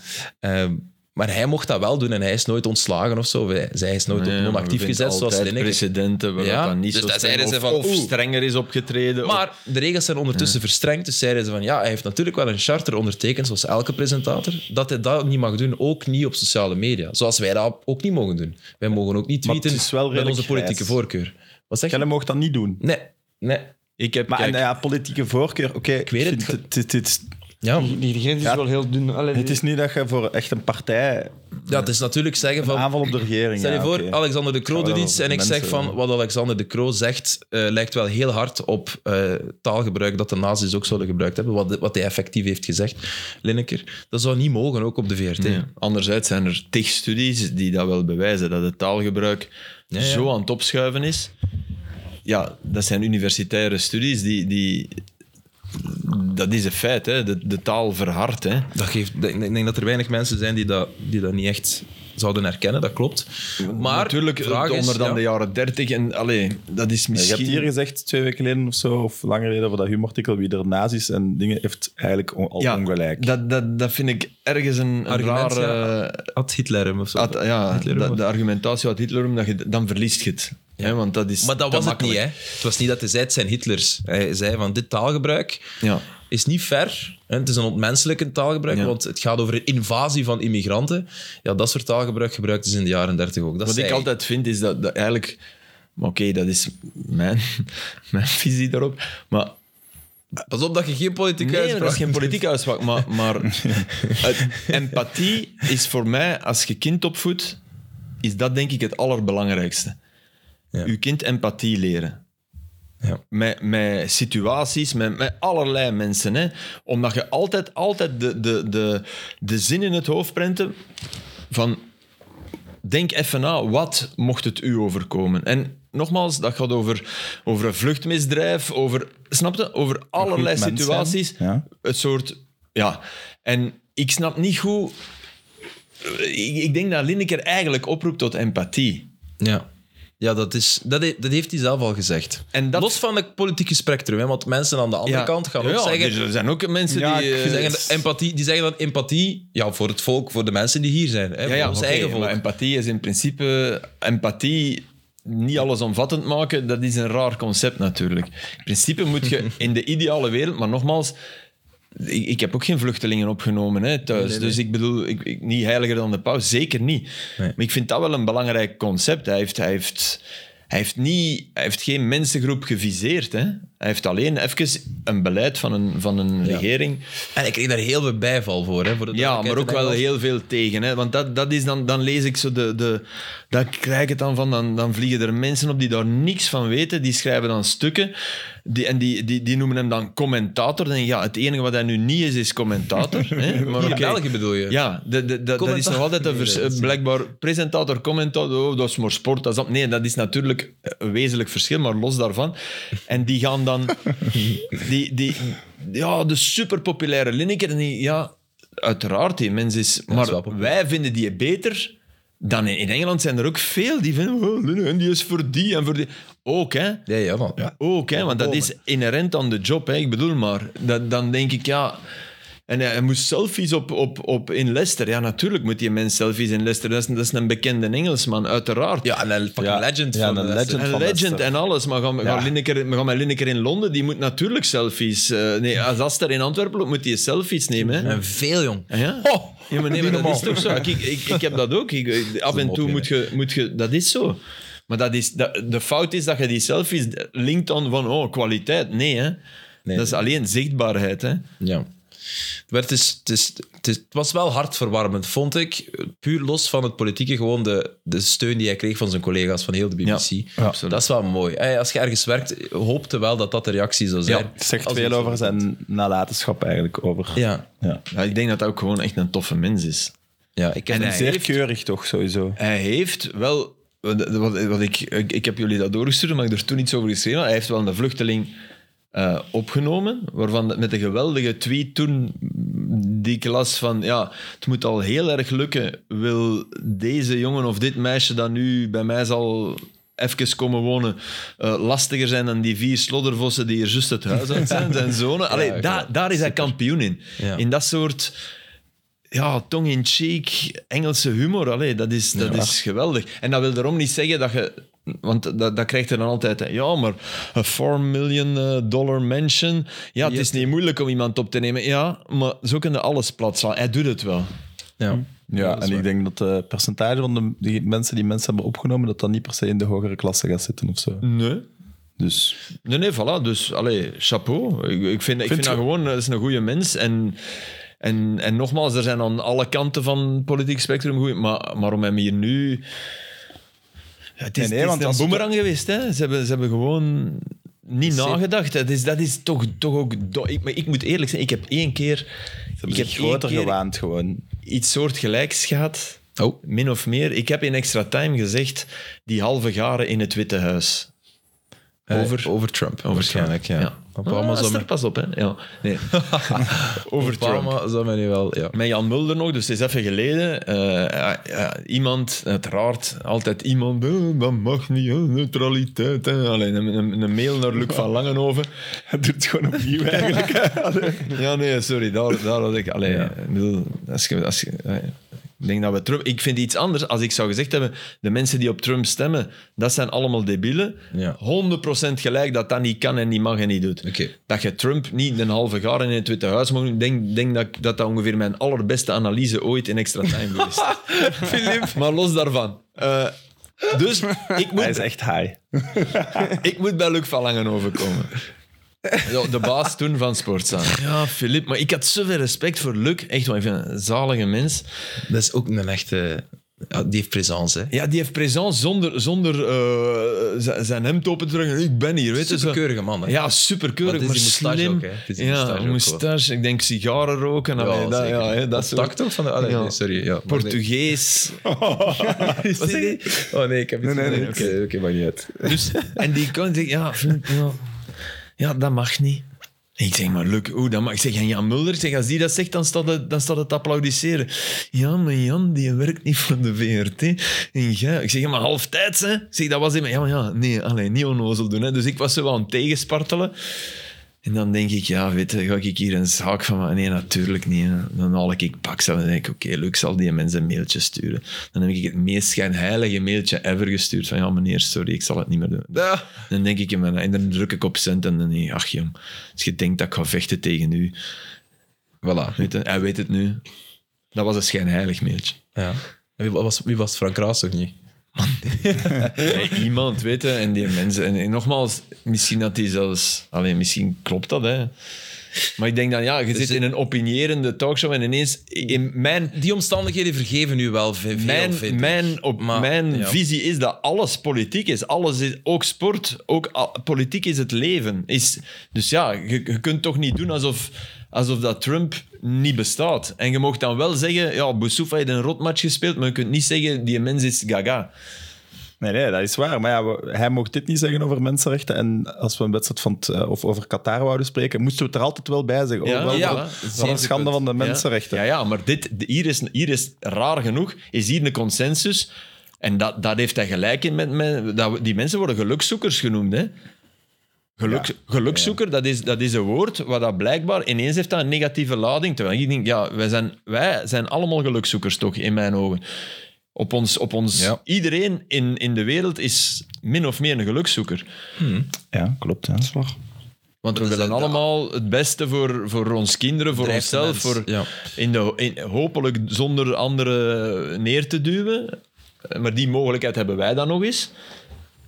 A: ehm, maar hij mocht dat wel doen en hij is nooit ontslagen of zo. Of hij- Zij is nooit
D: Nee,
A: op
D: maar we
A: non-actief
D: vinden
A: gezet, zoals
D: altijd
A: Lineker.
D: precedenten waar
A: Ja,
D: dat niet
A: dus
D: zo
A: dat
D: streng-
A: zeiden ze
D: of-
A: van,
D: of,
A: oeh.
D: strenger is opgetreden. of-
A: Maar de regels zijn ondertussen verstrengd. Dus zeiden ze van ja, hij heeft natuurlijk wel een charter ondertekend, zoals elke presentator, dat hij dat niet mag doen, ook niet op sociale media. Zoals wij dat ook niet mogen doen. Wij mogen ook niet
B: Maar het
A: tweeten
B: is wel
A: met
B: redelijk
A: onze politieke
B: grijs.
A: voorkeur. Wat zeg je?
B: Jij mag dat niet doen.
A: Nee, nee.
D: ik heb,
B: Maar en,
D: kijk,
B: ja, politieke voorkeur, oké. ik
A: weet het.
B: vind Het, het, het-
A: Ja,
C: Die, die grens is
B: Ja.
C: wel heel dun. Allee,
B: het is niet dat je voor echt een partij
A: ja, het is natuurlijk zeggen
B: een
A: van...
B: aanval op de regering.
A: Stel je
B: ja,
A: voor,
B: oké.
A: Alexander de Croo
B: Ja,
A: doet
B: wel,
A: iets en ik
B: mensen,
A: zeg van
B: ja.
A: wat Alexander de Croo zegt eh, lijkt wel heel hard op eh, taalgebruik dat de nazi's ook zouden gebruikt hebben, wat, wat hij effectief heeft gezegd, Lineker. Dat zou niet mogen, ook op de VRT.
D: nee. Anderzijds zijn er tig studies die dat wel bewijzen, dat het taalgebruik
A: Ja, ja.
D: zo aan het opschuiven is. Ja, dat zijn universitaire studies die... die dat is een feit, hè. De, de taal verhardt. Hè.
A: Dat geeft, ik denk- ik denk dat er weinig mensen zijn die dat, die dat niet echt zouden herkennen, dat klopt. Maar
D: Natuurlijk,
A: de vraag
D: onder
A: is,
D: dan
A: ja,
D: de jaren dertig. En allee, dat is
B: Ja, Je
D: misschien...
B: hebt hier gezegd, twee weken geleden of zo, of langer geleden, voor dat humorartikel, wie er nazi's en dingen heeft eigenlijk on- al ongelijk.
D: Dat, dat, dat vind ik ergens een, een
A: Argument,
D: rare...
A: Ad Hitler hem of zo.
D: Ad- ja,
A: Hitlerum,
D: de,
A: of-
D: de argumentatie uit Hitler, omdat je, dan verliest je het. Hè, want dat is
A: maar dat
D: te
A: was het niet,
D: makkelijk.
A: hè. Het was niet dat hij zei, het zijn Hitlers. Hij zei van, dit taalgebruik
D: Ja.
A: is niet fair. hè. Het is een ontmenselijke taalgebruik,
D: Ja.
A: want het gaat over een invasie van immigranten. Ja, dat soort taalgebruik gebruikten ze in de jaren dertig ook. Dat
D: Wat
A: zei
D: ik
A: hij.
D: altijd vind, is dat, dat eigenlijk... maar Oké, dat is mijn, (laughs) mijn visie daarop. Maar
A: Pas op dat je geen politieke
D: nee,
A: uitspraak
D: dat is geen
A: doet.
D: (laughs) politieke uitspraak. Maar, maar (laughs) het- empathie is voor mij, als je kind opvoedt, is dat denk ik het allerbelangrijkste.
A: Ja.
D: Uw kind empathie leren.
A: Ja.
D: Met, met situaties, met, met allerlei mensen. Hè? Omdat je altijd, altijd de, de, de, de zin in het hoofd prenten van denk even na, wat mocht het u overkomen? En nogmaals, dat gaat over, over een vluchtmisdrijf, over, snap je? Over allerlei
B: mens zijn.
D: situaties.
B: Ja.
D: Het soort, ja. En ik snap niet goed... Ik, ik denk dat Lineker eigenlijk oproept tot empathie.
A: Ja, ja dat, is, dat, he- dat heeft hij zelf al gezegd.
D: En dat-
A: Los van het politieke spectrum, hè, want mensen aan de andere
D: Ja.
A: kant gaan
D: Ja,
A: ook
D: ja,
A: zeggen...
D: Er zijn ook mensen
B: Ja,
D: die...
B: ik
D: eh,
A: Die zeggen, dat empathie, die zeggen dan empathie ja, voor het volk, voor de mensen die hier zijn. Hè,
D: Ja,
A: voor
D: ja,
A: ons
D: oké,
A: eigen volk.
D: maar empathie is in principe... Empathie, niet allesomvattend maken, dat is een raar concept natuurlijk. In principe moet je in de ideale wereld, maar nogmaals, Ik, ik heb ook geen vluchtelingen opgenomen hè, thuis. Dus ik bedoel, ik, ik- niet heiliger dan de paus, zeker niet. Maar ik vind dat wel een belangrijk concept. Hij heeft, hij heeft, hij heeft, niet, hij heeft geen mensengroep geviseerd. Hè. Hij heeft alleen even een beleid van een, van een regering.
A: En ik kreeg daar heel veel bijval voor. Hè, voor de
D: Ja, maar
A: duidelijkheid.
D: ook wel
A: Ik
D: heel veel tegen. Hè? Want dat, dat is dan, dan lees ik zo de, de... Dan krijg ik het dan van, dan, dan vliegen er mensen op die daar niks van weten. Die schrijven dan stukken die, en die, die, die noemen hem dan commentator. Dan denk ik, ja, het enige wat hij nu niet is, is commentator. hè? Maar
A: dacht- Hier
D: oké.
A: in België bedoel je?
D: Ja, de, de, de- dat is
A: Commentaar.
D: nog altijd een
A: Nee,
D: vers-
A: dat is-
D: blijkbaar presentator, commentator, oh, dat is maar sport. Dat is dat. Nee, dat is natuurlijk een wezenlijk verschil, maar los daarvan. En die gaan
A: (laughs)
D: dan... die, die, ja, de superpopulaire Lineker, die, ja, uiteraard, die mens is...
A: is wel
D: maar
A: populair.
D: wij vinden die beter dan in, in Engeland zijn er ook veel die vinden... Oh, Lineker, die is voor die en voor die... Ook, hè.
A: Ja, ja, man.
D: Ook, hè, want dat is inherent aan de job. Hè. Ik bedoel maar, dat, dan denk ik, ja... En hij, hij moest selfies op, op, op in Leicester. Ja, natuurlijk moet die mens selfies in Leicester. Dat is, dat is een bekende Engelsman, uiteraard.
A: Ja, en een fucking
B: Ja.
A: legend.
B: Ja,
A: van
B: een
A: de-
B: legend.
D: Een
B: van
D: legend
B: Leicester.
D: en alles, maar gaan, gaan,
B: Ja.
D: Lineker, maar gaan met Lineker in Londen, die moet natuurlijk selfies... eh, nee, als Aster in Antwerpen loopt, moet hij selfies nemen. Hè.
A: En veel, jong.
D: Ah Ja?
A: Ho!
D: ja, maar nee, maar dat is toch zo. Ik, ik, ik, ik heb Oh, dat ook. Ik- Ik, af en
A: mop,
D: toe
A: hè.
D: moet je, moet je... Dat is zo. Maar dat is, dat, de fout is dat je die selfies linkt aan van oh, kwaliteit. Nee, hè. dat is alleen zichtbaarheid. Hè.
A: Ja. Maar het, is, het, is, het, is- het was wel hartverwarmend, vond ik. Puur los van het politieke, gewoon de, de steun die hij kreeg van zijn collega's van heel de BBC.
D: absoluut.
A: Dat is wel mooi. Hey, Als je ergens werkt, hoopte wel dat dat de reactie zou zijn.
B: Het zegt
A: Als
B: veel
A: iets-
B: over zijn nalatenschap eigenlijk. Over.
A: Ja,
B: Ja.
D: Ja, ik denk dat dat ook gewoon echt een toffe mens is.
A: ja ik
D: En
A: heb
D: hij
B: Zeer
D: heeft-
B: keurig toch, sowieso.
D: Hij heeft wel... Wat, wat, wat ik, ik, ik heb jullie dat doorgestuurd, maar ik heb er toen iets over geschreven. maar Hij heeft wel een vluchteling eh, opgenomen, waarvan de- met een geweldige tweet toen die ik las van ja, het moet al heel erg lukken. Wil deze jongen of dit meisje dat nu bij mij zal even komen wonen, eh, lastiger zijn dan die vier sloddervossen die hier juist het huis uit zijn, zijn zonen. Allee,
A: ik
D: daar, daar is hij kampioen in.
A: Ja.
D: In dat soort ja, tong-in-cheek Engelse humor. Allee, dat is, dat is geweldig. En dat wil daarom niet zeggen dat je... Want dat, dat krijgt er dan altijd... hè. Ja, maar een 4 miljoen eh, dollar mansion... Ja, het is niet moeilijk om iemand op te nemen. Ja, maar zo kunnen alles plat slaan. Hij doet het wel.
A: ja.
B: Ja, en ik denk dat het percentage van de die mensen die mensen hebben opgenomen, dat dat niet per se in de hogere klasse gaat zitten of zo.
D: Nee.
B: Dus
D: Nee, nee, voilà. Dus, allee, chapeau. Ik, ik vind, ik vind dat gewoon... eh, Dat is een goede mens. En... En, en nogmaals, er zijn aan alle kanten van het politiek spectrum goed, maar, maar om hem hier nu Ja, Het is, het
B: Nee, nee,
D: is
B: want
D: een
B: als het-
D: boemerang geweest. Hè? Ze, hebben, ze hebben gewoon niet nagedacht. Dat is, dat is toch, toch ook... do- ik, maar ik moet eerlijk zijn, ik heb één keer... Ik heb
B: zich
D: één
B: groter
D: keer
B: gewaand gewoon.
D: iets soortgelijks gehad.
A: Oh.
D: Min of meer. Ik heb in Extra Time gezegd, die halve garen in het Witte Huis.
A: Eh,
D: Over-
A: over Trump, waarschijnlijk. Ja. Obama,
D: Obama
A: zou me-
D: Pas op, hè. Ja.
A: (laughs)
D: Nee. Over Trump.
A: Obama zou mij nu wel... Ja.
D: Met Jan Mulder nog, dus het is even geleden. Eh, ja, ja, iemand, uiteraard, altijd iemand. eh, dat mag niet, eh, neutraliteit. eh. Allee, een, een, een mail naar Luc van
B: (laughs)
D: Langenhoven.
B: Het doet het gewoon opnieuw eigenlijk.
D: (laughs) Ja, nee, sorry, daar, daar had ik. Allee, ik bedoel, als je, als je, eh, ik denk dat we Trump. Ik vind iets anders als ik zou gezegd hebben: de mensen die op Trump stemmen, dat zijn allemaal debielen.
A: Ja.
D: 100% gelijk dat dat niet kan en niet mag en niet doet.
A: Oké.
D: Dat je Trump niet een halve jaar in het Witte Huis mag doen, ik denk, denk dat, ik- dat dat ongeveer mijn allerbeste analyse ooit in extra time geweest. (laughs) Filip. Maar los daarvan. Eh, (laughs) dus ik moet
B: Hij is echt high.
D: ik moet bij Luc van Langenhoven komen. Ja, de baas toen van Sportza. Ja, Filip. Maar ik had zoveel respect voor Luc. Echt, want ik vind hem een zalige mens.
A: Dat is ook een echte... ja, die heeft présence, hè.
D: Ja, die heeft présence zonder, zonder eh, z- zijn hemd open te trekken. Ik ben hier, weet je. zo.
A: Superkeurige man, hè.
D: Ja, superkeurig,
A: Maar
D: maar
A: het is die moustache
D: slim.
A: ook, hè. Het is die moustache
D: ja,
A: ook
D: moustache. Ik denk sigaren roken. Ja,
A: Ja,
D: dat,
A: zeker.
D: ja, hè, dat
A: Op
D: soort-
A: tact ook van de... Allee,
D: Ja.
A: nee, sorry. Ja. Maar nee. (laughs)
D: Portugees.
A: Wat zei die? (laughs) Oh nee, ik heb iets
B: nee,
A: gezien.
B: nee,
A: Oké, oké, maakt niet uit.
D: Dus, en die kon zeggen, ja, vind- ja, ja, dat mag niet. En ik zeg maar, Luc, oeh, dat mag. Ik zeg, en Jan Mulder, ik zeg, als die dat zegt, dan staat het, dan staat het te applaudisseren. Ja, maar Jan, die werkt niet voor de VRT. En jij, ik zeg, ja, maar halftijds, hè. Ik zeg, dat was in mijn- Ja, maar ja, nee, allee, niet onnozel doen, hè. Dus ik was zo wel aan het tegenspartelen. En dan denk ik, ja, weet je, ga ik hier een zaak van maken? Nee, natuurlijk niet. hè. Dan haal ik ik pak en dan denk ik, oké, Luc zal die mensen een mailtje sturen. Dan heb ik het meest schijnheilige mailtje ever gestuurd van, ja meneer, sorry, ik zal het niet meer doen. Dan denk ik in mijn, en dan druk ik op send en dan denk ik, ach jong, als je denkt dat ik ga vechten tegen u, Voilà, weet je, hij weet het nu. Dat was een schijnheilig mailtje.
A: Ja. En wie was, wie was Frank Raas toch niet?
D: Nee, iemand, weet je, en die mensen. En, en nogmaals, misschien dat die zelfs... Alleen, misschien klopt dat, hè. Maar ik denk dan, ja, je zit in een opinierende talkshow en ineens... In mijn
A: Die omstandigheden vergeven u wel ve- veel, vind
D: mijn,
A: ik.
D: mijn, op,
A: Maar,
D: mijn
A: ja.
D: visie is dat alles politiek is. Alles is ook sport, ook a- politiek is het leven. Is, dus ja, je, je kunt toch niet doen alsof, alsof dat Trump niet bestaat. En je mag dan wel zeggen, ja, Boussouf heeft een rotmatch gespeeld, maar je kunt niet zeggen, die mens is gaga.
B: (laughs) Nee, nee, dat is waar. Maar ja, we- hij mocht dit niet zeggen over mensenrechten. En als we een wedstrijd van het, eh, of over Qatar wouden spreken, moesten we het er altijd wel bij zeggen.
D: Ja,
B: oh, wel,
D: ja,
B: wat-
D: voilà.
B: wat een
A: Zeker
B: schande
A: punt.
B: van de mensenrechten.
D: Ja, ja maar dit, hier, is, hier is raar genoeg, is hier een consensus. En dat, dat heeft hij gelijk in. Met, met, dat, we- die mensen worden gelukszoekers genoemd. Hè? Geluk, Gelukszoeker, Dat, is, dat is een woord waar dat blijkbaar ineens heeft dat een negatieve lading. Terwijl ik denk, ja, wij zijn, wij zijn allemaal gelukszoekers toch, in mijn ogen. Op ons, op ons,
A: Ja.
D: Iedereen in, in de wereld is min of meer een gelukszoeker.
B: Ja, klopt. Ja.
D: Want
A: Dat
D: we
A: is
D: willen
A: de-
D: allemaal het beste voor, voor ons kinderen, voor
A: Drijft de
D: onszelf.
A: mens,
D: Voor,
A: ja.
D: in de, in, hopelijk zonder anderen neer te duwen. Maar die mogelijkheid hebben wij dan nog eens.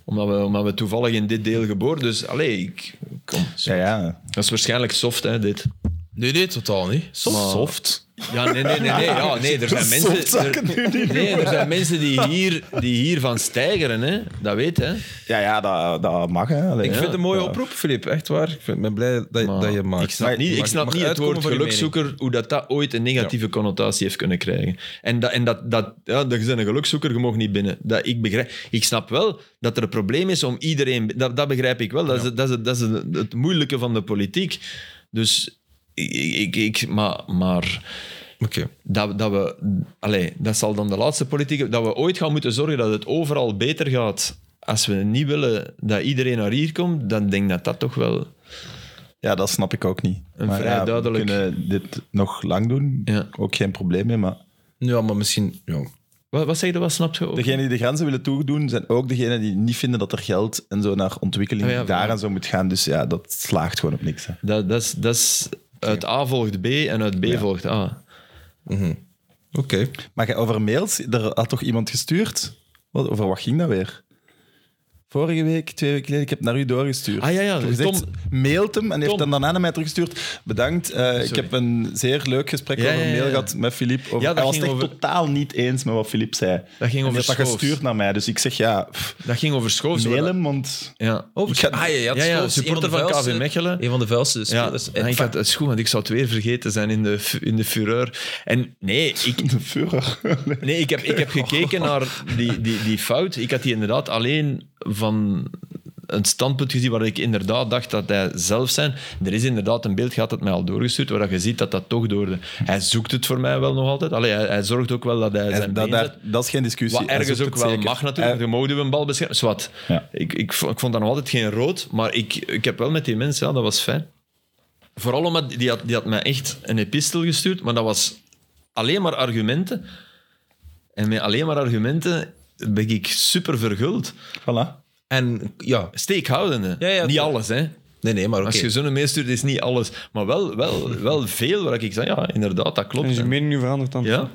D: Omdat we, omdat we toevallig in dit deel geboren. Dus allee, ik, kom.
B: Ja, ja.
D: Dat is waarschijnlijk soft, hè, dit.
A: Nee, nee, totaal niet.
B: Soft. Soft.
D: Ja, nee, nee, nee. nee, ja, nee er
A: (laughs)
D: zijn mensen...
B: zou ik het nu
D: Er, nee, er zijn mensen die, hier, die hiervan stijgeren, hè. Dat weet, hè.
B: Ja, ja, dat, dat mag. Hè. Allee,
A: Ik
B: ja.
A: vind het een mooie oproep, Filip. Echt waar. Ik vind- ben blij dat,
D: Maar
A: dat je het maakt.
D: Ik snap niet, ik
A: Mag-
D: snap
A: mag
D: niet het
A: uitkomen
D: woord
A: voor je
D: gelukzoeker, hoe dat, dat ooit een negatieve connotatie heeft kunnen krijgen. En dat, en dat, dat ja, dat je bent een gelukzoeker, je mag niet binnen. Dat, ik, begrijp, ik snap wel dat er een probleem is om iedereen... Dat, dat begrijp ik wel. Dat, is, het- dat, is, het- dat is het- het moeilijke van de politiek. Dus ik... ik, ik maar... maar
A: mening. Oké.
D: dat, dat we, allee, dat zal dan de laatste politiek, dat we ooit gaan moeten zorgen dat het overal beter gaat. Als we niet willen dat iedereen naar hier komt, dan denk ik dat dat toch wel.
B: Ja, dat snap ik ook niet.
D: Een
B: Maar
D: vrij
B: ja,
D: duidelijk-
B: We kunnen dit nog lang doen.
D: Ja.
B: Ook geen probleem mee. Maar
A: Ja, maar misschien... Ja.
D: Wat, wat zeg je, wat snap je? ook?
B: degenen die de grenzen willen toedoen, zijn ook degenen die niet vinden dat er geld en zo naar ontwikkeling
D: Oh ja,
B: daar
D: ja.
B: en zo moet gaan. Dus ja, dat slaagt gewoon op niks. Hè.
D: Dat, dat, is, dat is uit A volgt B en uit B volgt A.
A: Oké.
B: Maar jij- over mails, er had toch iemand gestuurd? Wat, over wat ging dat weer? Vorige week, twee weken geleden, ik heb naar u doorgestuurd.
D: Ah, ja, ja,
B: Ik heb gezegd,
D: Tom-
B: mailt hem en heeft
D: Tom.
B: dan daarna naar mij teruggestuurd. Bedankt, eh, ik heb een zeer leuk gesprek
D: Ja,
B: over
D: ja, ja,
B: mail
D: ja.
B: gehad met Filip. Over,
D: Ja, dat
B: hij was
D: ging
B: echt
D: over-
B: totaal niet eens met wat Filip zei.
D: Dat ging
B: En
D: over
B: hij had dat
D: Schoofs.
B: gestuurd naar mij, dus ik zeg ja, pff,
D: Dat ging over Schoofs.
B: mail
D: waar dat-
B: hem, want... (laughs)
D: Ja.
A: Oh,
B: Ik ga-
A: ah, ja, ja, het
D: Ja,
A: is
D: ja,
A: wel eens een
D: supporter
A: de
D: van KV
A: vuilste-
D: Mechelen.
A: Een van de vuilste
D: Ja,
A: spelers.
D: en ik had, het is goed, want ik zou het weer vergeten zijn in de, fu- in de fureur. En nee, ik, (laughs)
B: De Führer.
D: Nee, ik heb, ik heb gekeken naar die, die, die fout. Ik had die inderdaad alleen van een standpunt gezien waar ik inderdaad dacht dat hij zelf zijn. Er is inderdaad een beeld gehad dat mij al doorgestuurd, waar dat je ziet dat dat toch door de... Hij zoekt het voor mij wel nog altijd. Allee, hij, hij zorgt ook wel dat hij zijn been
B: En dat, daar-
D: zet.
B: dat is geen discussie.
D: Wat
B: Hij
D: ergens
B: zoekt
D: ook
B: het
D: wel
B: zeker.
D: mag natuurlijk.
B: Hij-
D: Je mag een bal beschermen. Zwat.
B: Ja.
D: Ik, ik, vo- ik vond dat nog altijd geen rood, maar ik, ik heb wel met die mensen, ja, dat was fijn. Vooral omdat die had, die had mij echt een epistel gestuurd, maar dat was alleen maar argumenten. En met alleen maar argumenten ben ik super verguld.
B: Eh, voilà.
A: En ja,
D: Steekhoudende.
A: Ja, ja,
D: niet
A: tuurlijk.
D: alles, hè.
A: nee, nee, maar oké.
D: Als je zo'n mail stuurt, is niet alles. Maar wel, wel, wel veel waar ik zei, ja, inderdaad, dat
C: En
D: klopt.
C: is je
D: En-
C: mening nu veranderd dan?
D: Ja.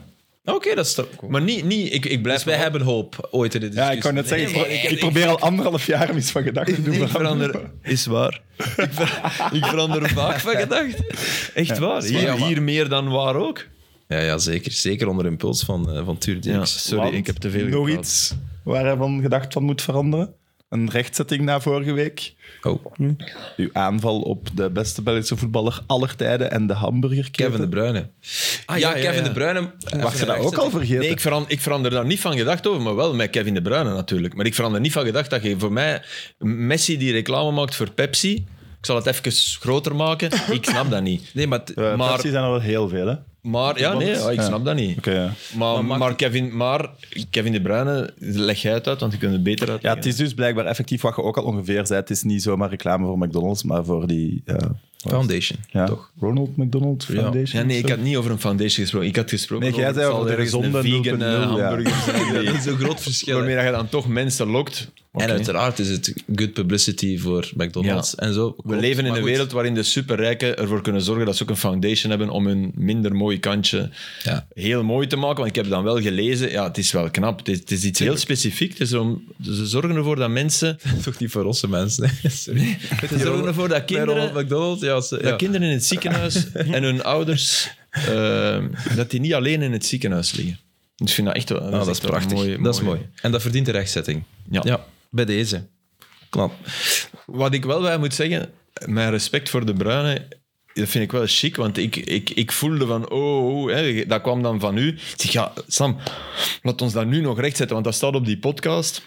A: Ah, Oké, dat is toch...
D: Maar niet, niet ik, ik blijf
A: Dus wij hebben hoop ooit in de
B: Ja,
A: discussie.
B: ik kan net zeggen,
A: Nee,
B: ik, ik probeer al anderhalf jaar hem iets van gedachten te doen.
D: Ik
B: veranderen.
D: verander, is waar. Ik, ver- ik verander vaak van gedacht. Echt waar. Hier,
A: Ja, maar-
D: hier meer dan waar ook.
A: Ja, ja, zeker. Zeker onder impuls van, eh, van Tuur
D: Ja,
A: Dirks.
D: sorry,
B: Want
D: ik heb te veel
B: Nog
D: gepraat.
B: iets waar hij van gedacht van moet veranderen. Een rechtzetting na vorige week.
A: Oh,
B: Uw aanval op de beste Belgische voetballer aller tijden en de hamburger.
A: Kevin De Bruyne.
D: Ah,
A: ja,
D: ja, ja,
A: Kevin
D: ja.
A: De Bruyne... eh,
B: Was je dat ook al vergeten?
D: Nee, ik verander, ik verander daar niet van gedacht over, maar wel met Kevin De Bruyne natuurlijk. Maar ik verander niet van gedacht dat je voor mij Messi die reclame maakt voor Pepsi. Ik zal het even groter maken. Ik snap dat niet.
A: Nee, maar... t-
B: Eh,
D: maar-
B: Pepsi zijn er wel heel veel, hè? Oké,
D: Maar ja, nee, ja, ik
B: Ja.
D: snap dat niet.
B: ja.
D: Maar, maar, Kevin, maar Kevin De Bruyne, leg jij het uit, want je kunt het beter uit.
B: ja, het is dus blijkbaar effectief wat je ook al ongeveer zei. Het is niet zomaar reclame voor McDonald's, maar voor die... eh,
A: Foundation.
B: ja, Ronald McDonald Foundation.
D: Ja, nee,
B: of
D: ik
B: zo.
D: had niet over een foundation gesproken. Ik had gesproken
B: Nee, jij
D: over,
B: zei
D: het zal
B: over de
D: ergens een
B: gezonde
D: vegan
B: 0.0,
D: eh, (laughs)
B: ja.
D: hamburger zijn die-
A: Zo'n groot verschil.
D: waarmee dat je dan toch mensen lokt.
A: En uiteraard is het good publicity voor McDonald's en zo.
D: We
A: Klopt,
D: leven in
A: maar
D: een
A: goed.
D: wereld waarin de superrijken ervoor kunnen zorgen dat ze ook een foundation hebben om hun minder mooi kantje
A: Ja.
D: heel mooi te maken. Want ik heb dan wel gelezen, ja, het is wel knap. Het is, het is iets heel specifiek. Het is om, ze zorgen ervoor dat mensen...
A: (laughs) Toch niet voor rosse mensen. hè. (laughs) Sorry.
D: Ze zorgen ervoor dat kinderen...
A: Bij Ronald McDonald, ja. ze-
D: Dat
A: ja.
D: kinderen in het (laughs) ziekenhuis en hun ouders, eh, dat die niet alleen in het ziekenhuis liggen. Dus ik vind dat echt wel...
A: Ah, dat is
D: echt wel
A: prachtig.
D: een
A: dat is mooi. En dat verdient de rechtzetting.
D: Ja.
A: bij deze. Knap.
D: Wat ik wel bij moet zeggen, mijn respect voor de Bruine, dat vind ik wel chic, want ik, ik, ik voelde van, oh, oh, hè, dat kwam dan van u. Ik zeg, ja, Sam, laat ons dat nu nog rechtzetten, want dat staat op die podcast.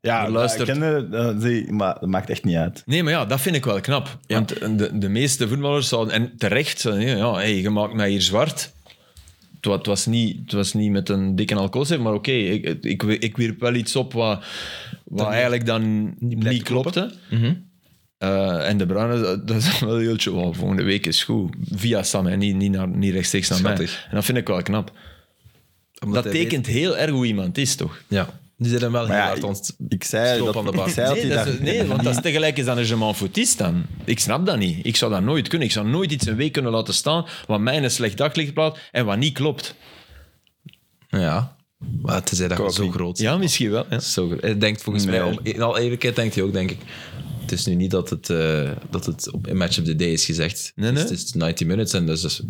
B: Ja,
D: Er luistert-
B: ik ken de- eh, die- maar dat maakt echt niet uit.
D: Nee, maar ja, dat vind ik wel knap. Want eh, de, de meeste voetballers zouden, en terecht, zouden, ja, ja, hey, je maakt mij hier zwart. Het wa- het was, niet, het was niet met een dikke alcoholsef, maar oké, ik, ik, ik wierp wel iets op wat, wat eigenlijk dan niet, klopte.
A: Mhm.
D: Eh, en de Bruyne, dat- dat is wel heel chill. Wow, volgende week is goed. Via Sam, en niet, niet, naar, niet rechtstreeks naar
A: Schattig.
D: mij. En dat vind ik wel knap.
A: Omdat
D: dat
A: hij
D: tekent heel erg hoe iemand is, toch?
A: weet- ja. Die zijn hem wel heel
B: Maar ja,
A: hard
B: ik,
A: ont-
B: ik zei
A: Stroop
B: dat,
A: aan de
B: ik
A: baard.
B: zei dat
D: Nee,
B: hij
D: dat is-
B: daar-
D: nee, want dat is tegelijk is dat een Germain Foutiste dan. Ik snap dat niet. Ik zou dat nooit kunnen. Ik zou nooit iets een week kunnen laten staan wat mij in een slecht daglicht plaatst en wat niet klopt.
A: Ja. Maar tenzij dat je zo groot
D: Ja, misschien wel. Ja.
A: Zo, gro- hij denkt volgens mij, om, in al eerlijkheid denkt hij ook, denk ik. Het is nu niet dat het, eh, dat het op in Match of the Day is gezegd.
D: Nee,
A: Dus
D: nee.
A: Het, is, 90 minutes en dus, dus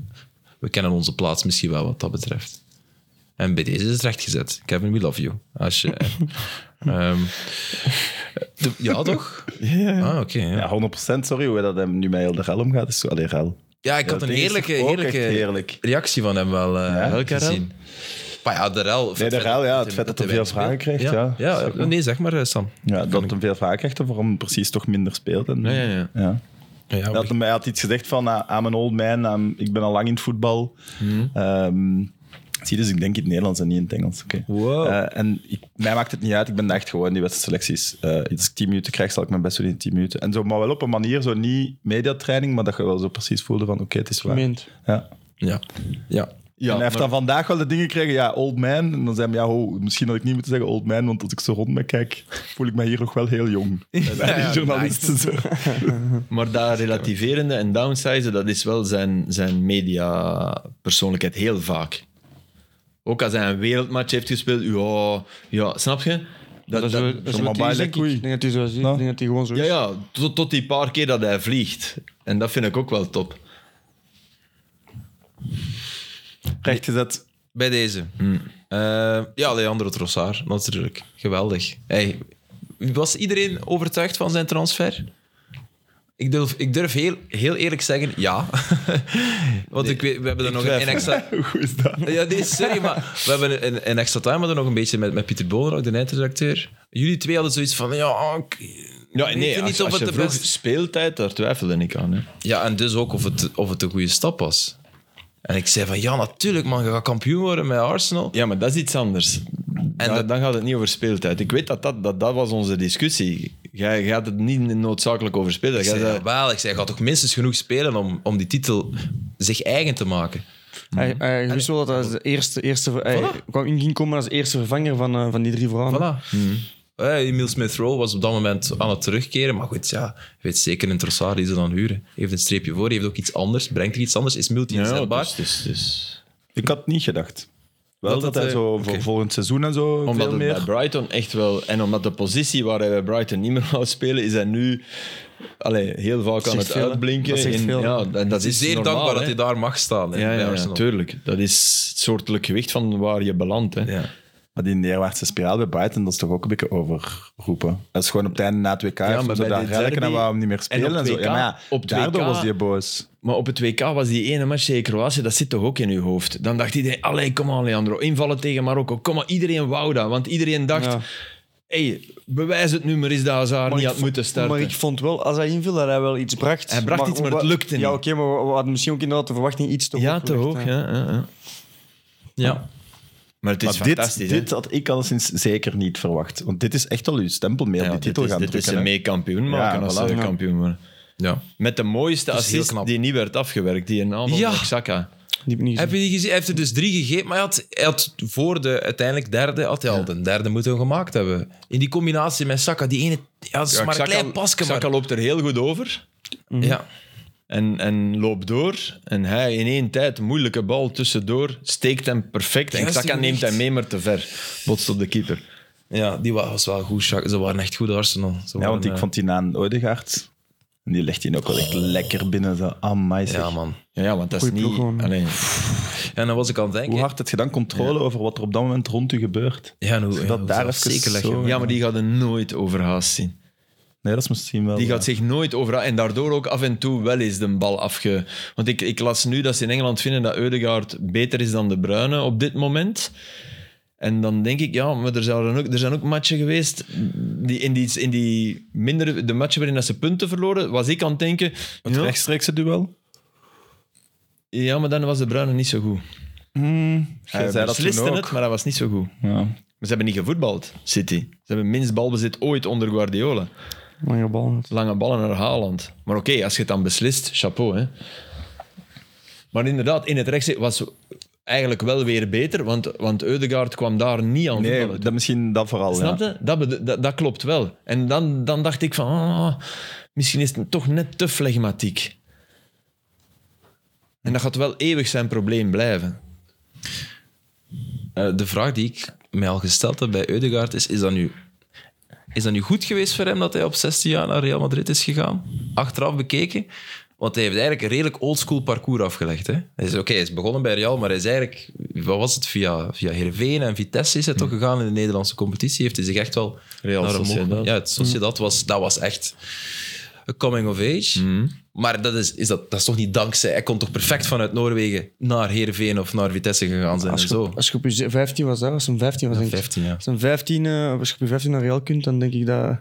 A: we kennen onze plaats misschien wel wat dat betreft. En bij deze is het rechtgezet. Kevin, we love you. Als
B: (laughs)
A: je, eh, ehm, de- ja, toch? Ah, oké. ja.
B: (laughs) Ja, 100% sorry hoe dat hem nu met heel de rel omgaat. Is zo, allee, rel.
A: Ja, ik had
B: dat
A: een
B: ding is
A: heerlijke,
B: ook echt
A: heerlijke
B: heerlijk.
A: reactie van hem wel eh
D: Welke rel?
A: gezien. Maar ja, de rel.
B: Nee, de rel, ja. Het feit dat hij veel vragen krijgt, ja.
A: Ja, ja, nee, zeg maar, eh, Sam.
B: Ja, dat hem veel vragen krijgt of waarom precies toch minder speelt. En,
D: ja, ja.
A: Ja, ja,
B: Dat hem, hij had iets gezegd van, ah, I'm an old man, I'm- ik ben al lang in het voetbal. Ehm, zie, dus ik denk in het Nederlands en niet in het Engels. Oké.
A: Wow.
B: Eh, en ik, mij maakt het niet uit, ik ben echt gewoon die wedstrijdselecties. Eh als ik 10 minuten krijg, zal ik mijn best doen in 10 minuten. En zo, maar wel op een manier, zo niet mediatraining, maar dat je wel zo precies voelde van, oké, het is waar.
C: Meent.
B: Ja.
A: ja. ja.
D: Ja,
B: en hij heeft
D: maar-
B: dan vandaag wel de dingen gekregen, ja, old man. En dan zei hij, ja, ho, misschien had ik niet moeten zeggen old man, want als ik zo rond me kijk, voel ik mij hier nog wel heel (laughs) jong. die journalisten zo.
D: Maar dat relativerende en downsizen, dat is wel zijn, zijn media-persoonlijkheid heel vaak. Ook als hij een wereldmatch heeft gespeeld, ja, ja snap je? Dat,
C: Dat is
D: dat-
C: wel- dat is
B: maar
C: wel
B: bij
C: typisch, denk
B: Lekoui.
C: ik. Ik denk dat hij zo is. Ik denk dat hij gewoon zo is.
D: ja, ja tot, tot die paar keer dat hij vliegt. En dat vind ik ook wel top.
B: Rechtgezet.
A: Bij deze.
D: Hmm.
A: Eh, ja, Leandro Trossard, natuurlijk. Geweldig. Hey, was iedereen overtuigd van zijn transfer? Ik durf, ik durf heel, heel eerlijk zeggen, ja. (laughs) Want ik weet, we hebben er nog een
D: (laughs)
A: extra...
B: (laughs) Hoe goed is dat?
A: Ja, nee, sorry, maar we hebben een, een, extra time hadden nog een beetje met, met Pieter Boner, ook de eindredacteur. Jullie twee hadden zoiets van, ja, ik
D: Ja,
A: weet
D: nee,
A: het
D: als,
A: niet of
D: als
A: het
D: je
A: de
D: vroeg
A: beste...
D: speeltijd, daar twijfelde ik aan. Hè.
A: Ja, en dus ook of het, of het een goede stap was. En ik zei van, ja, natuurlijk man, je gaat kampioen worden met Arsenal.
D: Ja, maar dat is iets anders. En
A: dat-
D: dan gaat het niet over speeltijd. Ik weet dat dat, dat, dat was onze discussie. Jij gaat het niet noodzakelijk over speeltijd.
A: Ik
D: Jij
A: zei,
D: zei,
A: jawel, ik zei, je gaat toch minstens genoeg spelen om, om die titel zich eigen te maken.
C: Hij, hij wist wel dat hij als de eerste, eerste, hij kwam in ging komen als de eerste vervanger van, eh, van die drie vrouwen.
A: Voilà.
D: Mhm.
A: Eh, Emile Smith-Rowe was op dat moment aan het terugkeren. Maar goed, ja, je weet zeker een Trossard die ze dan huren. Heeft een streepje voor, heeft ook iets anders, brengt er iets anders, is
D: ja,
A: multi-inzetbaar.
D: dus, dus, dus.
B: Ik had niet gedacht.
A: Dat
B: Wel dat,
A: het,
B: hij
A: eh,
B: zo
A: oké.
B: voor volgend seizoen en zo
D: Omdat
B: veel
D: het
B: meer...
D: bij Brighton echt wel... En omdat de positie waar hij bij Brighton niet meer (laughs) wou spelen, is hij nu allee, heel vaak aan
C: zegt
D: het
C: veel, hè.
D: uitblinken.
C: Dat zegt
D: in-
C: veel.
D: ja, en dat
A: Het is zeer
D: normaal,
A: dankbaar dat
D: hè.
A: hij daar mag staan. hè,
D: Ja,
A: bij
D: ja, ja,
A: Arsenal.
D: tuurlijk. Dat is het soortelijk gewicht van waar je belandt. Hè.
A: Ja.
B: Maar die neerwaartse spiraal bij Brighton, dat is toch ook een beetje overroepen. Dat is gewoon op het einde na het WK. Ja,
D: maar
B: maar zo
D: bij
B: daar
D: dit
B: reiken
D: derby
B: en waarom niet meer
D: en op
B: spelen en, zo. Ja, maar ja,
D: 2K op
B: daardoor
D: 2K
B: was die boos.
D: Maar op het WK was die ene match tegen Kroatië, dat zit toch ook in uw hoofd? Dan dacht iedereen, allee, kom aan Leandro, invallen tegen Marokko. Kom maar, iedereen wou dat. Want iedereen dacht,
C: Ja.
D: hey, bewijs het nu maar eens dat Hazard niet
C: ik
D: had
C: vo-
D: moeten starten.
C: Maar ik vond wel, als hij inviel, dat hij wel iets bracht.
D: Hij bracht iets, maar het
C: wa-
D: lukte
C: Ja,
D: niet.
C: oké, maar we, we hadden misschien ook inderdaad de verwachting iets te hoog.
D: ja, te
C: gelegd,
D: hoog.
C: hè.
D: Ja, ja, ja.
A: Ja.
D: Maar het is
B: Maar
D: fantastisch.
B: dit,
D: hè?
B: dit had ik alleszins zeker niet verwacht. Want dit is echt al uw stempel mee
D: Ja,
B: op die titel
D: dit is,
B: gaan
D: dit is
B: drukken.
D: een
B: hè.
D: meekampioen maken
B: Ja,
D: als
B: voilà.
D: ze kampioen worden.
A: ja.
D: Met de mooiste
A: is heel
D: assist
A: knap.
D: die niet werd afgewerkt, die een aanval
A: Ja.
D: van Xhaka.
C: Die heb ik niet
A: Heb
C: gezien.
A: je die gezien? Hij heeft er dus drie gegeven, maar hij had, hij had voor de uiteindelijk derde, had hij al de derde moeten gemaakt hebben. In die combinatie met Saka, die ene, ja, dat is maar een klein pasje. Maar,
D: Saka loopt er heel goed over Mhm.
A: ja.
D: en, en loopt door. En hij in één tijd, moeilijke bal tussendoor, steekt hem perfect. en
A: Juist
D: Saka neemt
A: gewicht.
D: hem mee, maar te ver. Botst op de keeper.
A: ja, die wa- was wel goed. Saka. Ze waren echt goed, Arsenal. Ze
B: Ja,
A: waren,
B: want ik
A: eh,
B: vond die aan Odegaard. En die legt hij ook wel echt lekker binnen. Zo. Amai, zeg.
A: Ja, man.
D: Ja, ja want dat is
C: Goeie ploeg
D: niet...
C: gewoon.
D: Allee,
A: En dan was ik aan het denken...
B: Hoe hard heb je dan controle over wat er op dat moment rond u gebeurt?
A: ja, nou, ja,
B: dat
A: hoe
B: daar
A: zou het
B: even
A: zeker leggen.
B: zo-
D: ja, maar die gaat er nooit overhaast zien.
B: Nee, dat is misschien wel...
D: Die
B: eh,
D: gaat zich nooit overal En daardoor ook af en toe wel eens de bal afge... Want ik, ik las nu dat ze in Engeland vinden dat Eudegaard beter is dan De Bruyne op dit moment. En dan denk ik, ja, maar er, zouden ook, er zijn ook matchen geweest die in die, in die minder, de matchen waarin dat ze punten verloren, was ik aan het denken...
B: Het
D: ja,
B: rechtstreekse duel.
D: ja, maar dan was De Bruyne niet zo goed.
B: Jij zei dat toen
D: besliste
B: ook.
D: het, maar dat was niet zo goed.
B: Ja.
D: Maar ze hebben niet gevoetbald, City. Ze hebben minst balbezit ooit onder Guardiola.
C: Lange bal.
D: lange ballen naar Haaland. Maar oké, als je het dan beslist, chapeau. Hè. Maar inderdaad, in het rechts was eigenlijk wel weer beter, want, want Eudegaard kwam daar niet aan
B: Nee,
D: voetballen.
B: dat, misschien dat vooral.
D: Snap
B: Ja.
D: je? Dat, bedo- dat, dat klopt wel. En dan, dan dacht ik van, ah, misschien is het toch net te flegmatiek. En dat gaat wel eeuwig zijn probleem blijven.
A: Eh, de vraag die ik mij al gesteld heb bij Eudegaard is: is dat, nu, is dat nu goed geweest voor hem dat hij op 16 jaar naar Real Madrid is gegaan? Achteraf bekeken. Want hij heeft eigenlijk een redelijk oldschool parcours afgelegd. Hè? Hij is, oké, hij is begonnen bij Real, maar hij is eigenlijk, wat was het, via, via Heerenveen en Vitesse is hij toch gegaan in de Nederlandse competitie. Heeft hij zich echt wel...
D: Real
A: naar omhoog-
D: Sociedad.
A: Ja, het Sociedad was, dat was echt een coming of age. Maar dat is, is, dat, dat is toch niet dankzij... Hij kon toch perfect vanuit Noorwegen naar Heerenveen of naar Vitesse gegaan zijn
C: Als
A: en
C: je,
A: zo.
C: op, als je op je ze- 15 was, daar, als een 15 was, denk ik.
A: 15, ja.
C: Als, een 15, eh, als je op je 15 naar Real kunt, dan denk ik dat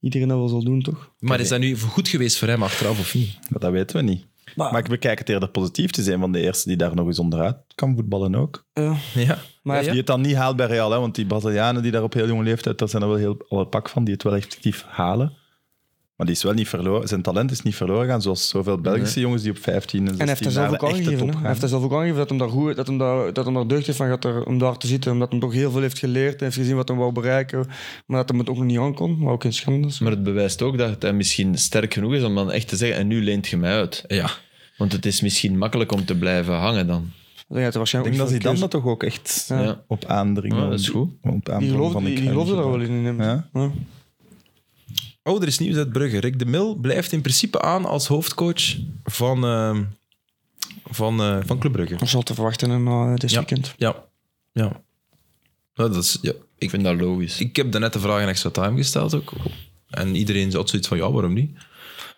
C: iedereen dat wel zal doen, toch?
A: Maar is dat nu goed geweest voor hem achteraf of niet?
B: Maar Dat weten we niet. Maar,
C: Maar-
B: ik bekijk het eerder positief te zijn van de eerste die daar nog eens onderuit kan voetballen ook.
C: Ja.
A: (laughs) eh, Ja.
C: Maar hij
B: Die het dan niet haalt bij Real, hè, want die Brazilianen die daar op heel jonge leeftijd, daar zijn er wel heel al een pak van, die het wel effectief halen. Maar die is wel niet verloren, zijn talent is niet verloren gaan, zoals zoveel Belgische jongens die op 15 en 16
C: En hij heeft er zelf
B: naar
C: ook
B: de echte
C: aangegeven.
B: top
C: hè. Hij
B: gaan.
C: heeft er zelf ook aangegeven dat hem daar, goed, dat hem daar, dat hem daar deugd heeft van gaat er, om daar te zitten. Omdat hij toch heel veel heeft geleerd. Hij heeft gezien wat hij wou bereiken. Maar dat hij het ook nog niet aankon. Maar ook geen schande is.
D: Maar het bewijst ook dat hij misschien sterk genoeg is om dan echt te zeggen, en nu leent je mij uit.
A: Ja.
D: Want het is misschien makkelijk om te blijven hangen dan.
C: Dan gaat er
B: Ik
C: waarschijnlijk
B: denk dat
C: ook
B: hij dan
C: veel
B: dat toch ook echt
C: Ja.
D: Ja.
B: op aandringen.
D: Ja, dat is goed.
B: Op
C: keuze-
B: aandringen
C: Die geloofde,
B: van de
C: die, die
B: kern
C: geloofde daar wel
B: gebruiken.
C: in. in hem.
B: Ja?
C: Ja.
A: Oh, er is nieuws uit Brugge. Rick de Mil blijft in principe aan als hoofdcoach van, ehm, van, eh, van Club Brugge.
C: Dat zal te verwachten hè, na eh, dit
A: Ja.
C: weekend.
A: Ja. Ja. Ja, dat is, ja.
D: Ik vind dat logisch.
A: Ik heb daarnet de vraag in extra time gesteld ook. En iedereen had zoiets van, ja, waarom niet?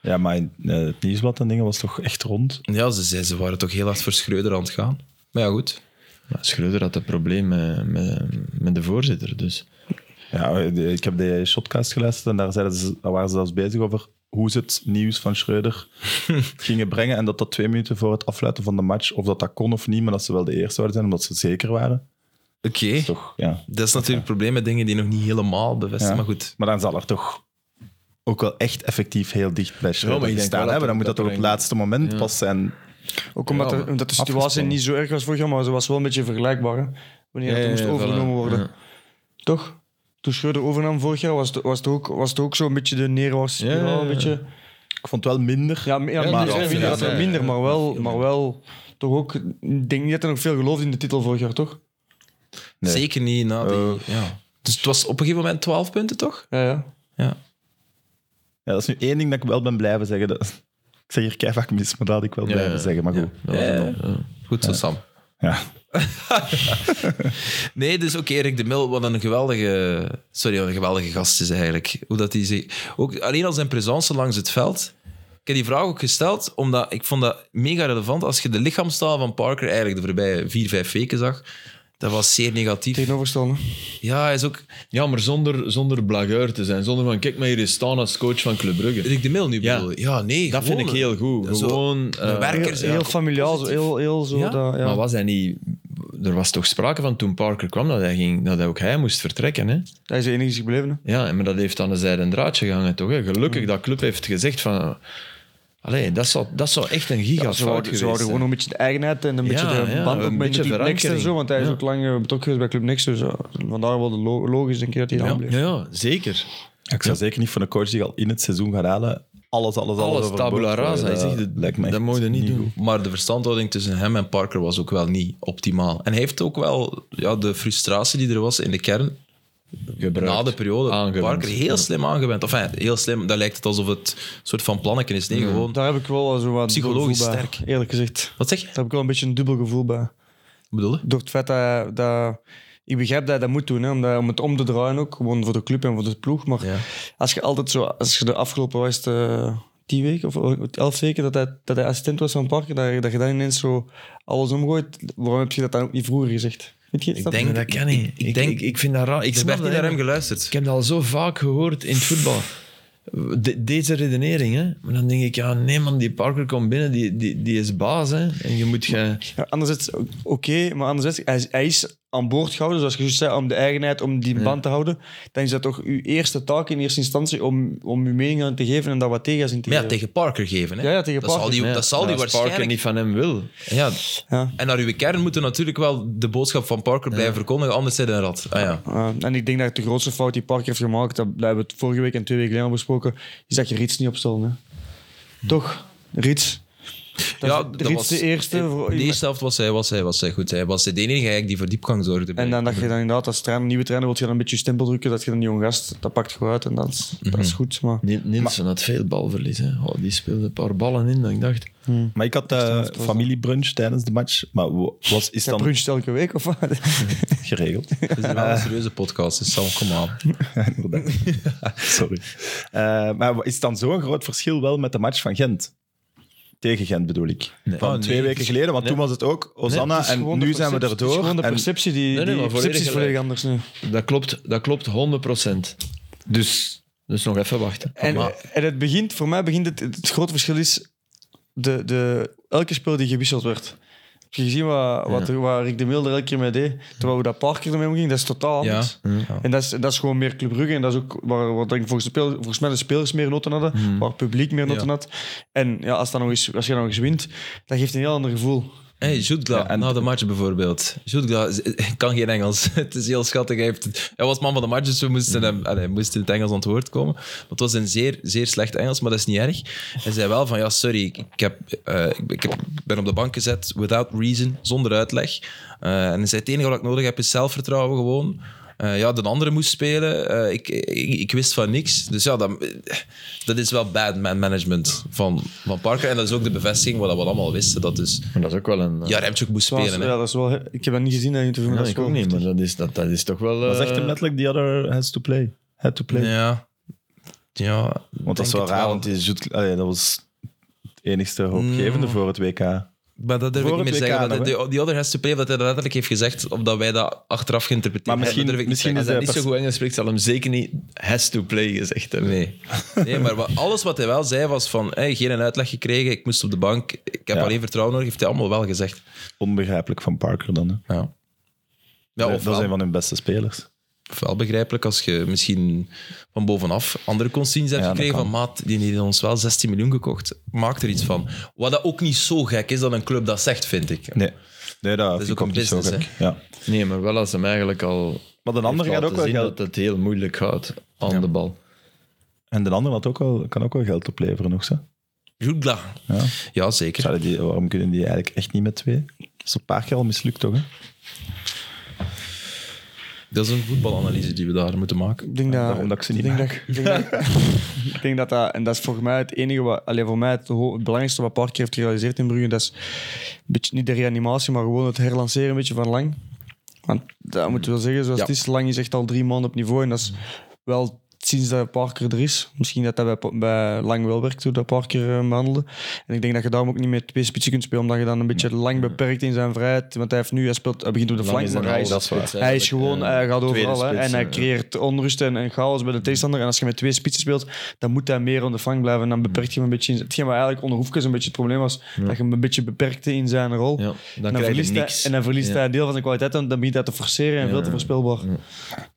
B: Ja, maar eh, het nieuwsblad en dingen was toch echt rond.
A: Ja, ze, zei, ze waren toch heel hard voor Schreuder aan het gaan. Maar ja, goed.
D: Maar Schreuder had een probleem met, met, met de voorzitter. Dus.
B: Ja, de- ik heb de shotcast geluisterd en daar, zeiden ze, daar waren ze zelfs bezig over hoe ze het nieuws van
C: (laughs)
B: Schreuder gingen brengen. En dat dat twee minuten voor het afluiten van de match, of dat dat kon of niet, maar dat ze wel de eerste waren zijn, omdat ze zeker waren.
A: Oké.
B: Toch, ja.
A: Dat is natuurlijk het probleem met dingen die nog niet helemaal bevestigd
B: Ja.
A: Maar goed.
B: Maar dan zal er toch ook wel echt effectief heel dicht bij
D: maar
B: Schreuder
D: ik denk wel
B: staan
D: dat
B: hebben. Dan
D: er-
B: moet
D: dat
B: dat toch op het
D: er een-
B: laatste moment pas zijn.
C: Ook omdat,
D: Ja,
C: er-
D: maar
C: omdat de situatie
B: afgespannen.
C: niet zo erg was vorig jaar. Maar ze was wel een beetje vergelijkbaar. hè. Wanneer het moest overgenomen worden. Toch? Toen Schreuder overnam vorig jaar was het, was het, ook, was het ook zo een beetje de neerwaartse
D: Ja, ja,
C: spiraal. Een
D: ja.
C: beetje...
B: Ik vond het wel minder.
C: Ja, maar- ja,
D: Ja,
C: maar
D: die
C: minder,
D: zijn
C: minder,
D: veel,
C: dat er
D: ja.
C: minder, maar wel, maar wel toch ook. Ik denk niet dat er nog veel geloofde in de titel vorig jaar, toch?
B: Nee. Oh.
A: Zeker niet na die... ja. Dus het was op een gegeven moment 12 punten, toch?
C: Ja, ja.
A: Ja.
B: Ja, dat is nu één ding dat ik wel ben blijven zeggen. Dat, ik zeg hier kei vaak mis, maar dat had ik wel blijven zeggen. Maar goed.
A: Goed zo, Sam.
B: Ja.
A: (laughs) Nee, dus ook Erik de Mil, wat een geweldige, sorry, wat een geweldige gast is eigenlijk. Hoe dat hij zich, ook alleen al zijn presence langs het veld. Ik heb die vraag ook gesteld, omdat ik vond dat mega relevant. Als je de lichaamstaal van Parker eigenlijk de voorbije vier, vijf weken zag, dat was zeer negatief.
C: Tegenoverstaande.
A: Ja, hij is ook
D: Ja, maar zonder, zonder blagueur te zijn. Zonder van, kijk maar hier is staan als coach van Club Brugge.
A: Erik de Mil nu
D: Ja.
A: bedoel je? Ja, nee.
D: Dat
A: gewoon
D: vind ik heel goed.
A: zo-
D: Gewoon, eh,
A: Een werker
C: Heel,
A: zijn.
C: heel familiaal, zo, heel, heel zo.
A: Ja?
C: Dat, ja.
D: Maar was hij niet... Er was toch sprake van toen Parker kwam dat, hij ging, dat hij ook hij moest vertrekken. Hè?
C: Hij is de enige gebleven. hè.
D: Ja, maar dat heeft aan de zijde een draadje gehangen, toch? Hè? Gelukkig dat club heeft gezegd van... Allee, dat zou, dat zou echt een giga
C: ze houden, ze
D: geweest
C: houden
D: zijn.
C: gewoon een beetje de eigenheid en een beetje
D: Ja,
C: de
D: ja,
C: band
D: een
C: ook met
D: beetje
C: Club Next en
D: verankering.
C: zo. Want hij is
D: Ja.
C: ook lang eh, betrokken geweest bij Club Next. Dus ja, vandaar wel de lo- logisch denk ik dat hij daar
D: ja,
C: bleef.
D: ja, ja, zeker.
B: Ik zou zeker niet van een coach die al in het seizoen gaat halen. Alles, alles, alles.
D: Alles
B: overboord
D: tabula
B: gooien.
D: rasa.
B: eh, Dat
D: Zeg, dat-
B: lijkt me
D: dat
B: echt
D: mogen we niet doen.
B: goed.
A: Maar de verstandhouding tussen hem en Parker was ook wel niet optimaal. En hij heeft ook wel ja, de frustratie die er was in de kern na de periode
D: Aangewend.
A: Parker heel slim aangewend. Enfin, heel slim, dat lijkt het alsof het een soort van plannetje is. Nee, gewoon...
C: Daar heb ik wel zo wat
A: Psychologisch
C: dubbel gevoel bij,
A: sterk.
C: Eerlijk gezegd.
A: Wat zeg je?
C: Daar heb ik wel een beetje een dubbel gevoel bij.
A: Wat bedoel je?
C: Door het feit dat, dat ik begrijp dat hij dat moet doen, hè, om, dat- om het om te draaien ook, gewoon voor de club en voor de ploeg. Maar
A: Ja.
C: als je altijd zo, als je de afgelopen was het, eh, tien weken of elf weken dat hij, dat hij assistent was van Parker, dat, je- dat je dan ineens zo alles omgooit, waarom heb je dat dan ook niet vroeger gezegd? Weet je,
A: Ik
C: snap je?
A: denk-
D: Nee, dat kan niet.
A: Ik-
D: Ik,
A: ik
D: ik,
A: denk-
D: ik, vind dat raar. Ik
A: Er
D: snap
A: werd
D: dat,
A: niet naar
D: hè,
A: hem
D: maar
A: geluisterd.
D: Ik heb dat al zo vaak gehoord in het voetbal. De- deze redenering, hè. Maar dan denk ik, ja, nee man, die Parker komt binnen, die, die, die is baas, hè. En je moet gaan...
C: Ja, anderzijds, oké, maar anderzijds, hij, is- hij is aan boord gehouden, zoals je juist zei, om de eigenheid, om die band te houden. Dan is dat toch uw eerste taak in eerste instantie om, om uw mening aan te geven en daar wat tegengas in te
A: Maar ja,
C: geven.
A: tegen Parker geven. Hè?
C: Ja, ja, tegen
A: dat
C: Parker.
A: Zal die,
D: Ja,
A: dat zal
D: maar
A: die
D: als
A: waarschijnlijk...
D: Parker niet van hem wil.
A: Ja.
C: Ja.
A: En naar uw kern moeten natuurlijk wel de boodschap van Parker blijven verkondigen, anders zit hij een rat. Ah, ja.
C: Uh, en ik denk dat de grootste fout die Parker heeft gemaakt, dat, dat hebben we het vorige week en twee weken geleden al besproken, is dat je Rits niet opstelde. hè. Toch? Rits. Dat
A: ja,
C: is- Rits de eerste. voor-
A: De eerste helft was hij, was hij, was hij goed. Hij was de enige eigenlijk die voor diepgang zorgde. bij-
C: en dan dat je dan inderdaad als trainer, nieuwe trainer, wil je dan een beetje je stempel drukken dat je dan die jong gast, dat pakt gewoon uit en dat is, dat is goed. Maar
D: Niel- Nielsen had veel balverlies, hè. Oh, die speelde een paar ballen in, dat ik dacht...
B: Maar ik had eh
C: was
B: familiebrunch tijdens de match. Maar wo- was, is
C: dat
B: dan
C: bruncht elke week of wat?
B: geregeld?
A: Het is wel een serieuze podcast, dus Sam, kom aan.
B: Inderdaad. Sorry. Eh, maar is dan zo'n groot verschil wel met de match van Gent? Tegen Gent bedoel ik. Van
A: Ah, nee,
B: twee weken
A: het is-
B: geleden, want toen was het ook Hosanna
C: Het is
B: en
C: gewoon de
B: nu zijn we
C: perceptie-
B: erdoor.
C: Het is gewoon de
B: En
C: perceptie, die,
D: nee, maar
C: die
D: volledig
C: perceptie is volledig
D: gelijk.
C: anders nu.
D: Dat klopt, dat klopt 100%. Dus, dus nog even wachten.
C: En, en het begint, voor mij begint het, het grote verschil is de, de, elke speel die gewisseld werd. Heb je gezien wat, wat, er- waar Rick de Mil er elke keer mee deed? Terwijl we dat Parker ermee omging, dat is totaal
A: Ja.
C: anders. En dat is, dat is gewoon meer Club Brugge. En dat is ook waar, waar denk ik, volgens, de speel- volgens mij de spelers meer noten hadden.
B: Mhm.
C: Waar het publiek meer noten had. En ja, als, dat nog eens, als je dan nog eens wint, dat geeft een heel ander gevoel.
A: Hey, Jutgla, na de match bijvoorbeeld. Jutgla z- (laughs) kan geen Engels. (laughs) Het is heel schattig. Hij, heeft het- hij was man van de match, dus we moesten hem, allee, hij moest in het Engels aan het woord komen. Maar het was een zeer, zeer slecht Engels, maar dat is niet erg. Hij zei wel van, ja, sorry, ik, ik heb, eh, ik, ik heb- ik ben op de bank gezet without reason, zonder uitleg. Eh, en hij zei, het enige wat ik nodig heb is zelfvertrouwen gewoon. Eh, ja, de andere moest spelen. Eh, ik, ik, ik wist van niks. Dus ja, dat, dat is wel bad man management van, van Parker. En dat is ook de bevestiging wat we allemaal wisten. Dat dus
D: Maar dat is ook wel een... eh,
A: ja, Remchuk moest
C: Dat was-
A: spelen. hè.
C: ja, dat is wel, ik heb dat niet gezien, dat interview.
D: ja,
C: maar dat is
D: ik ook
C: wel-
D: niet, maar dat is, dat, dat is toch wel...
B: Dat
D: eh,
B: zegt hem letterlijk, the other has to play. Had to play.
A: Ja. Ja,
B: want dat is wel
A: denk het
B: raar, want die Zoet- ah, ja, dat was het enigste hoopgevende voor het WK.
A: Maar dat durf ik
B: Voor
A: niet meer
B: het WK
A: zeggen.
B: nog,
A: dat- die, die other has to play, dat hij dat letterlijk heeft gezegd, omdat wij dat achteraf geïnterpreteerd
B: Maar
A: hebben, dat
B: misschien-
A: durf ik niet
B: misschien
A: zeggen.
D: Als hij niet
B: eh,
D: zo
B: pers-
D: goed Engels spreekt, zal hem zeker niet has to play gezegd hebben.
A: Nee. nee, maar wat- alles wat hij wel zei was van, hey, geen uitleg gekregen, ik moest op de bank, ik heb
B: Ja.
A: alleen vertrouwen nodig, heeft hij allemaal wel gezegd.
B: Onbegrijpelijk van Parker dan. Hè.
A: Ja. Ja,
B: dat
A: of,
B: is een van hun beste spelers.
A: wel begrijpelijk als je misschien van bovenaf andere consignes hebt
B: Ja, dat
A: gekregen van
B: kan.
A: maat, die heeft ons wel 16 miljoen gekocht. Maak er iets van. Wat dat ook niet zo gek is dat een club dat zegt, vind ik.
B: Nee, nee dat,
A: is
B: vind
A: ook
B: ik
A: een
B: ook niet zo
A: business,
B: gek. Ja.
D: Nee, maar wel als hem eigenlijk al...
B: Maar de ander
D: heeft
B: gaat
D: laten
B: ook wel
D: zien
B: geld.
D: dat het heel moeilijk gaat aan de bal.
B: En de ander had ook wel, kan ook wel geld opleveren nog. Zo.
A: Jutgla.
B: Ja.
A: Ja, zeker.
B: Zouden die, waarom kunnen die eigenlijk echt niet met twee? Dat is een paar keer al mislukt, toch? Hè?
A: Dat is een voetbalanalyse die we daar moeten maken.
C: Ik denk dat,
B: Daarom dat ik ze niet
C: denk dat, ik denk dat, (laughs) ik denk dat dat- en dat is voor mij het enige wat, alleen voor mij het, ho- het belangrijkste wat Parker heeft gerealiseerd in Brugge, dat is een beetje niet de reanimatie, maar gewoon het herlanceren een beetje van Lang. Want dat moeten we wel zeggen, zoals
A: Ja.
C: het is, Lang is echt al drie maanden op niveau en dat is wel sinds dat Parker er is. Misschien dat dat bij, Pa- bij Lang wel werkt, hoe dat Parker eh behandelde. En ik denk dat je daarom ook niet met twee spitsen kunt spelen, omdat je dan een beetje Lang beperkt in zijn vrijheid. Want hij, heeft nu, hij, speelt, hij begint op de
D: Lang
C: flank,
D: is
C: maar
D: een
C: hij is-
D: halve spits,
C: hij is
D: eh, eigenlijk.
C: gewoon,
D: Ja.
C: hij gaat
D: Tweede
C: overal hè,
D: spits, eh.
C: en hij
D: ja.
C: creëert onrust en, en chaos bij de tegenstander. En als je met twee spitsen speelt, dan moet hij meer aan de flank blijven. En dan beperkt je hem een beetje in Hetgeen wat eigenlijk onder Hoefkes een beetje het probleem was, dat je hem een beetje beperkte in zijn rol.
D: Ja, dan
C: En
D: krijg je
C: verliest
D: niks.
C: Hij, en dan verliest
D: Ja.
C: hij een deel van zijn kwaliteit en dan begint hij te forceren en veel te voorspelbaar.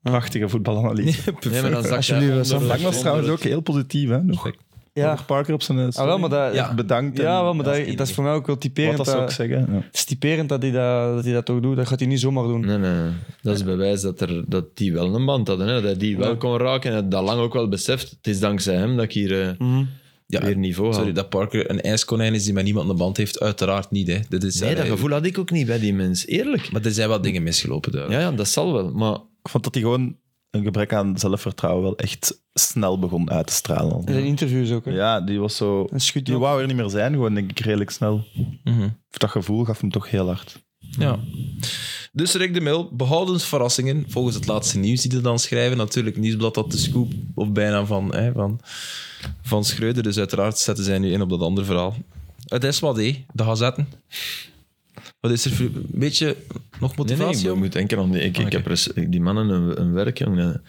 B: Prachtige voetbalanalyse.
D: Nee, maar dan zakt hij
C: Alsjeblieft,
D: onder-
C: Sam.
B: Lang was trouwens ook heel positief, hè? Nog.
C: Ja.
B: Robert Parker op zijn eh,
C: Ah, wel, maar dat,
A: Ja.
C: ja.
B: bedankt. en-
C: wel, maar
B: ja,
C: dat, dat is voor mij ook wel typerend.
B: Wat dat zou ik
C: dat-
B: zeggen. Ja.
C: het is typerend dat hij dat, dat hij dat ook doet. Dat gaat hij niet zomaar doen.
D: Nee, nee, nee. Dat is bewijs dat, er, dat die wel een band hadden. Hè? Dat die wel kon raken en dat lang ook wel beseft. Het is dankzij hem dat ik hier eh,
A: Ja,
D: weer niveau had.
A: Sorry, dat Parker een ijskonijn is die met niemand een band heeft. Uiteraard niet. Hè. Dit is,
D: nee, dat
A: eh,
D: gevoel had ik ook niet bij die mens. Eerlijk.
A: Maar er zijn wel dingen misgelopen. duidelijk.
D: Ja, ja, dat zal wel. Maar
B: Ik vond dat hij gewoon een gebrek aan zelfvertrouwen wel echt snel begon uit te stralen. al.
C: Er zijn interviews ook. Hè.
B: Ja, die was zo...
C: Een schudje
B: Die
C: op.
B: wou er niet meer zijn, gewoon denk ik redelijk snel.
A: Mhm.
B: Dat gevoel gaf hem toch heel hard.
A: Ja. Dus Rick de Mil, behoudens verrassingen, volgens het laatste nieuws die ze dan schrijven. Natuurlijk, nieuwsblad dat de scoop, of bijna van, hè, van, van Schreuder. Dus uiteraard zetten zij nu in op dat andere verhaal. Het is wat, hé, de gazetten. Wat is er voor... Een beetje nog
D: nee, nee,
A: motivatie
D: ik
A: om-
D: moet denken aan die... Ik, ik
A: Oké.
D: heb res- die mannen een, een werk, jongen.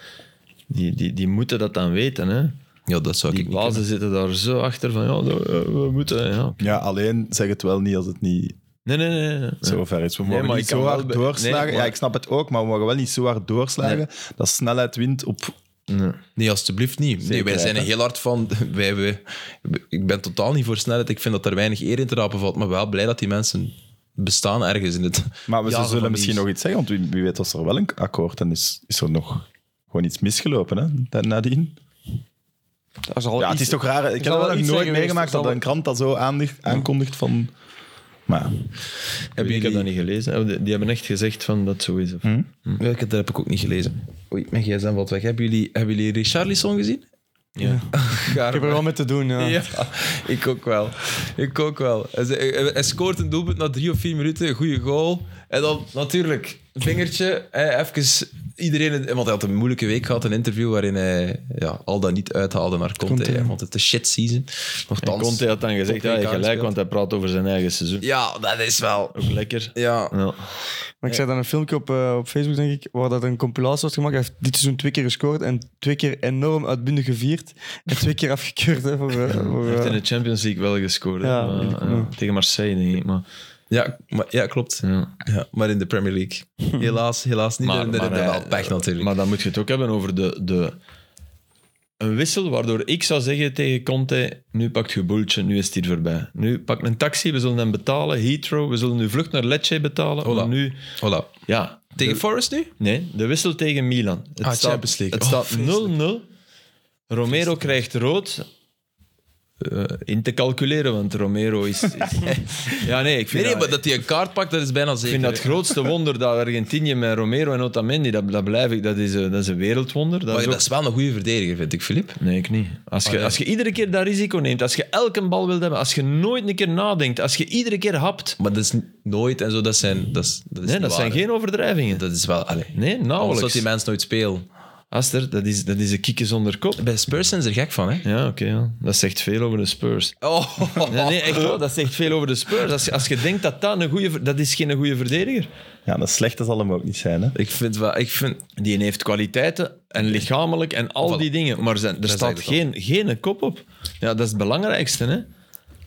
D: Die, die, die moeten dat dan weten, hè.
A: Ja, dat zou ik
D: Die
A: niet kunnen.
D: bazen zitten daar zo achter van, ja, dat- eh, we moeten... Ja.
B: Ja, alleen zeg het wel niet als het niet
D: Nee, nee, nee. nee.
B: zo ver is. We
D: Nee,
B: mogen
D: maar
B: niet
D: ik kan
B: zo
D: wel
B: hard
D: be-
B: doorslagen.
D: Nee, maar-
B: Ja, ik snap het ook, maar we mogen wel niet zo hard doorslagen dat snelheid wint op...
D: Nee.
A: Nee, alstublieft niet. Nee, wij
B: Zekerheid,
A: zijn er
B: hè?
A: heel hard van. (laughs) Wij, wij, ik ben totaal niet voor snelheid. Ik vind dat er weinig eer in te rapen valt. Maar wel blij dat die mensen bestaan ergens in (laughs) het.
B: Maar
A: jagen van
B: we zullen
A: nieuws.
B: misschien nog iets zeggen, want wie, wie weet was er wel een akkoord en is, is er nog gewoon iets misgelopen, hè, da- nadien.
C: Dat is al
B: Ja, het
C: iets-
B: is toch raar. Ik heb
C: zal wel
B: dat nog
C: iets zijn
B: nooit
C: geweest,
B: meegemaakt
C: er zal
B: dat
C: wel-
B: een krant dat zo aandicht- aankondigt van... Maar ja.
A: Hebben
D: Ik heb dat
A: jullie...
D: niet gelezen. Hm? Oh, Die, die hebben echt gezegd van dat zo is. Of...
A: Welke, dat heb ik ook niet gelezen. Oei, mijn gsm valt weg. Hebben jullie, hebben jullie Richarlison gezien? (laughs)
D: Ja.
C: Ik heb er wel mee te doen. Ja.
A: Ja, ik ook wel. Ik ook wel. Hij, hij- hij scoort een doelpunt na drie of vier minuten, een goede goal. En dan natuurlijk, vingertje, eh, even iedereen... Want hij had een moeilijke week gehad, een interview waarin hij ja, al dat niet uithaalde naar Conte.
C: Conte,
A: Hij
C: ja.
A: vond het een shit season.
D: En
A: Nochtans,
D: Conte had dan gezegd,
A: Op
D: ja,
A: WK
D: gelijk,
A: gespeeld.
D: want hij praat over zijn eigen seizoen.
A: Ja, dat is wel...
D: Ook lekker.
A: Ja,
D: Ja.
C: Maar ik zei dan een filmpje op, eh, op Facebook, denk ik, waar dat een compilatie wordt gemaakt. Hij heeft dit seizoen twee keer gescoord en twee keer enorm uitbundig gevierd. En twee keer afgekeurd. Hè, voor, eh, voor,
D: Hij heeft
C: eh,
D: in de Champions League wel gescoord. hè,
C: Ja,
D: maar,
C: weet ik
D: ja,
C: nog.
D: tegen Marseille, denk ik. Maar,
A: ja, maar, ja klopt.
D: ja.
A: Ja, maar in de Premier League.
D: (laughs)
A: Helaas, helaas niet.
D: Maar-
A: Maar,
D: maar hij-
A: wel pech natuurlijk.
D: maar dan moet je het ook hebben over de, de, een wissel waardoor ik zou zeggen tegen Conte, nu pakt je boeltje, nu is het hier voorbij. Nu pak een taxi, we zullen hem betalen, Heathrow, we zullen nu vlucht naar Lecce betalen.
A: Hola.
D: maar nu,
A: Voilà.
D: ja,
A: Tegen Forest nu?
D: Nee, de wissel tegen Milan. Het
A: Ah, Champions League.
D: Het
A: Oh,
D: staat 0-0.
A: vreselijk.
D: Romero krijgt rood. Eh, in te calculeren, want Romero
A: (laughs)
D: is... is- ja, nee, ik vind,
A: Nee, nee,
D: dat,
A: maar dat hij een kaart pakt, dat is bijna
D: ik
A: zeker.
D: vind dat het
A: hè.
D: grootste wonder dat Argentinië met Romero en Otamendi, dat, dat blijf ik, dat is, eh, dat is een wereldwonder. Dat
A: Maar
D: is ook-
A: dat Ah, is wel een goede verdediger, vind ik, Filip.
D: Nee, ik niet. Als je, als je iedere keer dat risico neemt, als je elke bal wilt hebben, als je nooit een keer nadenkt, als je iedere keer hapt...
A: Maar dat is n- nooit en zo. Dat zijn. Dat is, dat is
D: Nee,
A: niet
D: dat zijn
A: waar, hè.
D: geen overdrijvingen.
A: Dat is wel. Allee,
D: nee,
A: Anders dat
D: nauwelijks.
A: die mensen nooit spelen.
D: Aster, dat is, dat is een kieken zonder kop.
A: Bij Spurs zijn ze er gek van, hè?
D: Ja, oké. ja. Dat zegt veel over de
A: (laughs)
D: Spurs.
A: Oh,
D: Nee, nee, echt wel. Dat zegt veel over de Spurs. Als je, als je denkt dat dat een goede... ver- Dat is geen goede verdediger.
B: ja, dat slechte zal hem ook niet zijn. Hè.
A: ik vind wel. Ik vind,
D: Die heeft kwaliteiten en lichamelijk en al die dingen. Maar zijn, er staat
A: zeg je
D: geen, geen kop op. Ja, dat is het belangrijkste. Hè?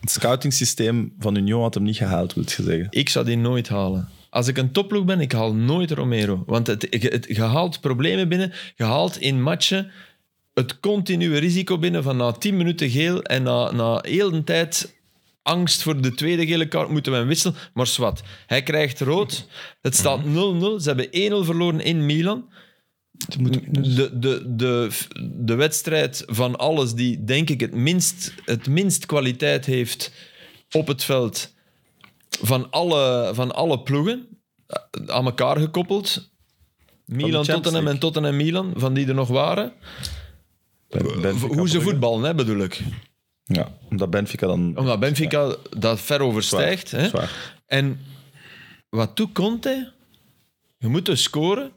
B: Het scoutingsysteem van Union had hem niet gehaald, wil je zeggen.
D: Ik zou die nooit halen. Als ik een topploeg ben, ik haal nooit Romero. Want het, je- het, je haalt problemen binnen. Je haalt in matchen het continue risico binnen van na 10 minuten geel en na, na heel de tijd angst voor de tweede gele kaart moeten we hem wisselen. Maar zwart, hij krijgt rood. Het staat 0-0. Ze hebben 1-0 verloren in Milan.
B: Dus-
D: De, de, de, de wedstrijd van alles die, denk ik, het minst, het minst kwaliteit heeft op het veld van alle, van alle ploegen eh, aan elkaar gekoppeld. Milan,
B: Champions
D: Tottenham en
B: League.
D: Tottenham, Milan, van die er nog waren.
B: Ben- Benfica
D: Eh, Hoe ze
B: Brugge.
D: voetballen, hè, bedoel ik.
B: Ja, omdat Benfica dan...
D: Omdat Benfica dat ver
B: Zwaar,
D: overstijgt. hè.
B: zwaar.
D: En wat doet Conte? Je moet dus scoren.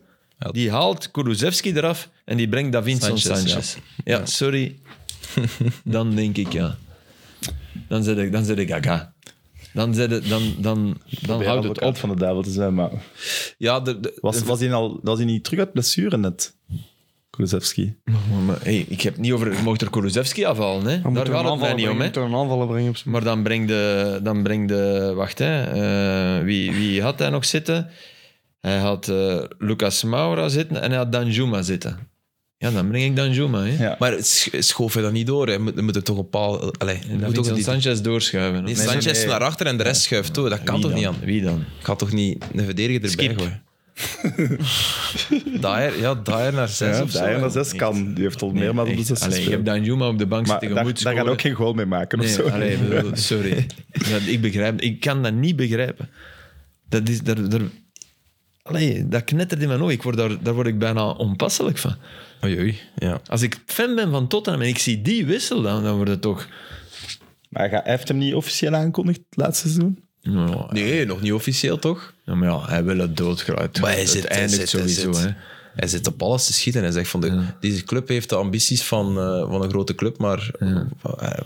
D: Die haalt Kulusevski eraf en die brengt Davinson
A: Sanchez,
D: Sanchez. Ja. sorry. dan denk ik ja. Dan zet ik, dan zet ik gaga. Dan, zet het, dan, dan, dan
B: Probeer
D: houdt het
B: advocaat
D: op.
B: van de duivel te zijn, maar...
A: ja, de, de-
B: Was, was, hij, al, was hij niet terug uit blessure net? Kulusevski.
D: Maar, maar, hey, ik heb niet over... Je mocht er Kulusevski afhalen, hè.
C: we moeten
D: Daar
C: een
D: gaat het mij
C: aanvaller
D: niet om,
C: brengen,
D: hè.
C: we moeten een aanvaller brengen op z'n-
D: Maar dan breng de... Dan breng de wacht, hè. eh, wie, wie had hij nog zitten? Hij had eh, Lucas Moura zitten en hij had Danjuma zitten. Ja, dan breng ik Danjuma. Hè.
B: Ja.
A: Maar sch- schoof je dat niet door? Hij moet, moet het toch een paal... Allee, je moet
D: Moet
A: toch
D: ook
A: die-
D: Sanchez doorschuiven.
A: Nee,
D: of-
A: Sanchez
B: nee, nee.
A: naar achter en de rest schuift toe. Dat kan toch niet aan?
D: Wie dan?
A: Ik ga toch niet een verdediger erbij
D: Skip.
A: gooien? Dyer, ja, Dyer naar zes
B: Ja,
A: of zo.
B: Dyer naar zes
A: Echt.
B: kan. Die heeft al meermaals op de
D: echt.
B: zes
D: Allee, je
B: gespeeld.
D: hebt Danjuma op de bank
B: Maar
D: zitten.
B: daar,
D: Je
B: daar
D: moet
B: gaat
D: scoren.
B: ook geen goal mee maken of
D: Nee,
B: zo.
D: allee, ik bedoel, sorry. Dat, ik begrijp Ik kan dat niet begrijpen. Dat is... Daar, daar, allee, dat knettert in mijn oog. Ik word daar, daar word ik bijna onpasselijk van.
A: Oei, oei. Ja.
D: Als ik fan ben van Tottenham en ik zie die wissel, dan, dan wordt het toch...
B: Maar hij heeft hem niet officieel aangekondigd het laatste seizoen?
D: Nou,
A: Nee, nog niet officieel, toch?
D: ja, nou, maar ja, hij wil het doodgruid.
A: Maar hij
D: het
A: zit, hij
D: eindigt
A: zit, hij
D: sowieso.
A: zit.
D: Hè.
A: Hij zit op alles te schieten. Hij zegt van, de, deze club heeft de ambities van, eh, van een grote club, maar eh,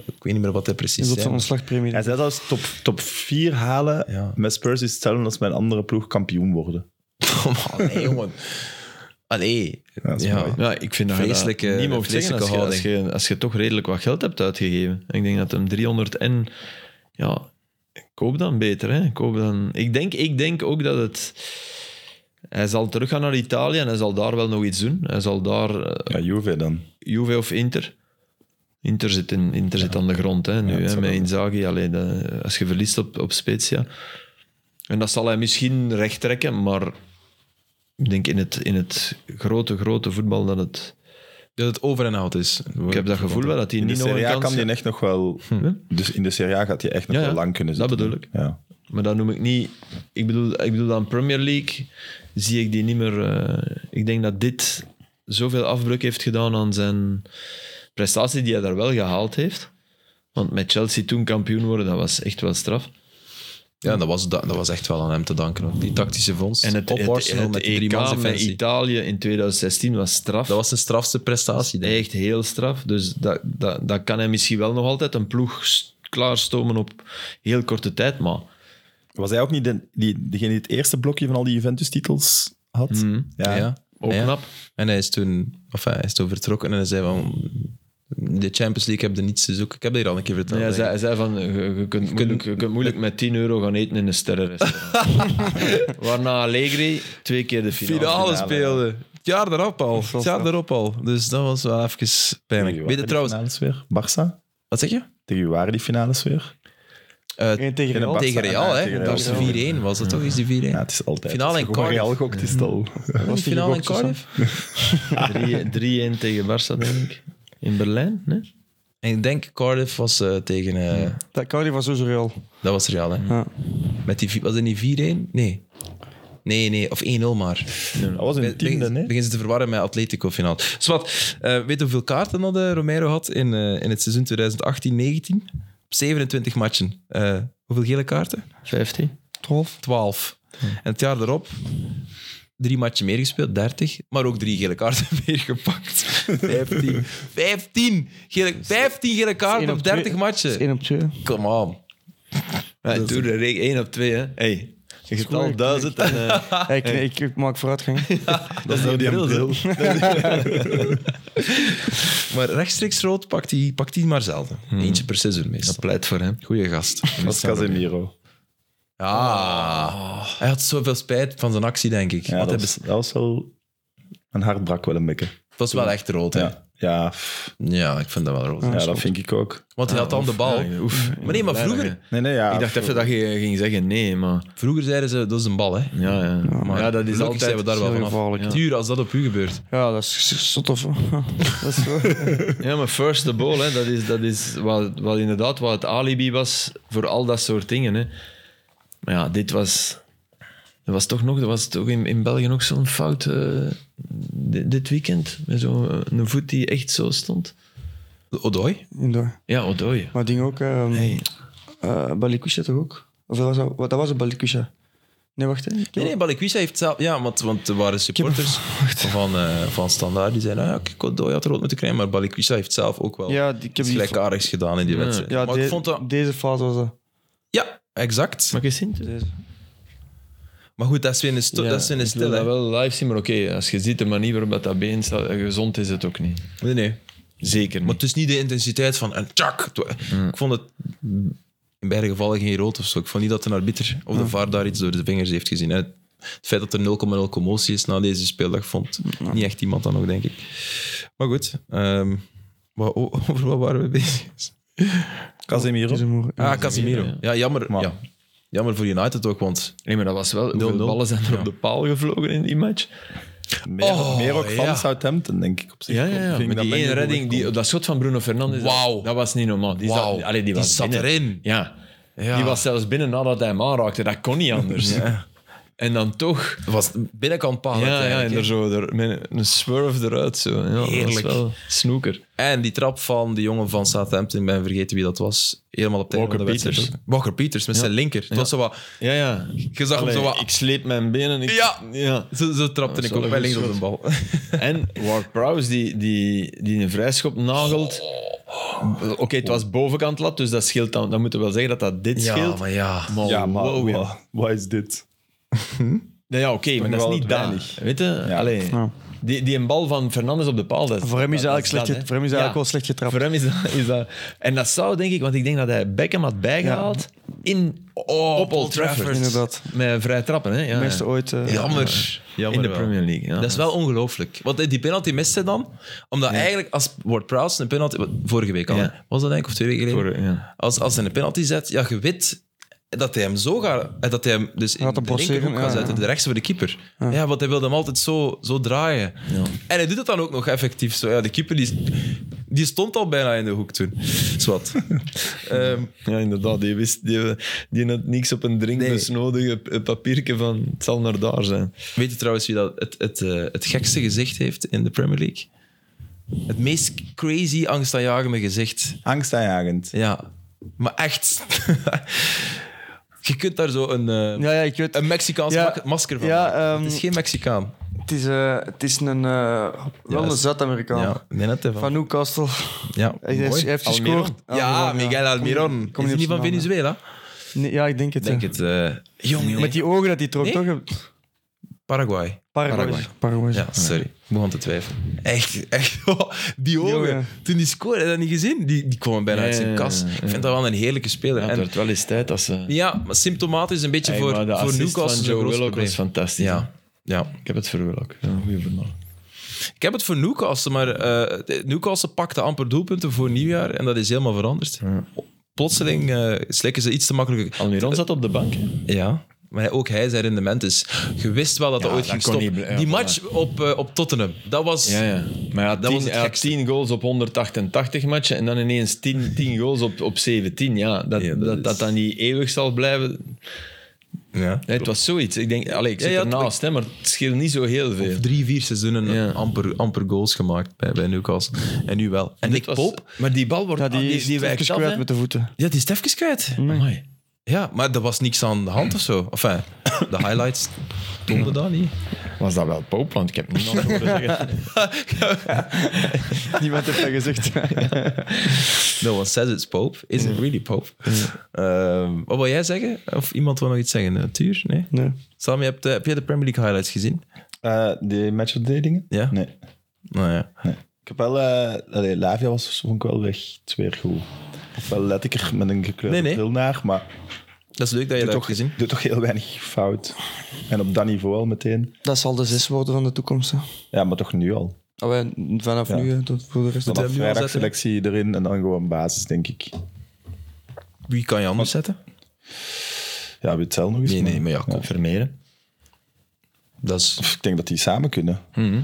A: ik weet niet meer wat hij precies
C: Is op zijn
A: zei.
C: ontslagpremie.
B: Hij zei zelfs top, top 4 halen
A: Ja.
B: met Spurs is hetzelfde als met een andere ploeg kampioen worden.
A: (laughs) Oh, nee, jongen. Allee.
B: dat is mooi.
D: Ja, ik vind dat je dat
A: Vreselijke-
D: niet mocht zeggen als je,
A: vreselijke
D: als, je, als je toch redelijk wat geld hebt uitgegeven. Ik denk dat hem 300 en... Ja, koop dan beter. Hè. Koop dan, ik, denk, ik denk ook dat het... Hij zal teruggaan naar Italië en hij zal daar wel nog iets doen. Hij zal daar eh,
B: Ja, Juve dan.
D: Juve of Inter. Inter zit, in, Inter zit aan de grond hè, nu,
B: dat
D: hè,
B: zal
D: met
B: wel.
D: Inzaghi. Allee, dat- als je verliest op, op Spezia. En dat zal hij misschien recht trekken, maar ik denk in het, in het grote, grote voetbal dat het...
A: Dat het over en out is.
D: Ik heb dat gevoel wel dat hij
B: In de
D: niet nog een
B: Serie A
D: kans
B: kan
D: heeft.
B: hij echt nog wel... Dus in de Serie A gaat hij echt nog
D: Ja, ja,
B: wel lang kunnen
D: dat
B: zitten.
D: bedoel ik.
B: Ja.
D: Maar dat noem ik niet... Ik bedoel, ik bedoel aan Premier League zie ik die niet meer... eh, ik denk dat dit zoveel afbreuk heeft gedaan aan zijn prestatie die hij daar wel gehaald heeft. Want met Chelsea toen kampioen worden, dat was echt wel straf.
A: Ja, dat was, dat, dat was echt wel aan hem te danken. hoor. Die tactische vondst.
D: En het,
A: op
D: het,
A: Arsenal
D: het
A: met die drie
D: EK
A: man
D: met
A: E defensie.
D: Italië in 2016 was straf.
A: Dat was zijn strafste prestatie, denk ik.
D: echt heel straf. Dus dat, dat, dat kan hij misschien wel nog altijd een ploeg s- klaarstomen op heel korte tijd. Maar
B: Was hij ook niet de, die, degene die het eerste blokje van al die Juventus-titels had?
A: Ja.
D: ook
A: Ah Ja.
D: knap.
A: En hij is toen, of hij is toen vertrokken en hij zei van... De Champions League heb je niets te zoeken. Ik heb dat hier al een keer verteld.
D: Ja, hij,
A: denk
D: zei,
A: ik.
D: hij zei van, je, je kunt moeilijk, je kunt moeilijk met 10 euro gaan eten in een sterrenrestaurant.
A: (laughs)
D: Waarna Allegri twee keer de finale.
A: finale
B: finale,
A: speelde. Het jaar erop al. Het
C: was
A: jaar
C: dat?
A: erop al. Dus dat was wel even pijnlijk. Weet je trouwens...
B: Finales weer? Barça?
A: Wat zeg je?
B: Tegen wie waren die finales weer?
A: Eh,
C: Eén
B: In
C: tegen
B: een
C: Real.
B: bak.
A: tegen Real,
B: Ja,
A: hè.
B: tegen
A: dat was
B: Real.
A: 4-1. Was dat toch? Is die 4-1?
B: Ja, het is altijd.
A: Finale
B: als je
A: in
B: gewoon
A: Cardiff.
B: Real gokt, is het al.
A: was
C: die
A: finale in
C: gegokt,
A: Cardiff?
D: 3-1 tegen Barça, denk ik. In Berlijn, nee?
A: En ik denk Cardiff was eh, tegen... eh,
C: Dat Cardiff was sowieso Real.
A: Dat was Real,
B: Mm.
A: hè.
C: Ja.
A: Met die, vi- was dat niet 4-1? Nee. Nee, nee, of 1-0 maar.
B: Dat was in de
A: Begin-
B: tiende, hè?
A: Begin ze te verwarren met Atletico finaal. Zwat, eh weet je hoeveel kaarten dat eh, Romero had in, eh, in het seizoen 2018-19? Op 27 matchen. Eh, hoeveel gele kaarten?
D: 15.
C: 12.
A: 12. En het jaar daarop drie matchen meer gespeeld, 30, maar ook drie gele kaarten (laughs) meer gepakt. 15. 15 gele, 15 gele kaarten
C: één
A: op
C: op twee.
A: 30
C: Dat is
A: matchen.
C: 1 op 2.
A: Come on.
D: Ja, toen de reek 1 op 2, hè. Hey. Je hebt al
C: correct.
D: duizend en... eh,
C: ik, ik, ik maak vooruitgang.
D: dat is die bril, hè.
A: Maar rechtstreeks rood pakt hij, pakt hij maar zelden. Eentje per seizoen meestal.
D: Pleit voor hem.
A: Goeie gast.
B: Dat is Casemiro.
A: Ah, hij had zoveel spijt van zijn actie, denk ik.
B: Ja,
A: Want hij
B: dat, was,
A: bes-
B: dat was wel... Mijn hart brak wel een beetje.
A: het was wel echt rood, hè? Ja,
B: Ja, ja, pff,
A: ik vind dat wel rood.
B: ja dat vind ik ook.
A: Want hij had dan de bal.
D: Ja, oef.
A: Maar nee, maar vroeger,
B: Nee, nee, ja.
D: Ik dacht even dat je ging zeggen nee, maar...
A: vroeger zeiden ze, dat is een bal, hè?
D: Ja, ja.
A: Maar
D: ja dat is
A: gelukkig
D: altijd...
A: zijn we daar wel
C: heel
A: vanaf.
C: gevaarlijk, ja.
A: Duur als dat op u gebeurt.
C: Ja, dat is zo tof. hè. (laughs) Dat is wel-
D: Ja, maar first the ball, hè, dat is, dat is wat, wat inderdaad wat het alibi was voor al dat soort dingen. Hè. Maar ja, dit was... Er was toch nog, er was toch in, in België nog zo'n fout eh, di- dit weekend. Met zo'n eh, een voet die echt zo stond.
A: Odoi?
C: Indoor.
D: Ja, Odoi.
C: Maar ding ook, ehm
D: Nee.
C: eh, Balikwisha toch ook? Of dat was, dat, wat- dat was een Balikwisha. Nee, wacht hè. Ik heb-
A: Nee, nee, Balikwisha heeft zelf... Ja, want, want er waren supporters van, eh, van Standaard die zeiden, ah, ja, kijk, Odoi had rood moeten krijgen, maar Balikwisha heeft zelf ook wel
C: Ja, die- ik heb
A: iets
C: die-
A: gelijkaardigs gedaan in die wedstrijd.
C: Ja,
A: oh. maar
C: de-
A: ik vond dat...
C: deze fase was dat.
A: Ja, exact.
D: Mag ik eens zien?
C: Deze.
A: Maar goed, dat is weer een, sto-
D: Ja,
A: dat is weer een
D: ik wil
A: stil,
D: dat
A: hè?
D: wel live zien, maar oké, als je ziet de manier waarop dat, dat been staat, eh, gezond is het ook niet.
A: Nee, nee.
D: Zeker
A: Maar
D: niet.
A: het is niet de intensiteit van een tjak. Het wa-
D: Mm.
A: Ik vond het
D: Mm.
A: in beide gevallen geen rood of zo. Ik vond niet dat een arbiter of de vaar daar iets door de vingers heeft gezien. En het het feit dat er 0,0 commotie is na deze speeldag vond
D: Mm.
A: niet echt iemand dan nog, denk ik. Maar goed, ehm, wa- o- (laughs) over wat waren we bezig?
B: Casemiro.
C: Casemiro.
A: Ah, Casemiro. Ja, jammer,
B: Maar-
A: ja. jammer voor United ook, want
D: Nee, maar dat was wel... Hoeveel
A: 0-0.
D: ballen zijn er op de paal gevlogen in die match?
B: Meer,
A: Oh,
B: meer ook van
A: ja.
B: Southampton, denk ik. Op zich.
D: Ja, ja, ja.
B: Ik vind
D: Maar
B: dat
D: die
B: men
D: ene
B: goed
D: redding, die,
B: komt.
D: dat schot van Bruno Fernandes, dat-
A: Wauw.
D: dat, was niet normaal. Die
A: Wauw.
D: zat, allee, die
A: Die
D: was
A: zat
D: binnen.
A: erin.
D: Ja.
A: Ja.
D: Die was zelfs binnen nadat hij hem aanraakte. Dat kon niet anders. En dan toch...
A: het was binnenkant paal.
D: Ja, ja,
A: uiteindelijk,
D: en
A: Oh, hè.
D: er zo, er, met een swerve eruit. Zo. Ja, Dat
A: Heerlijk.
D: was wel snoeker.
A: En die trap van de jongen van Southampton, ik ben vergeten wie dat was. Helemaal op tijd
D: Walker
A: van de wedstrijd.
D: Peters.
A: Walker Peters met zijn linker. Het was zo wat,
D: Ja, ja.
A: je zag
D: Allee,
A: hem zo wat.
D: Ik sleep mijn benen. Ik,
A: Ja.
D: ja.
A: zo, zo trapte
D: Dat
A: ik
D: is
A: ook
D: wel
A: bij
D: een
A: links op
D: goed
A: de
D: (laughs)
A: bal.
D: En Ward Prowse, die, die, die een vrijschop nagelt.
A: Oh.
D: Oké, het was bovenkant lat, dus dat scheelt dan. Dan moeten we wel zeggen dat dat dit scheelt.
A: maar ja.
B: Ja, maar
D: Oh, wow, ja.
B: wa- wat is dit?
D: Nou ja, oké, maar dat is
B: wel
D: niet
B: weinig.
D: daar. Weet je? Allee,
C: Ja.
D: die, die een bal van Fernandes op de paal. Dat is,
C: Voor hem is
D: dat- dat
C: eigenlijk,
D: is
C: slecht, get-
D: dat, hè.
C: voor hem is
D: Ah. Ja.
C: eigenlijk wel slecht getrapt.
D: Voor hem is dat, is dat... En dat zou, denk ik, want ik denk dat hij Beckham had bijgehaald in, Oh, op Old Trafford.
C: Inderdaad.
D: Met vrij trappen, hè? Ja,
C: Meeste
D: ja.
C: ooit. eh,
A: Jammer.
D: In de Premier League. Ja.
A: Dat is wel ongelooflijk. Want die penalty mist hij dan. Omdat eigenlijk als Ward Prowse een penalty... wat- Vorige week al,
D: Ja.
A: hè? was dat denk ik, of twee weken geleden.
D: Voor- ja.
A: Als, als hij een penalty zet, ja, je weet dat hij hem zo gaat... eh, Dat hij hem dus in
C: Gaat
A: de
C: hem passeren,
A: linkerhoek gaat
C: ja,
A: zetten,
C: ja.
A: de rechts voor de keeper. Ja. want hij wilde hem altijd zo, zo draaien. En hij doet het dan ook nog effectief. Zo, ja, de keeper die, die stond al bijna in de hoek toen.
C: (laughs)
A: Zwat. Ehm
D: Ja, inderdaad. Die, wist, die, die had niks op een drinkbus nodig. Een papiertje van het zal naar daar zijn.
A: Weet je trouwens wie dat het, het, eh, het gekste gezicht heeft in de Premier League? Het meest crazy, angstaanjagende gezicht.
B: Angstaanjagend.
A: Ja, maar echt. (laughs) je kunt daar zo een, eh,
C: Ja, ja, ik weet.
A: een Mexicaans
C: Ja.
A: mak- masker van
C: Ja,
A: maken.
C: ehm,
A: Het is geen Mexicaan.
C: Het is, eh, het is een, eh, wel
A: Ja,
C: een Zuid-Amerikaan.
A: Ja, nee, net even.
C: Van Newcastle. (laughs)
A: ja,
C: Hij heeft, hij
A: mooi.
C: heeft
D: Almiron.
C: gescoord.
A: Ja,
C: Almiron,
A: Miguel
C: Kom
A: Almiron.
C: niet-
A: Kom
C: kom
A: is
C: niet
A: die niet
C: op
A: van
C: zijn naam,
A: Venezuela?
C: hè. Nee, ja, ik denk het.
A: Denk
C: ja.
A: het. eh jong, jong.
C: Met die ogen dat hij trok,
A: Nee?
C: toch?
A: Paraguay.
C: Paraguay. Paraguay.
A: Ja, sorry. Ik begon te twijfelen. Echt, echt. (laughs) die ogen.
C: ogen.
A: Toen die scoorde, heb je dat niet gezien? Die, die kwamen bijna
D: Ja,
A: uit zijn
D: ja,
A: kas.
D: ja, ja.
A: Ik vind dat wel een heerlijke speler.
D: Ja,
A: Ja,
D: het
A: en,
D: werd wel eens tijd als ze...
A: ja maar symptomatisch een beetje
D: Hey,
A: voor,
D: maar de
A: voor
D: assist
A: Newcastle.
D: van
A: een
D: Joe
A: groot
D: Willock
A: probleem.
D: was fantastisch.
A: Ja. ja.
D: Ik heb het voor Willock. Ja, goeie verhaal.
A: Ik heb het voor Newcastle, maar eh Newcastle pakte amper doelpunten voor nieuwjaar en dat is helemaal veranderd. Plotseling eh slikken ze iets te makkelijk.
D: Almiron zat op de bank. hè.
A: Ja, maar hij- ook hij zijn rendement is. Je wist wel dat dat
D: Ja,
A: ooit
D: dat
A: ging
D: kon
A: stoppen.
D: niet bl- ja,
A: Die
D: voilà.
A: match op, eh, op Tottenham, dat was...
D: Ja, ja. Maar hij had,
A: Dat was
D: 10,
A: het
D: hij had
A: gekste.
D: 10 goals op 188 matchen en dan ineens 10, 10 goals op, op 17. Ja, dat
A: Ja, dat
D: dat, dat,
A: is-
D: dan niet eeuwig zal blijven.
A: Ja.
D: Nee, het was zoiets. Ik denk, allee, ik zit
A: Ja, ja,
D: ernaast, hè, maar het scheelt niet zo heel veel.
A: Of drie, vier seizoenen
D: Ja.
A: amper, amper goals gemaakt bij, bij Newcastle. En nu wel. En
D: Dit
A: Nick
D: was-
A: Pope,
D: Maar die bal wordt
C: Ja, die,
D: ah,
C: is die
D: wijkt af,
C: kwijt
D: hè.
C: met de voeten. (laughs)
A: ja, die is het even kwijt.
D: Amai.
A: Ja, maar er was niks aan de hand of zo. Enfin, de
D: (coughs)
A: highlights toonden dat niet.
D: Was dat wel Pope? Want ik heb (laughs) niemand horen zeggen.
C: Niemand heeft dat gezegd.
A: No one says it's Pope. Is it really Pope? Ehm, wat wil jij zeggen? Of iemand wil nog iets zeggen? Natuur? Nee?
C: Nee.
A: Sam, je hebt, eh, heb jij de Premier League highlights gezien?
B: Eh, die match of the dingen?
A: Ja?
B: Nee.
A: Nou ja.
B: nee. Ik heb wel... eh allee, Lavia was vond ik wel echt weer goed. Ofwel let ik er met een gekleurde
A: Nee, nee.
B: bril naar, maar
A: Dat is leuk dat je
B: doet
A: dat hebt
B: toch,
A: gezien.
B: doet toch heel weinig fout. En op dat niveau al meteen.
C: Dat zal de zes worden van de toekomst. hè.
B: Ja, maar toch nu al.
D: Ah,
C: Allee, vanaf
B: Ja.
C: nu eh, tot voor de rest.
A: Moet hij
B: Vanaf
A: hem nu al
B: vrijdag
A: zetten?
B: selectie erin en dan gewoon basis, denk ik.
A: Wie kan je anders zetten?
B: Ja, we tel nog eens.
A: Nee, nee, maar ja, kom.
D: Confirmeren.
A: Dat is...
B: Pff, Ik denk dat die samen kunnen.
D: Mhm.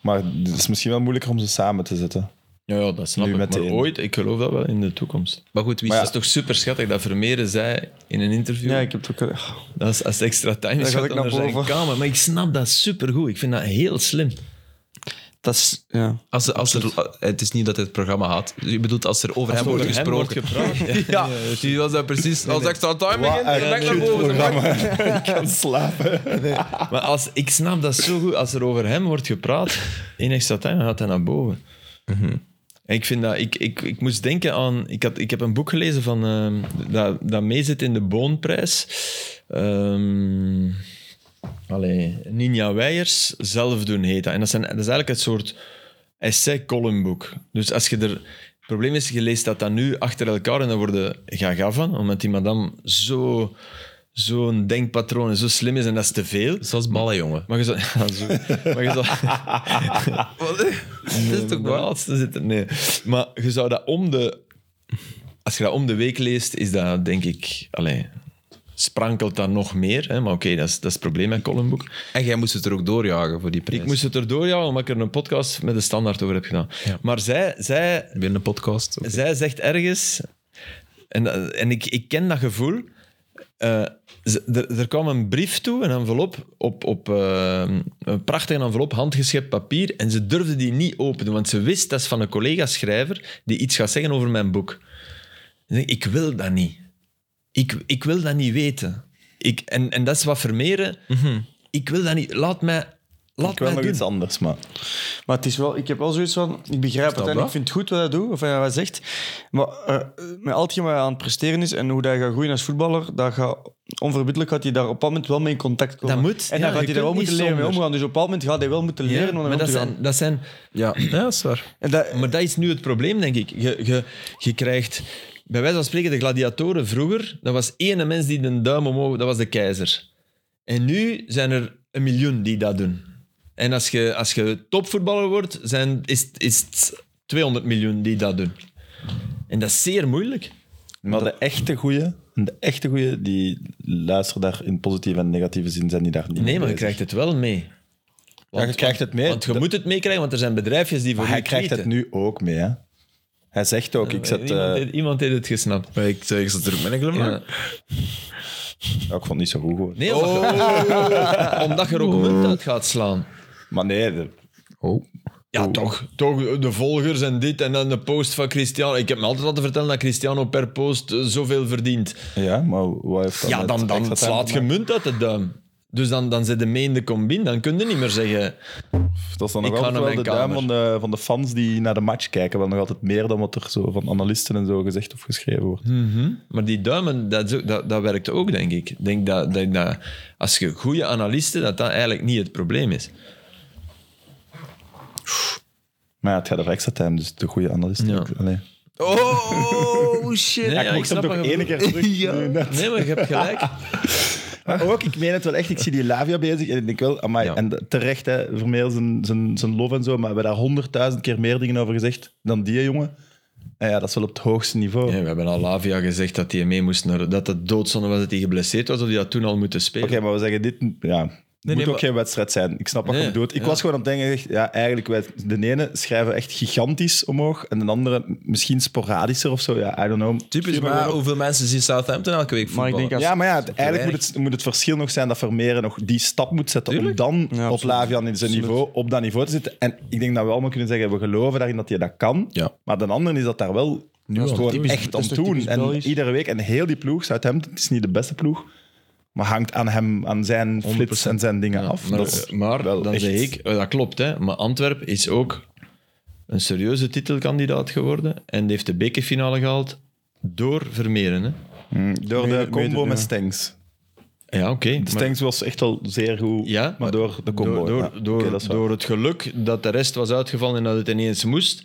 B: Maar het is misschien wel moeilijker om ze samen te zetten.
D: Ja, ja, dat snap
B: Nu
D: ik. Maar
B: meteen.
D: ooit, ik geloof dat wel in de toekomst.
A: Maar goed, wie
B: Maar ja,
D: Dat is toch super schattig dat Vermeeren zei in een interview.
C: Ja, ik heb het ook. eh,
D: Dat is, als het extra time is,
C: Dan ga
D: gaat
C: ik
D: dan naar
C: naar
D: zijn
C: boven.
D: kamer. Maar ik snap dat supergoed. Ik vind dat heel slim.
C: Dat is. Ja.
A: Als, als er, het is niet dat hij het programma haat. Je bedoelt als er over hem wordt
D: Over hem
A: gesproken. (laughs)
D: wordt gepraat.
A: ja, die was dat precies. Als extra time
D: Ah,
B: Wat
A: begint,
B: een
A: direct naar
B: cute
A: boven.
B: programma. (laughs) ik kan slapen.
D: Maar als, ik snap dat zo goed. Als er over hem wordt gepraat in extra time, dan gaat hij naar boven. En ik vind dat... Ik, ik, ik moest denken aan... Ik, had, ik heb een boek gelezen van, ehm, dat, dat meezit in de Boonprijs. Ehm allee, Ninja Weijers, Zelf doen heet dat. En dat, zijn, dat is eigenlijk het soort essay-columnboek. Dus als je er... Het probleem is, je leest dat dan nu achter elkaar en daar word je gaga van, omdat die madame zo, zo'n denkpatroon en zo slim is en dat is te veel.
A: Zoals ballen, jongen.
D: Maar je zou... (laughs) Ja, zo. Maar je zou... (laughs) Wat? dat is toch waar? Nee. Maar je zou dat om de... Als je dat om de week leest, is dat denk ik... Allee, sprankelt dat nog meer. Hè? Maar oké, dat, is, dat is het probleem met columnboek.
A: En jij moest het er ook doorjagen voor die prijs.
D: Ik moest het erdoor jagen, omdat ik er een podcast met de standaard over heb gedaan. Maar zij, zij,
A: Weer een podcast. Oké.
D: zij zegt ergens... En, en ik, ik ken dat gevoel. eh, ze- er, er kwam een brief toe, een envelop, op, op eh, een prachtige envelop, handgeschept papier. En ze durfde die niet openen, want ze wist dat is van een collega-schrijver die iets gaat zeggen over mijn boek. Ze zegt, Ik wil dat niet. Ik, ik wil dat niet weten. Ik, en, en dat is wat vermeren. Ik wil dat niet. Laat mij, laat
B: Mhm. Ik wil
D: mij
B: nog
D: doen.
B: iets anders, maar...
C: Maar het is wel, ik heb wel zoiets van, ik begrijp het en
A: dat?
C: ik vind het goed wat hij doet, of wat hij zegt. Maar eh, met al hetgeen wat hij aan het presteren is en hoe dat hij gaat groeien als voetballer, dat gaat, onverbiddelijk gaat hij daar op een moment wel mee in contact komen.
D: Dat moet, ja,
C: En dan
D: je
C: gaat hij
D: kunt
C: daar wel
D: niet
C: moeten leren mee
D: zonder.
C: omgaan. Dus op een bepaald moment gaat hij wel moeten leren
D: Ja,
C: om
D: maar
C: mee om
D: dat
C: te gaan.
D: zijn, dat zijn
A: Ja. ja, dat is waar.
C: En dat,
D: Maar dat is nu het probleem, denk ik. Je, je, je krijgt, bij wijze van spreken, de gladiatoren vroeger, dat was één mens die de duim omhoog, dat was de keizer. En nu zijn er een miljoen die dat doen. En als je, als je topvoetballer wordt, zijn, is, het- is het 200 miljoen die dat doen. En dat is zeer moeilijk.
B: Maar de echte goeie, de echte goeie, die luisteren daar in positieve en negatieve zin, zijn die daar niet
D: Nee, maar je
B: mee bezig.
D: krijgt het wel mee. Want,
B: je krijgt het mee.
D: Want je
B: Dat-
D: moet het meekrijgen, want er zijn bedrijfjes die voor
B: Maar
D: je
B: hij krijgt het
D: tweeten.
B: nu ook mee, hè. Hij zegt ook, ik zet...
D: Iemand,
B: eh,
D: heeft, iemand heeft het gesnapt.
A: Maar ik, ik zat er ook met een glimlach.
D: Ja.
B: ja, ik vond het niet zo goed, hoor.
D: Nee, omdat
B: Oh.
D: je- (laughs) omdat je er ook een munt uit gaat slaan.
B: Maar nee, de-
A: Oh.
D: Ja, toch. Toch, de volgers en dit en dan de post van Cristiano. Ik heb me altijd laten vertellen dat Cristiano per post eh, zoveel verdient.
B: ja, maar wat heeft dat
D: Ja,
B: met
D: dan,
B: extra
D: dan
B: time
D: slaat
B: te
D: je munt uit de duim. Dus dan, dan zit je mee in de combine. Dan kun je niet meer zeggen...
B: Dat is dan
D: Ik
B: nog
D: ga naar
B: altijd wel de
D: mijn
B: duim
D: kamer.
B: van de, van de fans die naar de match kijken. Wel nog altijd meer dan wat er zo van analisten en zo gezegd of geschreven wordt.
D: "Mhm." Maar die duimen, dat, is ook- dat, dat werkt ook, denk ik. Ik denk dat, dat, dat als je goede analisten, dat dat eigenlijk niet het probleem is.
B: Maar ja, het gaat over extra time, dus de goede analisten.
D: Ja.
B: ook. Allee.
A: Oh, shit.
D: Nee,
B: Ja, ik mocht hem
D: snap
B: toch
D: wat je
B: één keer
D: (laughs)
B: terug. nu net.
D: bedoelt. Nee, maar je hebt gelijk.
B: Maar ook, ik meen het wel echt, ik zie die Lavia bezig en ik denk wel, amai, en terecht, hè, Vermeer zijn, zijn, zijn lof en zo, maar we hebben daar honderdduizend keer meer dingen over gezegd dan die jongen. En ja, dat is wel op het hoogste niveau.
D: Ja, we hebben al Lavia gezegd dat hij mee moest naar... Dat het doodzonde was dat hij geblesseerd was, of die had toen al moeten spelen.
B: Oké, maar we zeggen dit, ja, het moet
A: nee,
B: ook
A: maar-
B: geen wedstrijd zijn. Ik snap wat
D: Nee,
B: je bedoelt. Ik
D: ja.
B: was gewoon aan het denken, echt, ja, eigenlijk, wij, de ene schrijven echt gigantisch omhoog en de andere misschien sporadischer of zo. Ja, I don't know.
A: Typisch,
B: Stuur
A: maar
B: gewoon op.
A: hoeveel mensen zien Southampton elke week
C: Maar ik
A: voetballen?
C: denk als-
B: Ja, maar ja, het-
A: Te
B: eigenlijk
A: weinig.
B: moet het, moet het verschil nog zijn dat Vermeer nog die stap moet zetten
A: Tuurlijk.
B: om dan
C: Ja,
B: op
C: absoluut.
B: Lavian in zijn niveau, op dat niveau te zitten. En ik denk dat we allemaal kunnen zeggen, we geloven daarin dat hij dat kan.
A: Ja.
B: Maar de anderen is dat daar wel
A: is
B: gewoon
A: typisch-
B: echt
C: dat
B: aan
C: is toch
B: doen.
C: typisch
B: En
C: Belgisch?
B: iedere week, en heel die ploeg, Southampton, het is niet de beste ploeg, maar hangt aan hem, aan zijn flits en zijn dingen af.
D: Maar, eh,
B: Dat is
D: maar
B: wel
D: dan
B: echt-
D: zeg ik, eh, dat klopt, hè, maar Antwerpen is ook een serieuze titelkandidaat geworden en heeft de bekerfinale gehaald door Vermeeren. Hè.
B: Door de
C: ik weet
B: combo
C: het,
B: met
C: ja.
B: Stengs.
D: Ah Ja, oké. maar-
B: Stengs was echt al zeer goed,
D: Ja,
B: maar door de combo.
D: Door, door,
B: ja.
D: door,
B: Oké, dat is waar.
D: door het geluk dat de rest was uitgevallen en dat het ineens moest.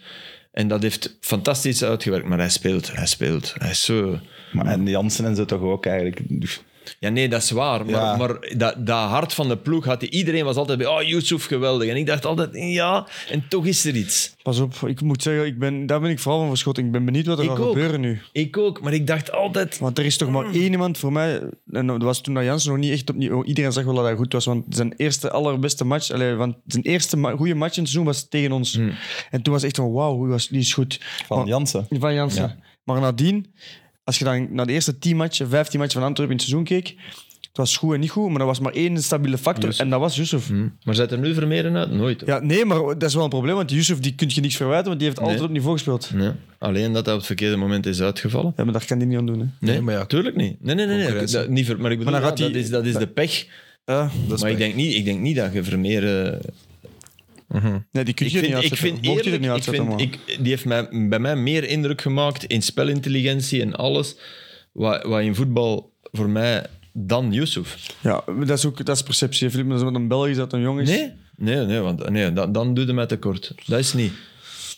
D: En dat heeft fantastisch uitgewerkt, maar hij speelt, hij speelt. Hij is zo...
B: Maar, en Jansen en zo toch ook eigenlijk. Dus-
D: Ja, nee, dat is waar. Maar,
B: Ja.
D: maar dat, dat hart van de ploeg had hij. Iedereen was altijd bij, oh, Yusuf, geweldig. En ik dacht altijd, ja, en toch is er iets.
C: pas op, ik moet zeggen, ik ben, daar ben ik vooral van verschoten. Ik ben benieuwd wat er
D: Ik
C: gaat
D: ook.
C: gebeuren nu.
D: Ik ook, maar ik dacht altijd,
C: Want er is toch maar één iemand voor mij, en dat was toen dat Jansen nog niet echt opnieuw... oh, Iedereen zag wel dat hij goed was, want zijn eerste allerbeste match... Allee, want zijn eerste ma- goede match in het seizoen was tegen ons.
D: Hmm.
C: En toen was het echt van, wauw, hoe was- die is goed.
B: Van
C: Maar-
B: Jansen.
C: Van Jansen.
B: Ja.
C: Maar nadien, als je dan naar de eerste 10 matchen, 15 matchen van Antwerpen in het seizoen keek, het was goed en niet goed, maar er was maar één stabiele factor en dat was Yusuf.
D: Maar zet er nu Vermeeren uit? Nooit. hoor.
C: Ja, nee, maar dat is wel een probleem, want Yusuf die kun je niks verwijten, want die heeft altijd op niveau gespeeld.
D: Nee. Hmm. Alleen dat hij op het verkeerde moment is uitgevallen.
C: Ja, maar daar kan die niet aan doen. Hè.
D: Nee,
A: Nee, maar ja.
D: tuurlijk niet. Nee, nee, nee. nee.
A: Concurrentie.
D: Dat, niet ver, maar ik bedoel,
C: Maar dan
D: ja,
C: gaat
D: dat,
C: die-
D: is, dat is de pech.
C: Ja.
A: Dat is
D: maar ik
A: pech.
D: denk, niet, ik denk niet dat je Vermeeren...
C: Nee, die kun
D: Ik
C: je er
D: vind, ik
C: niet uitzetten.
D: vind
C: Mocht je
D: eerlijk,
C: er niet
D: ik
C: uitzetten,
D: vind,
C: man.
D: ik, die heeft mij, bij mij meer indruk gemaakt in spelintelligentie en alles, wat, wat in voetbal voor mij dan Yusuf.
C: Ja, maar dat is ook dat is perceptie. hè, Filip, dat is met een Belgisch dat een jong is.
D: Nee, nee, nee, want, nee dan, dan doe je mij tekort. Dat is niet.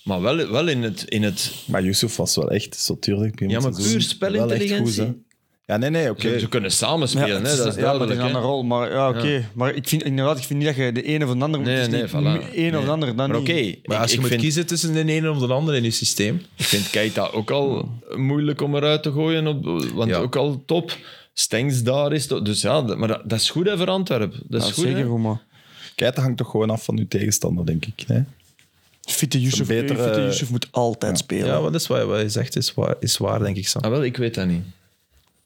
D: Maar wel, wel in, het, in het
B: Maar Yusuf was wel echt, zo tuurlijk. begin
D: Ja,
B: van
D: maar
B: het seizoen,
D: puur spelintelligentie.
B: wel echt goed, Ja, nee, nee, oké.
D: Ze, ze kunnen samen spelen,
C: het
D: hè, dat is
C: ja, maar het
D: duidelijk.
C: is een
D: hè.
C: andere rol. Maar ja, oké. Maar ik vind, inderdaad, ik vind niet dat je de ene of de andere
D: Nee,
C: moet
D: nee,
C: niet
D: voilà.
C: Een of de andere, dan
D: Maar
C: niet.
D: oké,
A: Maar
D: ik,
A: als je
D: ik
A: moet
D: vind,
A: kiezen tussen de ene of de andere in je systeem.
D: ik vind Keita ook al moeilijk om eruit te gooien, op, want
A: Ja.
D: ook al top. Stengs daar is, to- dus ja, dat- maar dat, dat is goed hè, voor Antwerpen. Dat is
C: Ja,
D: goed,
C: zeker
D: hè.
C: goed, maar...
B: Kijk, dat hangt toch gewoon af van uw tegenstander, denk ik. Hè?
C: Fitte Yusuf,
B: Een betere-
C: Fitte Yusuf moet altijd spelen.
A: Ja, want dat is wat, wat je zegt, is waar, is waar denk ik, Sam.
D: Ah, wel, ik weet dat niet.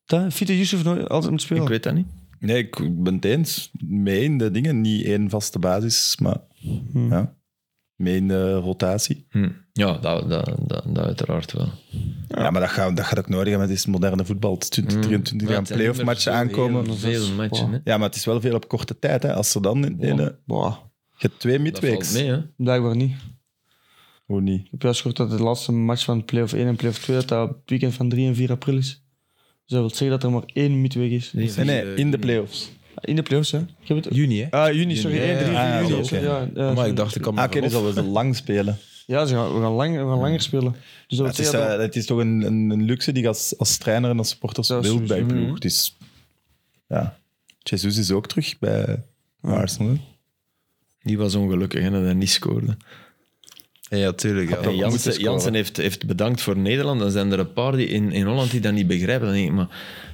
C: Dat, Fitte Yusuf nooit- altijd moet
B: Oh.
C: spelen.
D: Ik weet dat niet.
B: Nee, ik ben het eens. Mee in de dingen. Niet één vaste basis, maar ja. mee in de rotatie.
D: Hm. Ja, dat, dat, dat, dat uiteraard wel.
B: Ja, maar dat gaat, dat gaat ook nodig hebben met dit moderne voetbal. Het is 2023 gaan playoff matchen aankomen.
D: Heel veel matchen, hè.
B: Ja, maar het is wel veel op korte tijd. Hè. Als ze dan in, in, eh,
C: Bah,
B: je hebt twee
D: Dat valt
B: midweeks.
D: mee, hè.
C: blijkbaar niet.
B: Hoe niet?
C: Ik heb juist gehoord dat de laatste match van play-off 1 en play-off 2 dat dat het weekend van 3 en 4 april is. Dus dat wil zeggen dat er maar één midweek is.
B: Nee, nee, in de playoffs.
C: In de play-offs, hè? Ik heb het...
A: Juni, hè?
C: Ah, juni, sorry.
A: Juni,
C: 1, 3,
A: ja,
B: ja,
C: 4 juni.
B: oké.
C: sorry, Ja, ja,
D: Oh
A: maar
C: sorry.
A: ik dacht, ik kan
B: Ah,
A: me
B: oké, dus dat we ze lang spelen.
C: Ja, ze gaan, we, gaan lang, we gaan langer spelen. Dus dat wil
B: Het is,
C: zeggen dat...
B: eh, het is toch een, een, een luxe die je als, als trainer en als supporters
C: Dat is
B: wilt bij je
C: sowieso. mm.
B: ploeg. Het is- ja. Jesus is ook terug bij Arsenal. hè.
D: Die was ongelukkig hè, dat hij niet scoorde.
A: Ja, tuurlijk. Ja.
D: En
B: moeten
D: Jansen,
B: scoren.
D: Jansen heeft, heeft bedankt voor Nederland. Dan zijn er een paar die in, in Holland die dat niet begrijpen. Dan denk ik, maar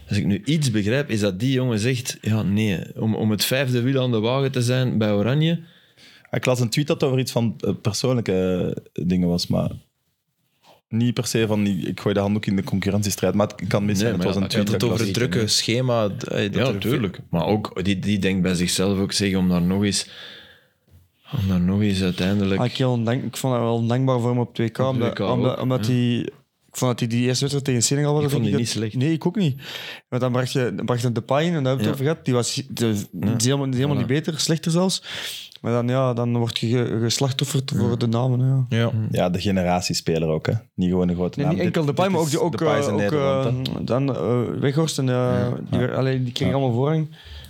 D: als ik nu iets begrijp, is dat die jongen zegt... Ja, nee, om, om het vijfde wiel aan de wagen te zijn bij Oranje...
B: Ah, Ik las een tweet dat over iets van eh, persoonlijke eh, dingen was, maar niet per se van die- ik gooi de handdoek in de concurrentiestrijd. Maar het kan mis zijn.
D: Nee,
B: het
D: maar
B: was een
D: ja,
A: Je had
B: tweet
A: het
B: dat ik
A: over het
B: las.
A: drukke schema. d- eh, dat er-
D: Maar ook, die, die denkt bij zichzelf ook, zeg, om daar nog eens... Om daar nog eens uiteindelijk...
C: Ah, ik, heel ondank, ik vond dat wel ondankbaar voor hem op 2K. omdat,
D: 2K
C: omdat,
D: ook,
C: omdat hij... Ik vond dat hij die eerste wedstrijd tegen Senegal was.
D: Ik vond
C: denk
D: die
C: dat-
D: niet slecht.
C: Nee, ik ook niet. Want dan bracht je dan bracht je Depay in, en daar hebben we het over gehad. Die was de, die is helemaal, die is helemaal niet beter, slechter zelfs. Maar dan, ja, dan word je ge- geslachtofferd voor de namen. Ja.
A: Ja. Ah,
B: Ja, de generatiespeler ook. Hè. Niet gewoon een grote
C: Nee,
B: naam.
C: niet enkel Depay, maar ook, die, ook, eh, ook eh, dan eh, Weghorst en eh, die, weer- allee, die kreeg allemaal voorrang.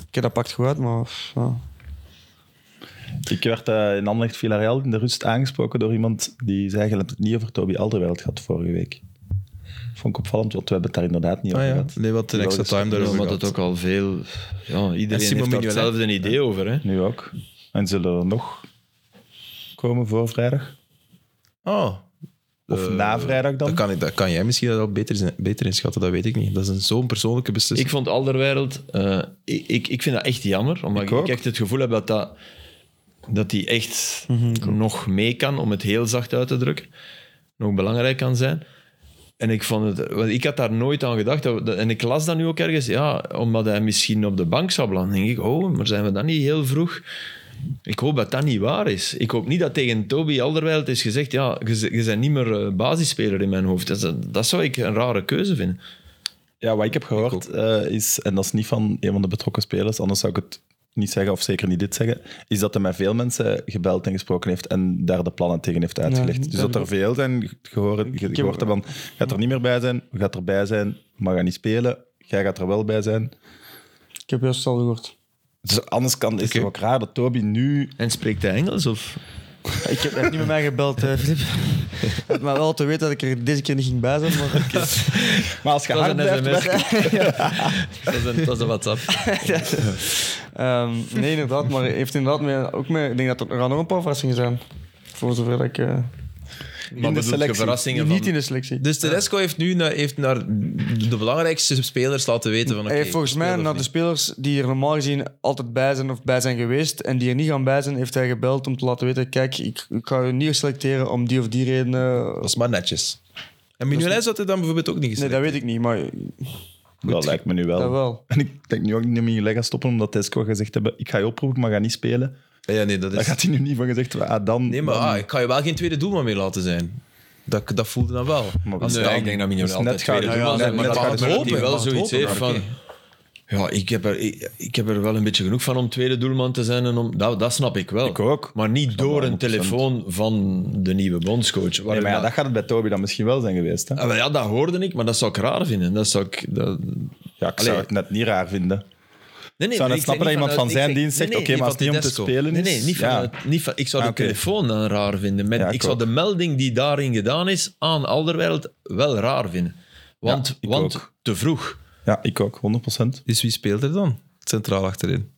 C: Oké, dat pakt goed uit, maar... pff, ja.
B: Ik werd eh, in Anderlecht Villarreal in de rust aangesproken door iemand die zei, je hebt het niet over Toby Alderweireld gehad vorige week. Vond ik opvallend, want we hebben het daar inderdaad niet
A: Ah,
B: over
A: ja.
B: gehad.
A: Nee, wat de
B: Ja,
A: extra
B: dat is-
A: time
D: Ja,
A: daarover
D: omdat
A: gehad.
D: het ook al veel... Ja,
A: Simon
D: iedereen heeft daar
A: Mignolet.
D: hetzelfde idee over, hè.
B: Nu ook. En zullen er nog komen voor vrijdag?
A: Oh,
B: Of
A: Eh,
B: na vrijdag dan?
A: dat kan, ik, dat kan jij misschien al beter, in- beter inschatten, dat weet ik niet. Dat is een, zo'n persoonlijke beslissing.
D: Ik vond Alderwereld, eh ik, ik, ik vind dat echt jammer, omdat
B: Ik
D: ik,
B: ook.
D: echt het gevoel heb dat dat, dat die echt
B: Mhm,
D: nog mee kan, om het heel zacht uit te drukken, nog belangrijk kan zijn. En ik vond het, want ik had daar nooit aan gedacht, dat we- dat- en ik las dat nu ook ergens, ja, omdat hij misschien op de bank zou belanden. Dan denk ik, oh, maar zijn we dan niet heel vroeg? Ik hoop dat dat niet waar is. Ik hoop niet dat tegen Toby Alderwijld is gezegd, ja, je, z- je bent niet meer eh, basisspeler in mijn hoofd. Dat, is- dat zou ik een rare keuze vinden.
B: Ja, wat ik heb gehoord eh, is, en dat is niet van een van de betrokken spelers, anders zou ik het niet zeggen of zeker niet dit zeggen, is dat hij met veel mensen gebeld en gesproken heeft en daar de plannen tegen heeft uitgelegd.
C: Ja,
B: dus
C: dat
B: dat er veel zijn gehoord, ge-
C: heb-
B: gehoord hebben van, gaat er niet meer bij zijn, gaat erbij zijn, maar gaat niet spelen, jij gaat er wel bij zijn.
C: Ik heb juist al gehoord.
B: Dus anders kan, is het
A: Oké.
B: ook raar dat Toby nu...
D: En spreekt hij Engels? Of?
C: Ik heb, hij heeft niet met mij gebeld, hè, Filip. Had maar wel te weten dat ik er deze keer niet ging bij zijn. Maar...
B: Maar als je hard blijft werken-
D: (laughs) dat is een, WhatsApp.
C: (laughs) Ehm, nee, inderdaad. Maar hij heeft inderdaad mee, ook mee... Ik denk dat er er gaan nog een paar verrassingen zijn. Voor zover dat ik... eh,
D: Maar bedoel je
B: selectie.
D: verrassingen
C: niet
D: van...
C: in de selectie.
A: Dus Tedesco heeft nu na- heeft naar de belangrijkste spelers laten weten van... oké,
C: hij heeft volgens mij
A: speel of
C: naar de
A: niet.
C: spelers die er normaal gezien altijd bij zijn of bij zijn geweest en die er niet gaan bij zijn, heeft hij gebeld om te laten weten, kijk, ik, ik ga je niet selecteren om die of die redenen.
A: Dat is maar netjes. Dus- En Mignolet zou het dan bijvoorbeeld ook niet
C: Nee,
A: gezegd
C: dat weet ik niet, maar
B: Dat lijkt me nu wel.
C: dat wel.
B: En ik denk nu ook niet meer in leg gaan stoppen, omdat Tesco gezegd hebben, ik ga je oproepen, maar ga niet spelen.
A: Ja, nee, dat
B: Daar
A: is...
B: gaat hij nu niet van gezegd, ah, dan...
A: Nee, maar ah, ik ga je wel geen tweede doelman meer laten zijn. Dat, dat voelde dan wel.
B: Maar
A: Als-
B: dan-
D: Nee, ik denk dat Mignolet
B: dus
D: altijd
B: net gaat-
D: tweede
B: ja,
D: doelman
B: net-
D: zijn, maar
B: net
D: dat
B: gaat
A: het
B: het
A: hopen,
D: hij wel
A: mag het
D: zoiets
A: hopen,
D: heeft
A: maar
D: van... Ja, ik heb, er, ik, ik heb er wel een beetje genoeg van om tweede doelman te zijn. En om, dat, dat snap ik wel.
B: Ik ook.
D: Maar niet door een
B: 100%.
D: telefoon van de nieuwe bondscoach.
B: Nee,
D: waarin
B: maar ja,
D: dat-
B: dat gaat het bij Toby dan misschien wel zijn geweest. Hè?
D: Ah, wel ja, dat hoorde ik, maar dat zou ik raar vinden. Dat zou ik... dat-
B: Ja, ik zou
D: Allee.
B: het net niet raar vinden.
D: Nee, nee,
B: zou
D: maar
B: net
D: ik
B: snappen
D: zeg
B: dat
D: niet
B: iemand van
D: ik
B: zijn
D: zeg-
B: dienst zegt,
D: nee, nee,
B: oké, maar als
A: van
B: die om te
A: Tedesco.
B: spelen is...
D: Nee, nee, niet van,
B: ja.
D: het- niet van, ik zou
B: Ah,
D: de
B: oké.
D: telefoon dan raar vinden. Met,
B: Ja, ik
D: ik zou
B: ook.
D: de melding die daarin gedaan is aan Alderwijld wel raar vinden. Want,
B: ik
D: want
B: ook.
D: te vroeg.
B: Ja, ik ook, 100%.
A: Dus wie speelt er dan centraal achterin?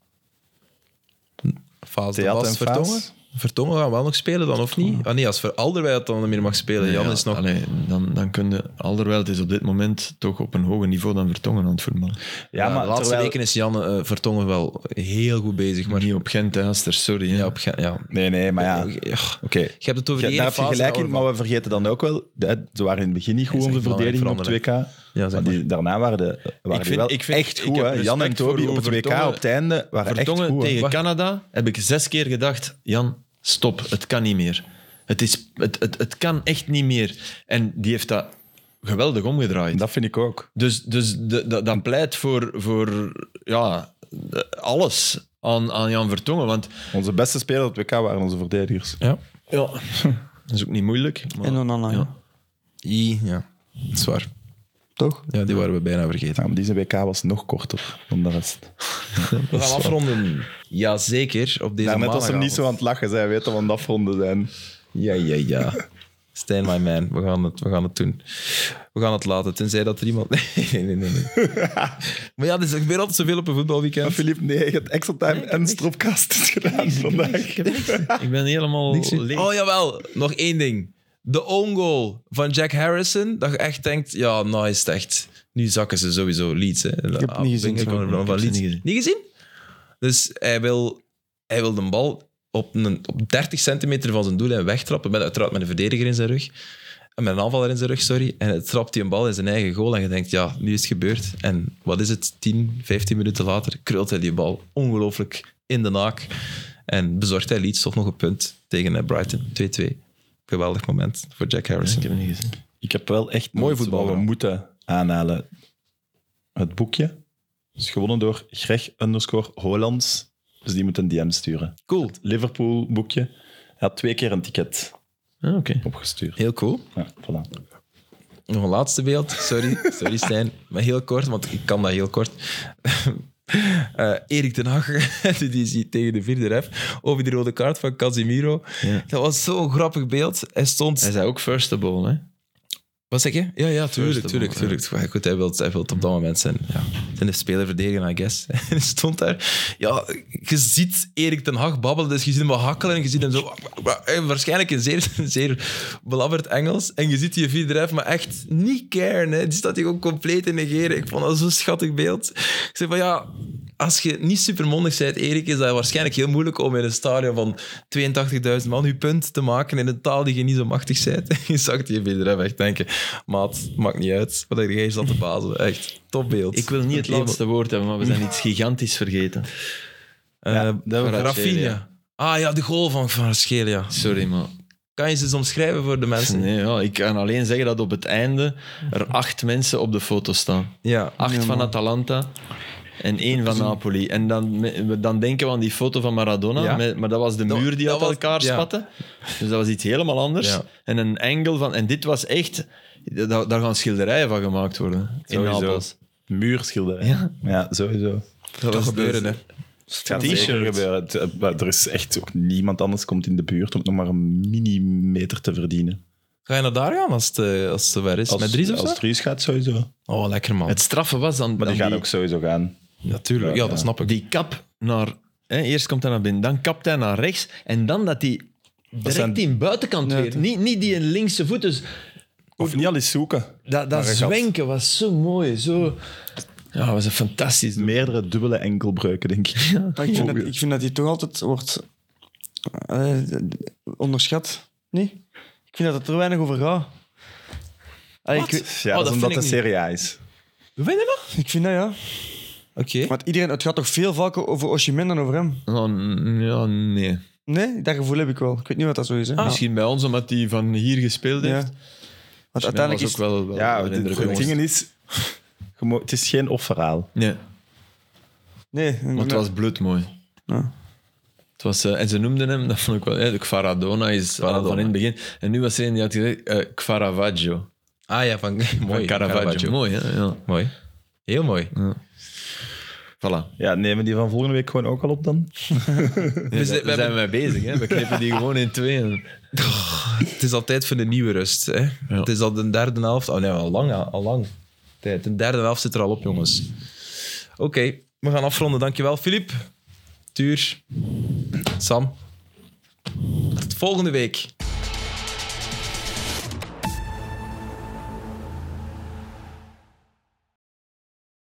A: Faas de
B: Theat
A: Bast,
B: en Faes.
A: Vertongen? Vertongen gaan wel nog spelen dan, of niet? Ah nee, als Ver- Alderwijld dan niet meer mag spelen. Jan
D: Ja,
A: is nog...
D: allee, dan, dan kun je... Alderwijld is op dit moment toch op een hoger niveau dan Vertongen aan het voetballen.
B: Ja, maar
A: de laatste
B: terwijl-
A: weken is Jan eh, Vertongen wel heel goed bezig. Maar
D: Niet op Gent, hè, Aster, sorry. hè.
A: ja, op, Gen- ja.
B: Nee, nee, maar ja. Oké.
A: Je hebt het over
B: Ja,
A: die ene
B: daar heb je
A: fase.
B: gelijk in,
A: daarover.
B: maar we vergeten dan ook wel, de- ze waren in het begin niet goed
A: zeg
B: om de
A: maar,
B: verdediging op het
A: veranderen.
B: 2K.
A: zeg
B: maar die, daarna waren, de, waren die
D: vind-
B: wel
D: ik vind-
B: echt
D: ik
B: goed.
D: heb
B: hè. Jan en
D: respect voor
B: Toby
D: hoe
B: op het 2K
D: Vertongen-
B: op het einde waren echt
D: Vertongen
B: goed. hè.
D: tegen
B: Wacht.
D: Canada heb ik zes keer gedacht, Jan, stop, het kan niet meer. Het, is, het, het, het kan echt niet meer. En die heeft dat geweldig omgedraaid.
B: Dat vind ik ook.
D: Dus, dus de, de- dat pleit voor, voor ja, de- alles aan, aan Jan Vertongen. Want
B: Onze beste spelers op het 2K waren onze verdedigers.
A: Ja.
D: ja, dat is ook niet moeilijk. Maar,
C: En Onana,
D: ja.
C: ja.
A: I, ja, dat is waar.
C: toch?
A: Ja, die waren we bijna vergeten.
B: Nou, maar deze WK was nog korter dan de rest.
A: We gaan afronden. Jazeker, op deze
B: Daarnet was hem niet zo aan
A: maandagavond.
B: het lachen. Zij weten van dat afronden zijn.
A: Ja, ja, ja. Stijn, my man. We gaan, het, we gaan het doen. We gaan het laten, tenzij dat er iemand... (laughs) Nee, nee, nee. nee, nee. maar ja, dus er is er gebeurt altijd zoveel op een
B: En
A: voetbalweekend.
B: Filip, nee, je hebt extra time en stropkast gedaan vandaag.
D: Ik ben helemaal leeg.
A: Oh, jawel. Nog één ding. De own goal van Jack Harrison. Dat je echt denkt, ja, nice, echt. Nu zakken ze sowieso Leeds. Hè. Ah, Ik
C: heb het niet gezien, sorry.
A: Van,
D: Ik
A: van
D: heb ze
A: Leeds.
D: niet gezien.
A: Niet gezien? Dus hij wil, hij wil de bal op, een, op 30 centimeter van zijn doel en wegtrappen. Met, uiteraard met een verdediger in zijn rug. En Met een aanvaller in zijn rug, sorry. En hij trapt die een bal in zijn eigen goal. En je denkt, ja, nu is het gebeurd. En wat is het? 10, 15 minuten later krult hij die bal ongelooflijk in de naak. En bezorgt hij Leeds toch nog een punt tegen eh, Brighton. 2-2. Geweldig moment voor Jack Harrison.
D: Ik heb het niet gezien.
B: Ik heb wel echt
A: Mooi
B: iets
A: voetbal,
B: wat we
A: ja.
B: moeten aanhalen. Het boekje is gewonnen door Greg underscore Hollands. Dus die moet een DM sturen.
A: Cool.
B: Liverpool boekje. Hij had twee keer een ticket
D: Ah, Oké.
B: opgestuurd.
A: Heel cool.
B: Ja, voilà.
A: Nog een laatste beeld. Sorry, sorry Stijn. Maar heel kort, want ik kan dat heel kort. (laughs) Eh, Erik ten Hag, (laughs) die- die ziet tegen de vierde ref, over die rode kaart van Casimiro.
D: Ja.
A: Dat was zo'n grappig beeld. Hij stond...
D: Hij zei ook first of all, hè?
A: Wat zeg je? Ja, ja,
D: First of
A: tuurlijk,
D: all,
A: tuurlijk,
D: ja. Mm.
A: tuurlijk. Maar goed, hij wil hij wilt op dat moment zijn, ja, zijn speler verdedigen, I guess. (laughs) En hij stond daar. Ja, je ziet Erik ten Hag babbelen, dus je ziet hem wat hakkelen en je ziet hem zo... en eh, Waarschijnlijk in zeer, (laughs) zeer belabberd Engels. En je ziet die vier drijf, maar echt niet caren. Hè. Die staat hier ook compleet in negeren. Ik vond dat zo'n schattig beeld. Ik zei van, ja, als je niet supermondig bent, Erik, is dat waarschijnlijk heel moeilijk om in een stadion van 82.000 man je punt te maken in een taal die je niet zo machtig bent. (laughs) je zag die verder echt denken, maat, maakt niet uit. Wat heb jij zat te bazen? Echt, topbeeld.
D: Ik wil niet het
A: Emo-
D: laatste woord hebben, maar we zijn iets gigantisch vergeten.
A: Eh,
B: dat
A: Kvaratskhelia.
D: Kvaratskhelia.
A: Ah ja, de goal van Kvaratskhelia.
D: Sorry, maar
A: Kan je ze eens omschrijven voor de mensen?
D: Nee, ja, ik kan alleen zeggen dat op het einde er acht mensen op de foto staan.
A: Ja.
D: Acht van Atalanta en één van Napoli. En dan, me- dan denken we aan die foto van Maradona,
A: Ja.
D: met- maar dat was de
A: Dat-
D: muur die
A: dat
D: uit
A: was-
D: elkaar
A: ja.
D: spatte. Dus dat was iets helemaal anders.
A: Ja.
D: En een engel van... En dit was echt... da- Daar gaan schilderijen van gemaakt worden. In
B: Sowieso.
D: Napels.
B: Muurschilderij.
D: Ja.
B: Ja, sowieso.
A: Dat
D: was
A: was gebeuren, hè.
B: Het gaat zeker gebeuren. Het, eh, maar Er is echt ook niemand anders komt in de buurt om nog maar een millimeter te verdienen.
A: Ga je naar daar gaan als het, eh, als het zover is?
B: Als,
A: Met Dries of
B: Als
A: zo?
B: Dries gaat, sowieso.
A: Oh, lekker man.
D: Het straffe was dan...
B: Maar die
D: dan
B: gaan ook sowieso gaan.
A: Natuurlijk, ja, dat snap ik.
D: die kap naar... Hè, eerst komt hij naar binnen, dan kapt hij naar rechts. En dan dat hij direct
B: zijn-
D: die in buitenkant
C: Ja.
D: weer. Niet, niet die in linkse voet. Dus
B: Of niet al eens zoeken.
D: dat, dat
B: Maar je gaat-
D: zwenken was zo mooi. Zo... Ja, was een fantastisch
B: Meerdere dubbele enkelbreuken, denk ik.
C: Maar ik vind, dat,
B: Oei.
C: ik vind dat die toch altijd wordt eh, onderschat. Nee? Ik vind dat het er weinig over gaat. Allee, ik, weet-
B: Ja,
A: Oh, dat
B: dat is omdat
A: vind
B: het
A: ik
B: Serie A is.
A: Hoe vind je dat?
C: ik vind dat ja.
A: Oké.
C: Want iedereen, het gaat toch veel vaker over Oshimen dan over hem?
D: Oh, n- ja, nee.
C: Nee, dat gevoel heb ik wel. Ik weet niet wat dat zo is. Hè.
A: Ah.
D: Misschien bij ons, omdat hij van hier gespeeld
C: Ja.
D: heeft.
C: Want
D: Dat
C: Dus uiteindelijk
D: was
C: is
D: ook wel, wel
B: Ja,
D: Oh, een
B: het,
D: indruk,
B: het
D: jongens.
B: ding is... je mo- Het is geen of-verhaal.
D: Nee,
C: Nee,
D: maar het was bloedmooi.
C: Ja.
D: Het was, eh, en ze noemden hem, (laughs) dat vond ik wel... Eh, Kvaradona is al
A: Kvaradona.
D: van in het begin. En nu was er een die had gezegd, eh Kvaravaggio.
A: Ah ja, van, (laughs)
D: Mooi,
A: mooi.
D: Caravaggio.
A: Caravaggio.
D: Mooi, hè? Ja.
A: Mooi. Heel mooi.
D: Voilà.
B: Ja, nemen die van volgende week gewoon ook al op dan?
A: We
D: we
A: zijn- Dus we
D: zijn
A: hebben-
D: mee bezig, hè? We knippen die gewoon in tweeën.
A: Het is altijd voor de nieuwe rust. Hè? Het is al de derde helft. Oh nee, al lang. Al lang. tijd. De derde helft zit er al op, jongens. Oké, we gaan afronden. Dankjewel, Filip. Tuur. Sam. Tot volgende week.